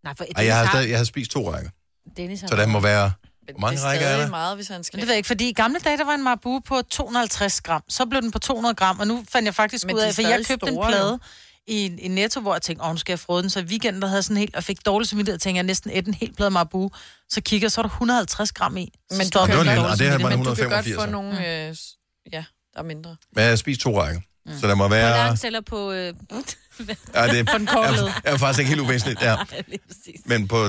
Speaker 3: Nej, for
Speaker 1: Ej, jeg har, stadig, jeg har spist to rækker.
Speaker 2: Dennis har
Speaker 1: Så der må være... Hvor mange
Speaker 3: det er
Speaker 1: rækker er
Speaker 3: stadig
Speaker 1: der?
Speaker 4: meget, hvis han skal.
Speaker 3: Men det ved jeg ikke, fordi i gamle dage, der var en marabu på 250 gram. Så blev den på 200 gram, og nu fandt jeg faktisk
Speaker 4: Men
Speaker 3: ud
Speaker 4: de er
Speaker 3: af, for
Speaker 4: stadig
Speaker 3: jeg købte
Speaker 4: store,
Speaker 3: en
Speaker 4: jo.
Speaker 3: plade i, i Netto, hvor jeg tænkte, åh, nu skal jeg frode den. Så i weekenden, der havde jeg sådan helt, og fik dårlig samvittighed, og tænkte, jeg næsten et en hel plade marabu. Så kigger, jeg, så er der 150 gram i. Så
Speaker 4: Men du
Speaker 3: stopper
Speaker 4: kan
Speaker 3: jeg med
Speaker 1: Det var en-
Speaker 3: dårlig
Speaker 1: og det her var
Speaker 3: samvittighed.
Speaker 1: en
Speaker 4: Men du kan godt få
Speaker 1: 185'er.
Speaker 4: nogle, øh, s- ja, der er mindre. Mm.
Speaker 1: Men jeg spiser to rækker. Mm. Så der må
Speaker 2: Hvor
Speaker 1: være...
Speaker 2: langt sælger på... Øh,
Speaker 1: Ja, det
Speaker 2: på den korte led.
Speaker 1: er, er faktisk ikke helt uvæsentligt. Ja. Men på,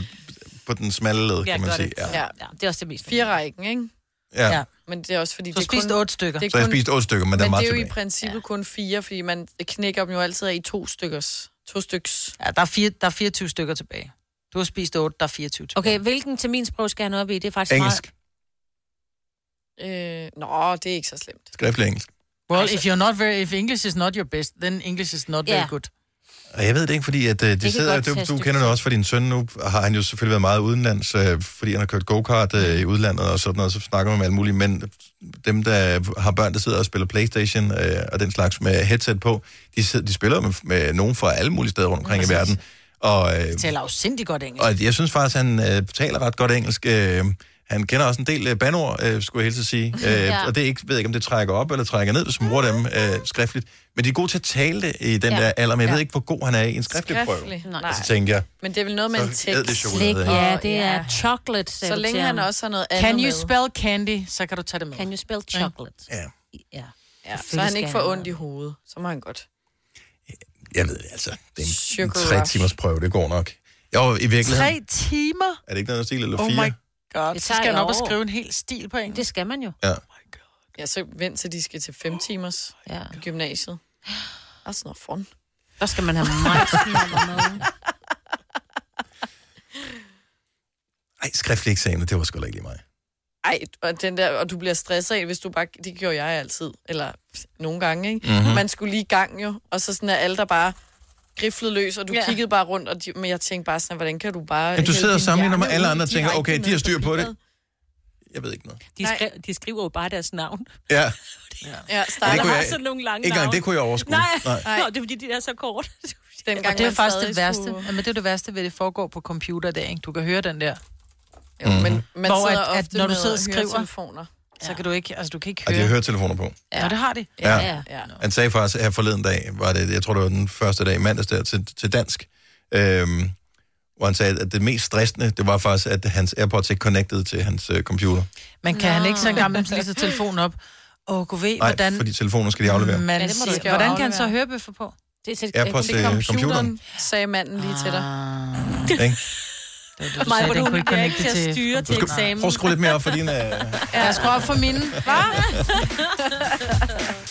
Speaker 1: på den smalle led, kan man sige. Ja.
Speaker 4: Ja.
Speaker 2: ja. det er også det mest.
Speaker 4: Fire rækken, ikke?
Speaker 1: Ja. Ja.
Speaker 4: Men det er også fordi...
Speaker 3: Så spiste otte stykker.
Speaker 1: Så jeg spiste otte stykker, men der
Speaker 4: men
Speaker 1: er meget
Speaker 4: det er jo i
Speaker 1: tilbage.
Speaker 4: princippet ja. kun fire, fordi man knækker dem jo altid af i to stykkers. To styks.
Speaker 3: Ja, der er, fire, der er 24 stykker tilbage. Du har spist 8, der er 24 tilbage.
Speaker 2: Okay, hvilken terminsprøve skal han op i? Det er faktisk
Speaker 3: Engelsk.
Speaker 4: Øh, nå, det er ikke så slemt.
Speaker 1: Skriftlig engelsk.
Speaker 3: Well, if you're not very, if English is not your best, then English is not very
Speaker 4: Altså- Ja.
Speaker 3: good.
Speaker 1: Og jeg ved det ikke, fordi at, øh, de
Speaker 3: kan
Speaker 1: det sidder,
Speaker 3: godt
Speaker 1: du,
Speaker 3: tage
Speaker 1: du
Speaker 3: et
Speaker 1: kender det
Speaker 3: stykke
Speaker 1: også for din søn nu, har han jo selvfølgelig været meget udenlands, øh, fordi han har kørt go-kart øh, i udlandet og sådan noget, så snakker man om alt muligt, men dem, der har børn, der sidder og spiller Playstation øh, og den slags med headset på, de, sidder, de spiller med, med nogen fra alle mulige steder rundt omkring i
Speaker 3: Præcis.
Speaker 1: verden. Og, øh,
Speaker 3: De taler jo sindssygt godt engelsk.
Speaker 1: og jeg synes faktisk, han øh, taler ret godt engelsk. Øh, han kender også en del øh, bandord, øh, skulle jeg helst at sige. Øh,
Speaker 13: Ja.
Speaker 1: ja. Og det er ikke, ved ikke, om det trækker op eller trækker ned, hvis man bruger dem øh, skriftligt. Men de er gode til at tale det i den
Speaker 4: Ja.
Speaker 1: ja. der alder, men jeg
Speaker 4: Ja.
Speaker 1: ja. ved ikke, hvor god han er i en skriftlig, prøve.
Speaker 4: Skriftlig? Nej.
Speaker 1: Og så tænker jeg,
Speaker 4: Men det er vel noget med en
Speaker 1: Så æd det
Speaker 4: tekst.
Speaker 1: chokolade, Slik, ikke?
Speaker 2: ja, det er chocolate, sagde
Speaker 4: Så
Speaker 2: du
Speaker 4: længe
Speaker 2: til
Speaker 4: han
Speaker 2: ham.
Speaker 4: også har noget andet
Speaker 3: Can you
Speaker 4: med.
Speaker 3: spell candy, så kan du tage det med.
Speaker 2: Can you spell chocolate?
Speaker 1: Ja.
Speaker 2: Ja.
Speaker 4: Ja, så han ikke får ondt i hovedet. Så må han godt.
Speaker 1: jeg ved det altså, det er en, en
Speaker 4: Sugar
Speaker 1: tre
Speaker 4: rush.
Speaker 1: timers prøve, det går nok. Jo, i virkeligheden,
Speaker 3: Tre timer?
Speaker 1: er det ikke noget stil, eller
Speaker 3: Oh
Speaker 1: fire?
Speaker 3: my god.
Speaker 4: Det
Speaker 3: Så
Speaker 4: tager
Speaker 3: skal
Speaker 4: et
Speaker 3: han op og
Speaker 4: år.
Speaker 3: skrive en hel stil på engelsk. Oh
Speaker 2: Det skal man jo.
Speaker 1: Ja.
Speaker 4: Ja, så vent til de skal til fem timers
Speaker 2: ja.
Speaker 4: gymnasiet. That's not fun.
Speaker 2: Der skal man have meget
Speaker 1: Ej, skriftlig eksamen, det var sgu da ikke lige mig.
Speaker 4: Ej, og, den der, og du bliver stresset af, hvis du bare... Det gjorde jeg altid, eller pff, nogle gange, ikke?
Speaker 1: Mhm.
Speaker 4: Man skulle lige i gang jo, og så sådan er alle der bare griflede løs, og du
Speaker 3: Ja.
Speaker 4: kiggede bare rundt, og de, men jeg tænkte bare sådan, hvordan kan du bare...
Speaker 1: Jamen, du
Speaker 4: hælde
Speaker 1: sidder og
Speaker 4: din
Speaker 1: sammenligner med
Speaker 4: hjerne
Speaker 1: alle
Speaker 4: ud
Speaker 1: andre og tænker,
Speaker 4: direkte
Speaker 1: okay, de
Speaker 4: med
Speaker 1: har styr på
Speaker 4: papiret?
Speaker 1: det. Jeg ved ikke noget.
Speaker 2: De, skri- de skriver jo bare deres navn.
Speaker 1: Ja,
Speaker 4: Ja,
Speaker 1: Og
Speaker 4: starter
Speaker 1: det kunne
Speaker 2: har
Speaker 1: jeg-
Speaker 2: sådan nogle lange
Speaker 1: ikke engang
Speaker 2: navne.
Speaker 1: det kunne jeg overskue.
Speaker 2: Nej,
Speaker 1: Nej.
Speaker 2: Nej. Nå, det er fordi, de er så kort.
Speaker 4: Dengang
Speaker 3: Og det er
Speaker 4: man
Speaker 3: faktisk
Speaker 4: stadig
Speaker 3: det værste.
Speaker 4: skulle-
Speaker 3: Skulle... Jamen, det er det værste ved, at det foregår på computer der, ikke? Du kan høre den der.
Speaker 4: Jo, men
Speaker 1: Mm.
Speaker 4: man
Speaker 3: Hvor
Speaker 4: sidder
Speaker 3: at, at
Speaker 4: ofte
Speaker 3: når du
Speaker 4: med
Speaker 3: sidder og skriver,
Speaker 4: høretelefoner.
Speaker 3: så kan du ikke, altså du kan ikke
Speaker 1: Og de har
Speaker 3: høre.
Speaker 1: høretelefoner på.
Speaker 3: Ja. Nå, det har de.
Speaker 1: Ja.
Speaker 4: ja.
Speaker 1: Han sagde faktisk her forleden dag, var det, jeg tror det var den første dag i mandags der til, til dansk, øhm, hvor han sagde, at det mest stressende, det var faktisk, at hans AirPods ikke connectede til hans øh, computer.
Speaker 3: Men kan han ikke så engang med lige så telefonen op? Og gå ved,
Speaker 1: Nej,
Speaker 3: hvordan...
Speaker 1: fordi telefoner skal de aflevere.
Speaker 3: Man
Speaker 4: Ja,
Speaker 3: ja,
Speaker 4: det må du ikke
Speaker 3: siger, hvordan kan han så
Speaker 4: aflevere.
Speaker 3: høre bøffer på?
Speaker 2: Det er til
Speaker 1: Ja, på til computeren.
Speaker 4: sagde manden lige til dig.
Speaker 1: Ikke?
Speaker 3: Du sagde, den kunne ikke connecte til...
Speaker 1: Du skal, prøv at skrue lidt mere op for din... Øh...
Speaker 3: Ja, jeg skruer op for mine.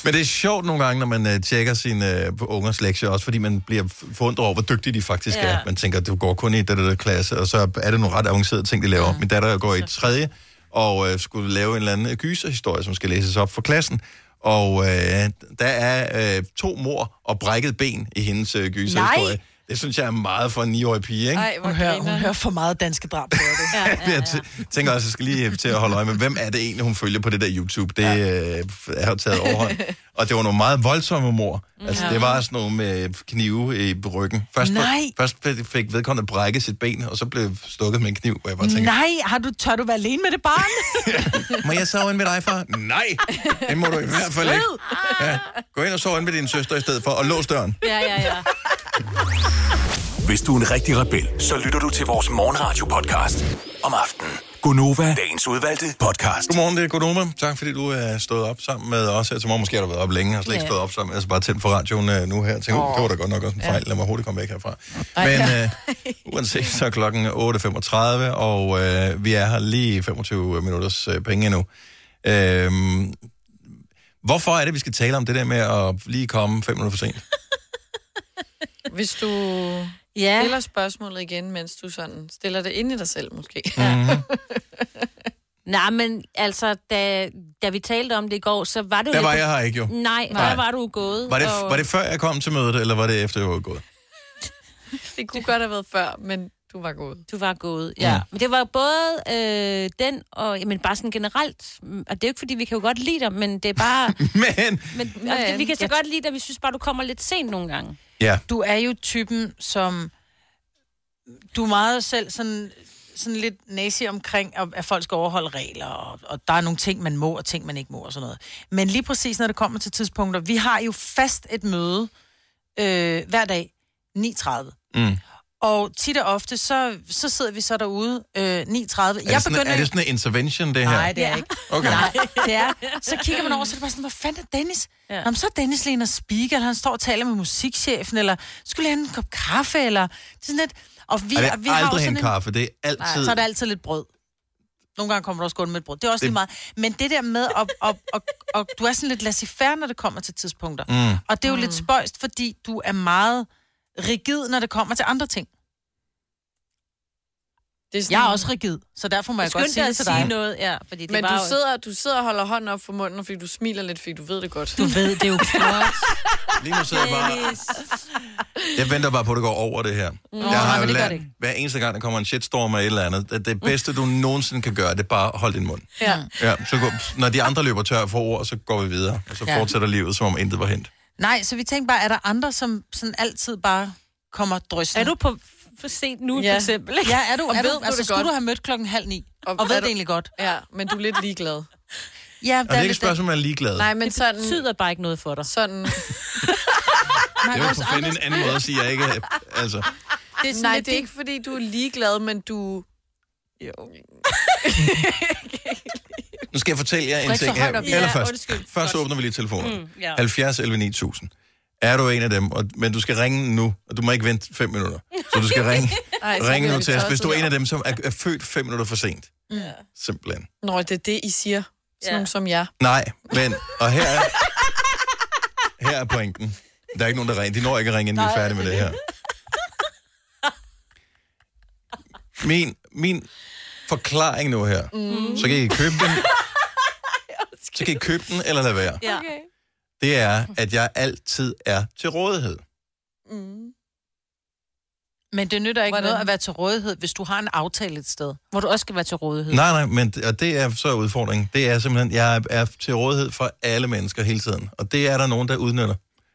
Speaker 1: Men det er sjovt nogle gange, når man øh, tjekker sine øh, ungers lektier, også fordi man bliver f- forundret over, hvor dygtige de faktisk
Speaker 13: Ja.
Speaker 1: er. Man tænker, du går kun i den der klasse, og så er det nogle ret avancerede ting, de laver. Min datter går i tredje, og øh, skulle lave en eller anden gyserhistorie, som skal læses op for klassen. Og øh, der er øh, to mor og brækket ben i hendes øh, gyserhistorie.
Speaker 3: Nej.
Speaker 1: Det synes jeg er meget for en 9-årig pige, ikke?
Speaker 3: Ej, hun, hører, hun hører for meget danske drab på det. ja,
Speaker 1: Jeg tæ- tænker også, jeg skal lige til at holde øje med, hvem er det egentlig, hun følger på det der YouTube? Det ja. øh, er jo taget overhånd. Og det var nogle meget voldsomme mor. Altså,
Speaker 3: Ja.
Speaker 1: ja. det var sådan nogle med knive i ryggen. Først,
Speaker 3: Nej.
Speaker 1: først fik- fik vedkommende brækket sit ben, og så blev stukket med en kniv, hvor jeg bare tænkte,
Speaker 3: Nej, har du, tør du være alene med det barn?
Speaker 1: må jeg sove inde ved dig, far? Nej, det må du i hvert fald ikke. Ja. Gå ind og sove inde ved din søster i stedet for, og lås døren.
Speaker 2: Ja, ja, ja.
Speaker 13: Hvis du er en rigtig rebel, så lytter du til vores morgenradio-podcast om aftenen. Gunova, dagens udvalgte podcast.
Speaker 1: Godmorgen, det er Godoma. Tak fordi du er stået op sammen med os her til morgen. Måske har du været op længe og slet ikke
Speaker 13: Ja.
Speaker 1: stået op sammen. Altså bare tændt for radioen øh, nu her. Tænk, oh. det var da godt nok også en fejl. Lad mig hurtigt komme væk herfra. Men øh,
Speaker 2: (laughs)
Speaker 1: uanset, så er klokken 8.35, og øh, vi er her lige 25 minutters øh, penge endnu. Øhm, hvorfor er det, vi skal tale om det der med at lige komme 5 minutter for sent?
Speaker 4: Hvis du
Speaker 2: ja.
Speaker 4: stiller spørgsmålet igen, mens du sådan stiller det ind i dig selv måske.
Speaker 1: Mm-hmm.
Speaker 2: Nej, men altså, da, da vi talte om det i går, så var det
Speaker 1: Der
Speaker 2: lidt-
Speaker 1: var jeg her ikke, jo.
Speaker 2: Nej,
Speaker 1: Nej.
Speaker 2: Nej. der var du gået.
Speaker 1: Var det,
Speaker 2: og-
Speaker 1: var det før jeg kom til mødet, eller var det efter, jeg var gået?
Speaker 4: Det kunne godt have været før, men du var gået.
Speaker 2: Du var gået, ja. Men det var både øh, den og jamen, bare sådan generelt. mm, Og det er jo ikke, fordi vi kan jo godt lide dig, men det er
Speaker 1: (laughs)
Speaker 2: bare...
Speaker 1: (laughs) men...
Speaker 2: men, altså, det, vi kan så godt lide dig, vi synes bare, du kommer lidt sent nogle gange.
Speaker 1: Ja.
Speaker 3: Du er jo typen, som... Du er meget selv sådan sådan lidt næse omkring, at- at folk skal overholde regler, og, og der er nogle ting, man må, og ting, man ikke må, og sådan noget. Men lige præcis, når det kommer til tidspunkter, vi har jo fast et møde øh, hver dag, 9.30.
Speaker 1: Mm.
Speaker 3: Og tit og ofte, så, så sidder vi så derude øh, 9.30. Jeg
Speaker 1: Er, det sådan, er
Speaker 3: jo-
Speaker 1: det sådan en intervention, det her?
Speaker 3: Nej, det er ikke.
Speaker 1: Okay.
Speaker 3: Nej, det er. Så kigger man over, så er det bare sådan, hvor fanden er Dennis? Ja. Nå, men så er Dennis lige inde og speaker, eller han står og taler med musikchefen, eller skulle han en kop kaffe, eller det er sådan lidt... Og vi,
Speaker 1: Vi, er det
Speaker 3: og vi
Speaker 1: vi
Speaker 3: har jo
Speaker 1: aldrig
Speaker 3: sådan
Speaker 1: en kaffe? Det er altid...
Speaker 3: Nej, så er der altid lidt brød. Nogle gange kommer der også kun med et brød. Det er også det... lige
Speaker 1: Det-
Speaker 3: meget. Men det der med, at, (laughs) at, at, at du er sådan lidt laissez-faire, når det kommer til tidspunkter.
Speaker 1: Mm.
Speaker 3: Og det er jo mm. lidt spøjst, fordi du er meget rigid, når det kommer til andre ting. Det er sådan... Jeg er også rigid, så derfor må jeg, godt sige det til dig.
Speaker 2: ja. Fordi det
Speaker 4: altså Men
Speaker 2: var
Speaker 4: du,
Speaker 2: jo-
Speaker 4: sidder, du sidder og holder hånden op for munden, fordi du smiler lidt, fordi du ved det godt.
Speaker 3: Du
Speaker 4: (laughs)
Speaker 3: ved det jo godt.
Speaker 1: Lige nu sidder jeg bare... Jeg venter bare på, at det går over det her.
Speaker 4: Mm. Nå,
Speaker 1: jeg
Speaker 4: nej,
Speaker 1: har
Speaker 4: men det
Speaker 1: jo
Speaker 4: gør
Speaker 1: lært,
Speaker 4: det ikke.
Speaker 1: hver eneste gang, der kommer en shitstorm af et eller andet, at det bedste, du nogensinde kan gøre, det er bare at holde din mund.
Speaker 3: Ja.
Speaker 1: Ja, så går, når de andre løber tør for ord, så går vi videre, og så
Speaker 3: Ja.
Speaker 1: fortsætter livet, som om intet var hent.
Speaker 3: Nej, så vi tænkte bare, er der andre, som sådan altid bare kommer drøsten? Er du
Speaker 2: på for sent nu,
Speaker 3: ja.
Speaker 2: for eksempel, ikke?
Speaker 3: Ja, er du,
Speaker 2: Og
Speaker 3: er
Speaker 2: ved
Speaker 3: du,
Speaker 2: du
Speaker 3: altså,
Speaker 2: det
Speaker 3: skulle
Speaker 2: godt?
Speaker 3: du have mødt klokken halv ni, og, og
Speaker 4: er
Speaker 3: ved det
Speaker 4: du-
Speaker 3: egentlig godt.
Speaker 4: Ja, men du er lidt ligeglad.
Speaker 3: Ja,
Speaker 1: Og Altså, det er ikke et spørgsmål, om man er ligeglad.
Speaker 4: Nej, men
Speaker 2: Det
Speaker 4: sådan...
Speaker 2: betyder bare ikke noget for dig.
Speaker 4: Sådan...
Speaker 1: Det var for fanden en anden måde at sige, at jeg ikke... Altså,
Speaker 4: Det er Nej, det er ikke, fordi du er ligeglad, men du... Jo.
Speaker 1: nu skal jeg fortælle jer en
Speaker 4: Ryk så
Speaker 1: ting
Speaker 4: højt
Speaker 1: her.
Speaker 4: op i-
Speaker 1: Eller
Speaker 4: Ja,
Speaker 1: først,
Speaker 4: undskyld.
Speaker 1: først
Speaker 4: Godt.
Speaker 1: åbner vi lige telefonen.
Speaker 4: Mm,
Speaker 1: Mm,
Speaker 4: ja.
Speaker 1: ja. 70 11 9000. Er du en af dem, og, men du skal ringe nu, og du må ikke vente 5 minutter. Så du skal ringe,
Speaker 4: (laughs) Ej, så
Speaker 1: ringe
Speaker 4: bliver
Speaker 1: nu
Speaker 4: vi
Speaker 1: til os, hvis
Speaker 4: tosset.
Speaker 1: du er en af dem, som er, er født 5 minutter for sent.
Speaker 4: Ja.
Speaker 1: Simpelthen.
Speaker 4: Nå, det er det, I siger. Sådan ja. nogen som jeg.
Speaker 1: Nej, men, og her er, her er pointen. Der er ikke nogen, der ringer. De når ikke at ringe, inden vi er
Speaker 4: Nej,
Speaker 1: færdige med det
Speaker 4: det er
Speaker 1: her. Min, min forklaring nu her,
Speaker 4: Mm.
Speaker 1: mm. så kan I købe den, så kan I købe den eller lade være.
Speaker 4: Ja. Okay.
Speaker 1: Det er, at jeg altid er til rådighed.
Speaker 4: Mm.
Speaker 3: Men det nytter
Speaker 4: Hvordan?
Speaker 3: ikke Hvordan? noget at være til rådighed, hvis du har en aftale et sted, hvor du også skal være til rådighed.
Speaker 1: Nej, nej, men og det er så udfordringen. Det er simpelthen, jeg er til rådighed for alle mennesker hele tiden. Og det er der nogen, der udnytter.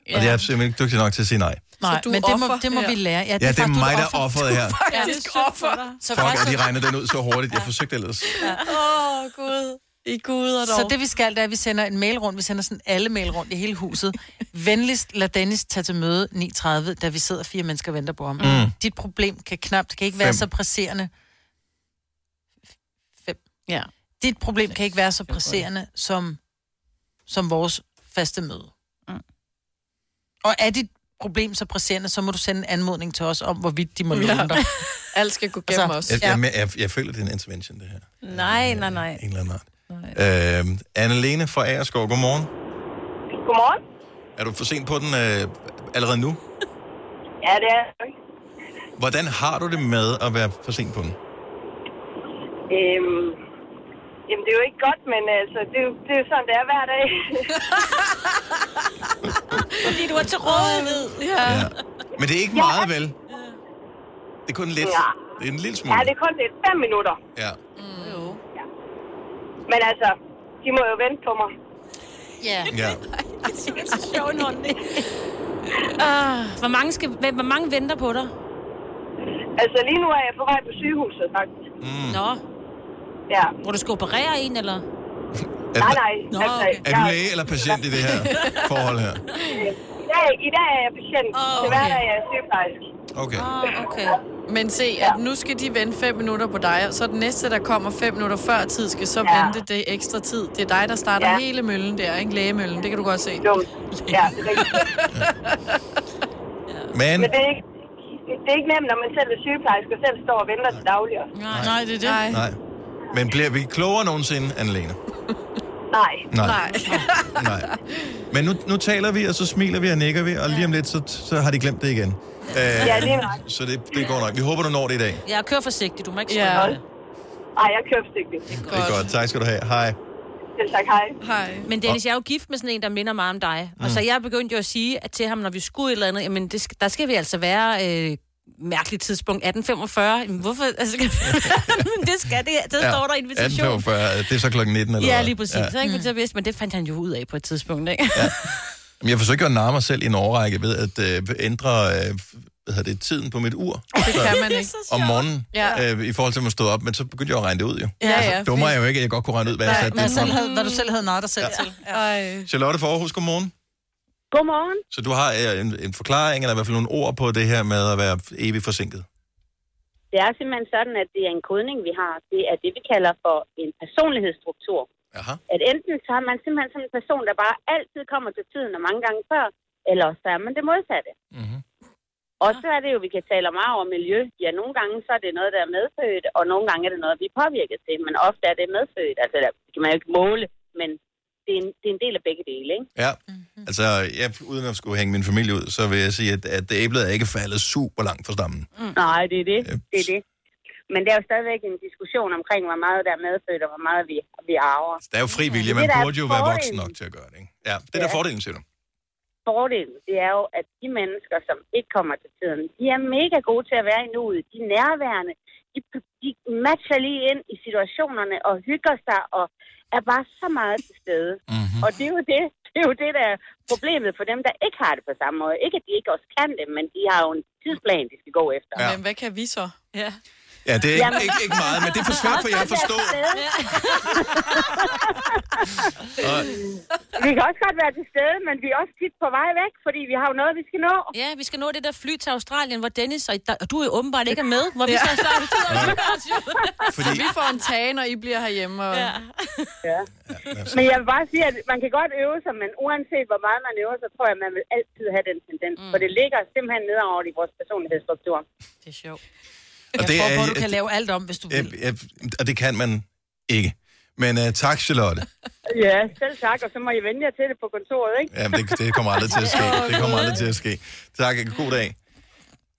Speaker 1: Ja. Og det er jeg simpelthen ikke dygtig nok til at sige nej.
Speaker 3: Nej,
Speaker 4: du
Speaker 3: men det må,
Speaker 4: offer
Speaker 3: det må vi
Speaker 4: her.
Speaker 3: lære.
Speaker 1: Ja, det er
Speaker 3: faktisk- du
Speaker 1: mig, der
Speaker 3: offer.
Speaker 1: er offeret
Speaker 3: Du
Speaker 1: her.
Speaker 4: Faktisk ja, offer.
Speaker 3: Så
Speaker 1: Fuck, at de regner den ud så hurtigt. Jeg forsøgte ellers.
Speaker 4: Åh, oh, Gud. I Gud og dog.
Speaker 3: Så det vi skal, det er, at vi sender en mail rundt. Vi sender sådan alle mail rundt i hele huset. Venligst lad Dennis tage til møde 9.30, da vi sidder fire mennesker og venter på ham.
Speaker 1: Mm.
Speaker 3: Dit problem kan knapt, kan ikke være
Speaker 1: Fem.
Speaker 3: så presserende. Fem.
Speaker 4: Ja.
Speaker 3: Dit problem kan ikke være så presserende som, som vores faste møde. Mm. Og er dit problem så presserende, så må du sende en anmodning til os om, hvorvidt de må
Speaker 4: Ja.
Speaker 3: låne dig.
Speaker 4: (laughs) Alt skal gå gennem altså,
Speaker 1: Jeg,
Speaker 4: os.
Speaker 1: jeg, jeg, jeg føler, det er en intervention, det her.
Speaker 2: Nej, nej, nej.
Speaker 1: En eller anden art. Øhm, Anne-Lene fra Aarskov, godmorgen.
Speaker 9: Godmorgen.
Speaker 1: Er du for sent på den øh, allerede nu?
Speaker 9: Ja, det er jeg.
Speaker 1: Hvordan har du det med at være for sent på den?
Speaker 9: Øhm, jamen, det er jo ikke godt, men altså, det, er jo- det er jo sådan, det er hver dag.
Speaker 2: Fordi du er til rådighed.
Speaker 4: Ja.
Speaker 1: Ja. Men det er ikke meget, vel? Det er kun lidt.
Speaker 9: Ja.
Speaker 1: Det er en lille
Speaker 9: ja,
Speaker 1: smule.
Speaker 9: det er kun det. Fem minutter.
Speaker 1: Ja.
Speaker 9: Men altså, de må jo vente på mig.
Speaker 2: Ja.
Speaker 1: ja.
Speaker 2: (laughs) Det er så sjov en holdning. Ah, hvor, mange skal, hvor hvor mange venter på dig?
Speaker 9: Altså, lige nu er jeg på vej på sygehuset, faktisk.
Speaker 1: Mm.
Speaker 2: Nå,
Speaker 9: Ja.
Speaker 2: hvor du skal operere en, eller?
Speaker 1: Er,
Speaker 9: Nej, nej.
Speaker 2: Nå,
Speaker 9: altså,
Speaker 2: okay.
Speaker 1: er du læge eller patient i det her forhold her?
Speaker 9: I dag, I dag er jeg patient.
Speaker 2: Åh,
Speaker 9: Til hverdag
Speaker 2: okay.
Speaker 9: er jeg sygeplejerske.
Speaker 1: Okay.
Speaker 2: Ah, okay.
Speaker 4: Men se, at nu skal de vente fem minutter på dig, og så den næste, der kommer fem minutter før tid, skal så
Speaker 9: Ja.
Speaker 4: ja. vente det ekstra tid. Det er dig, der starter
Speaker 9: Ja.
Speaker 4: ja. hele møllen der, ikke? Lægemøllen, det kan du godt se.
Speaker 9: Dumt. Ja,
Speaker 4: (laughs)
Speaker 9: det er rigtigt.
Speaker 1: Men,
Speaker 9: Men det er ikke, det er ikke nemt, når man selv er sygeplejerske og selv står og venter til daglig.
Speaker 3: Nej, nej, det er det.
Speaker 4: Nej.
Speaker 1: nej. Men bliver vi klogere nogensinde, Anne-Lene?
Speaker 9: Nej.
Speaker 1: Nej. Nej. Men nu, nu taler vi, og så smiler vi og nikker vi, og lige om lidt, så, så har de glemt det igen. Øh,
Speaker 9: Ja, lige nok.
Speaker 1: Så det, det går nok. Vi håber, du når det i dag.
Speaker 2: Jeg kører forsigtigt, du må ikke
Speaker 4: Ja.
Speaker 2: skynde dig.
Speaker 9: Nej, jeg kører forsigtigt.
Speaker 1: Det er godt. Tak skal du have. Hej.
Speaker 9: Selv tak, hej.
Speaker 4: Hej.
Speaker 2: Men Dennis, jeg er jo gift med sådan en, der minder meget om dig. Mm. Og så jeg begyndte jo at sige at til ham, når vi skulle et eller andet, jamen det, skal- der skal vi altså være øh, mærkeligt tidspunkt, 1845. Jamen, hvorfor? Altså, (laughs) men det skal det. Det ja. står der i invitationen.
Speaker 1: 18.45. øh, Det er så klokken 19, eller
Speaker 2: Ja,
Speaker 1: hvad?
Speaker 2: lige præcis. Ja. Så, ikke, så vidste, men det fandt han jo ud af på et tidspunkt, ikke?
Speaker 1: Jamen, Jeg forsøgte jo at narre mig selv i en årrække ved at øh, ændre øh, hvad hvad hedder det, tiden på mit ur.
Speaker 4: Det
Speaker 1: Så-
Speaker 4: kan man ikke.
Speaker 1: om morgenen,
Speaker 4: Ja.
Speaker 1: ja. øh, i forhold til, at man stod op, men så begyndte jeg at regne det ud, jo.
Speaker 3: Ja, ja,
Speaker 1: altså, dummer
Speaker 3: fordi-
Speaker 1: jeg jo ikke, at jeg godt kunne regne ud, hvad jeg
Speaker 3: Hvad,
Speaker 1: satte
Speaker 3: hvad,
Speaker 1: det
Speaker 3: selv
Speaker 1: på.
Speaker 3: havde, hvad du selv havde narret dig selv ja. til.
Speaker 4: Ja.
Speaker 1: Charlotte for Aarhus, godmorgen.
Speaker 14: Godmorgen.
Speaker 1: Så du har øh, en, en forklaring, eller i hvert fald nogle ord på det her med at være evigt forsinket.
Speaker 14: Det er simpelthen sådan, at det er en kodning, vi har. Det er det, vi kalder for en personlighedsstruktur.
Speaker 1: Aha.
Speaker 14: At enten så er man simpelthen sådan en person, der bare altid kommer til tiden og mange gange før, eller så er man det modsatte.
Speaker 1: Mm-hmm.
Speaker 14: Og så er det jo, vi kan tale meget om miljø. Ja, nogle gange så er det noget, der er medfødt, og nogle gange er det noget, vi er påvirket til, men ofte er det medfødt. Altså, der kan man jo ikke måle, men det er en, det er en del af begge dele, ikke?
Speaker 1: Ja, altså, jeg, uden at skulle hænge min familie ud, så vil jeg sige, at, at æblet er ikke faldet super langt fra stammen.
Speaker 14: Mm. Nej, det er det. det er det. Men der er jo stadigvæk en diskussion omkring, hvor meget der er medfødt, og hvor meget vi, vi arver.
Speaker 1: Der er jo fri vilje,
Speaker 14: Det,
Speaker 1: man
Speaker 14: der er
Speaker 1: burde jo være voksen
Speaker 14: fordelen-
Speaker 1: nok til at gøre det, ikke? Ja, det er ja. der
Speaker 14: Ja.
Speaker 1: fordelen, siger du.
Speaker 14: Fordelen, det er jo, at de mennesker, som ikke kommer til tiden, de er mega gode til at være i nuet. De er nærværende. De, de matcher lige ind i situationerne og hygger sig og er bare så meget til stede.
Speaker 1: Mhm.
Speaker 14: Mm-hmm. Og det er, jo det, det er jo det, der er problemet for dem, der ikke har det på samme måde. Ikke, at de ikke også kan det, men de har jo en tidsplan, de skal gå efter.
Speaker 1: Ja.
Speaker 4: Men hvad kan vi så?
Speaker 2: Ja.
Speaker 1: Ja, det er ikke, ikke, ikke meget, men det er for svært for jer at forstå. Og,
Speaker 14: Vi kan også godt være til stede, men vi er også tit på vej væk, fordi vi har jo noget, vi skal nå.
Speaker 2: Ja, vi skal nå det der fly til Australien, hvor Dennis og, og du er åbenbart ikke er med, hvor vi så snart sidder og hygger os jo.
Speaker 4: Fordi... Så vi får en tage, når I bliver herhjemme. Og... Ja.
Speaker 14: ja. Men jeg vil bare sige, at man kan godt øve sig, men uanset hvor meget man øver, så tror jeg, at man vil altid have den tendens. Mm. For det ligger simpelthen nedover i vores personlighedsstruktur.
Speaker 3: Det er sjovt.
Speaker 1: Og
Speaker 3: Jeg
Speaker 1: det
Speaker 3: tror på,
Speaker 1: er-
Speaker 3: du kan lave alt om, hvis du vil.
Speaker 1: øh, øh, og det kan man ikke. Men uh, tak, Charlotte.
Speaker 14: Ja, selv tak, og så må I vende jer til det på kontoret, ikke?
Speaker 1: Ja, men det, det kommer aldrig til at
Speaker 14: (laughs)
Speaker 3: (laughs)
Speaker 1: ske. Det kommer aldrig til at ske. Tak, god dag.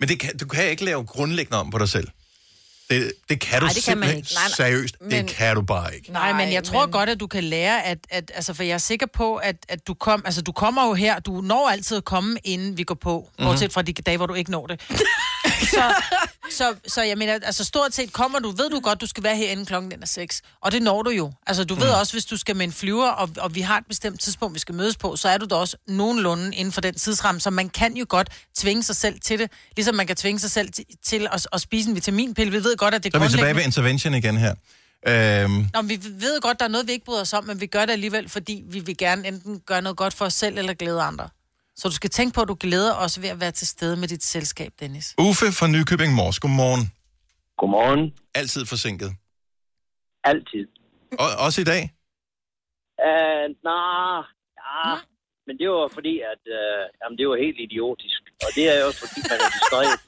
Speaker 1: Men det kan, du kan ikke lave grundlæggende om på dig selv. Det, det kan du
Speaker 3: Nej, det kan man
Speaker 1: simpelthen
Speaker 3: ikke. Nej, nej.
Speaker 1: seriøst.
Speaker 3: Men-
Speaker 1: Det kan du bare ikke.
Speaker 3: Nej, men jeg tror men... godt, at du kan lære, at, at altså, for jeg er sikker på, at, at du, kom, altså, du kommer jo her, du når altid at komme, inden vi går på, mm-hmm.
Speaker 2: Mhm.
Speaker 3: bortset fra de dage, hvor du ikke når det. så, så, så jeg mener, altså stort set kommer du, ved du godt, du skal være herinde klokken den er 6, og det når du jo. Altså du ved
Speaker 2: Mhm.
Speaker 3: også, hvis du skal med en flyver, og, og vi har et bestemt tidspunkt, vi skal mødes på, så er du da også nogenlunde inden for den tidsramme, så man kan jo godt tvinge sig selv til det, ligesom man kan tvinge sig selv til, til at, at spise en vitaminpille. Vi ved godt, at det
Speaker 1: Så er vi tilbage
Speaker 3: grundlæggende-
Speaker 1: ved intervention igen her. Øhm,
Speaker 3: Nå, men vi ved godt, der er noget, vi ikke bryder os om, men vi gør det alligevel, fordi vi vil gerne enten gøre noget godt for os selv, eller glæde andre. Så du skal tænke på, at du glæder os ved at være til stede med dit selskab, Dennis.
Speaker 1: Uffe fra Nykøbing Mors, godmorgen.
Speaker 15: Godmorgen.
Speaker 1: Altid forsinket.
Speaker 15: Altid.
Speaker 1: Og, også i dag?
Speaker 15: Uh, nah, ja. Men det var fordi, at øh, jamen, det var helt idiotisk. Og det er jo også fordi, man er distraheret.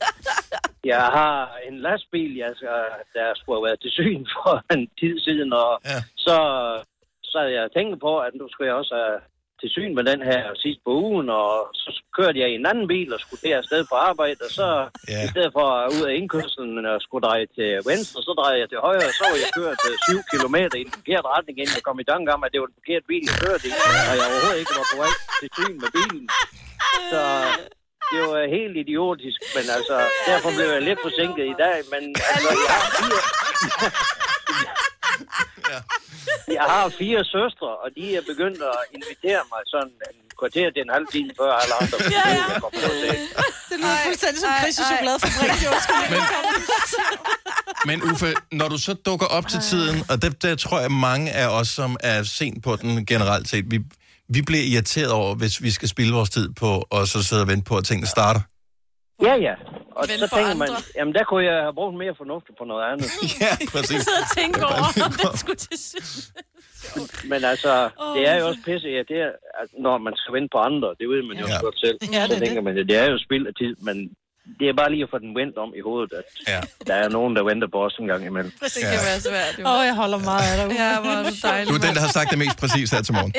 Speaker 15: Jeg har en lastbil, jeg, skal- der skulle have været til syn for en tid siden, og ja. så, så havde jeg tænkt på, at nu skulle jeg også have til syn med den her sidst på ugen, og så kørte jeg i en anden bil og skulle der afsted på arbejde, og så ja. i stedet for at ud af indkørselen og skulle dreje til venstre, så drejede jeg til højre, og så var jeg kørt 7 km i den forkerte retning, inden jeg kom i tanke om, at det var den forkerte bil, jeg kørte i, og jeg overhovedet ikke var på vej til syn med bilen. Så det var helt idiotisk, men altså, derfor blev jeg lidt forsinket i dag, men altså, jeg har fire... Jeg har fire søstre, og de er begyndt at invitere mig sådan en kvarter til en halv time før alle andre. Ja, ja.
Speaker 3: Det lyder fuldstændig som Chris' chokoladefabrik, jo.
Speaker 1: Men Uffe, når du så dukker op til tiden, og det, der tror jeg mange af os, som er sent på den generelt set, vi, vi bliver irriteret over, hvis vi skal spille vores tid på, og så sidde og vente på, at tingene starter.
Speaker 15: Ja, ja. Og
Speaker 2: Ven
Speaker 15: så
Speaker 2: for
Speaker 15: tænker man,
Speaker 2: andre.
Speaker 15: jamen der kunne jeg have brugt mere fornuft på noget andet.
Speaker 1: ja,
Speaker 2: (laughs) Jeg sidder og tænker
Speaker 3: (laughs)
Speaker 2: over, om den skulle til
Speaker 4: (laughs)
Speaker 2: syn.
Speaker 15: Men altså, det er jo også pisse, ja, det er, at når man skal vente på andre, det ved man jo også godt selv.
Speaker 3: Ja, det
Speaker 15: så
Speaker 3: er
Speaker 15: tænker man, ja, det er jo spild af tid, men det er bare lige at få den vendt om i hovedet, at
Speaker 1: ja.
Speaker 15: der er nogen, der venter på os en gang imellem.
Speaker 4: Det kan være svært.
Speaker 3: Åh, oh, jeg holder meget af dig. Uffe.
Speaker 4: Ja, hvor er (laughs) du dejlig.
Speaker 1: Du er den, der har sagt det mest præcis her til morgen.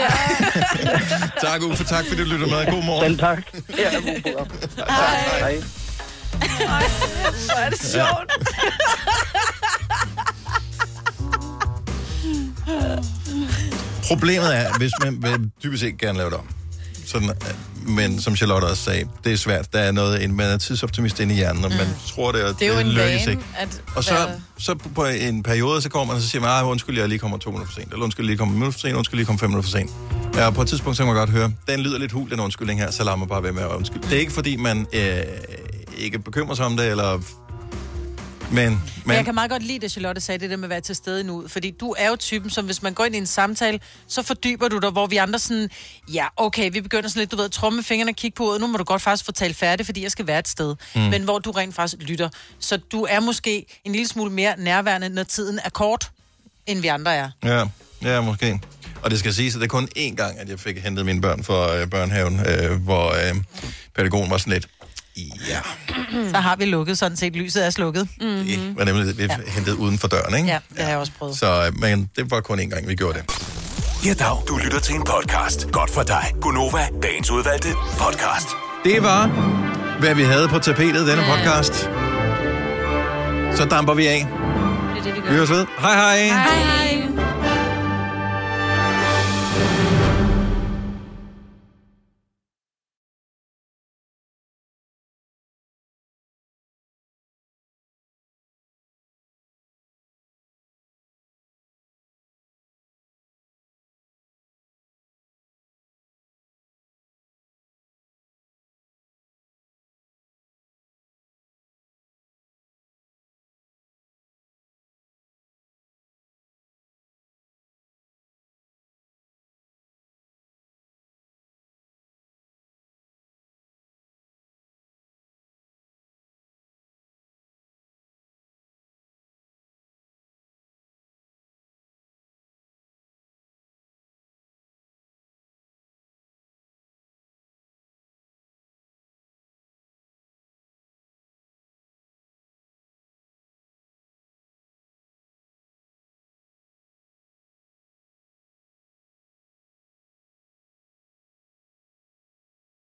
Speaker 1: (laughs) tak, Uffe. Tak, fordi du lytter med. God morgen.
Speaker 15: Selv tak. Ja,
Speaker 1: Hej.
Speaker 4: Hvor er det sjovt.
Speaker 1: (laughs) Problemet er, hvis man vil typisk set gerne lave det om. Sådan, øh, men som Charlotte også sagde, det er svært. Der er noget, en- man er tidsoptimist inde i hjernen, og man tror det, og
Speaker 4: Mm. Det er jo en
Speaker 1: lykkes
Speaker 4: vane,
Speaker 1: ikke.
Speaker 4: at
Speaker 1: Og så,
Speaker 4: være-
Speaker 1: så på en periode, så kommer man og så siger, man, "Ej, undskyld, jeg lige kommer to minutter for sent, eller undskyld, jeg lige kommer en minut for sent, undskyld, jeg lige kommer fem minutter for sent. Ja, og på et tidspunkt, så kan man godt høre, den lyder lidt hul, den undskyldning her, så lader man bare være med at undskylde. Det er ikke, fordi man øh, ikke bekymrer sig om det, eller... Men,
Speaker 3: Men
Speaker 1: men
Speaker 3: jeg kan meget godt lide, at Charlotte sagde det der med at være til stede nu, fordi du er jo typen, som hvis man går ind i en samtale, så fordyber du dig, hvor vi andre sådan, ja, okay, vi begynder sådan lidt, du ved, at tromme med fingrene og kigge på uret, nu må du godt faktisk få talt færdigt, fordi jeg skal være et sted. Mm.
Speaker 16: Mm.
Speaker 3: Men hvor du rent faktisk lytter. Så du er måske en lille smule mere nærværende, når tiden er kort, end vi andre er.
Speaker 1: Ja, ja, måske. Og det skal siges, at det er kun én gang, at jeg fik hentet mine børn fra øh, børnehaven, øh, hvor øh, pædagogen var sådan lidt, ja,
Speaker 3: så har vi lukket sådan set, lyset er slukket. Mm-hmm.
Speaker 1: var nemlig lidt
Speaker 3: Ja.
Speaker 1: hentet uden for døren, ikke?
Speaker 3: Ja, det har jeg også prøvet.
Speaker 1: Så, øh, men det var kun én gang, vi gjorde det.
Speaker 13: Ja, dag. Du lytter til en podcast. Godt for dig. Gunova, dagens udvalgte podcast.
Speaker 1: Det var, hvad vi havde på tapetet i denne podcast. Så damper vi af.
Speaker 2: Det er det, vi
Speaker 1: Vi høres ved. Hej hej.
Speaker 2: Hej.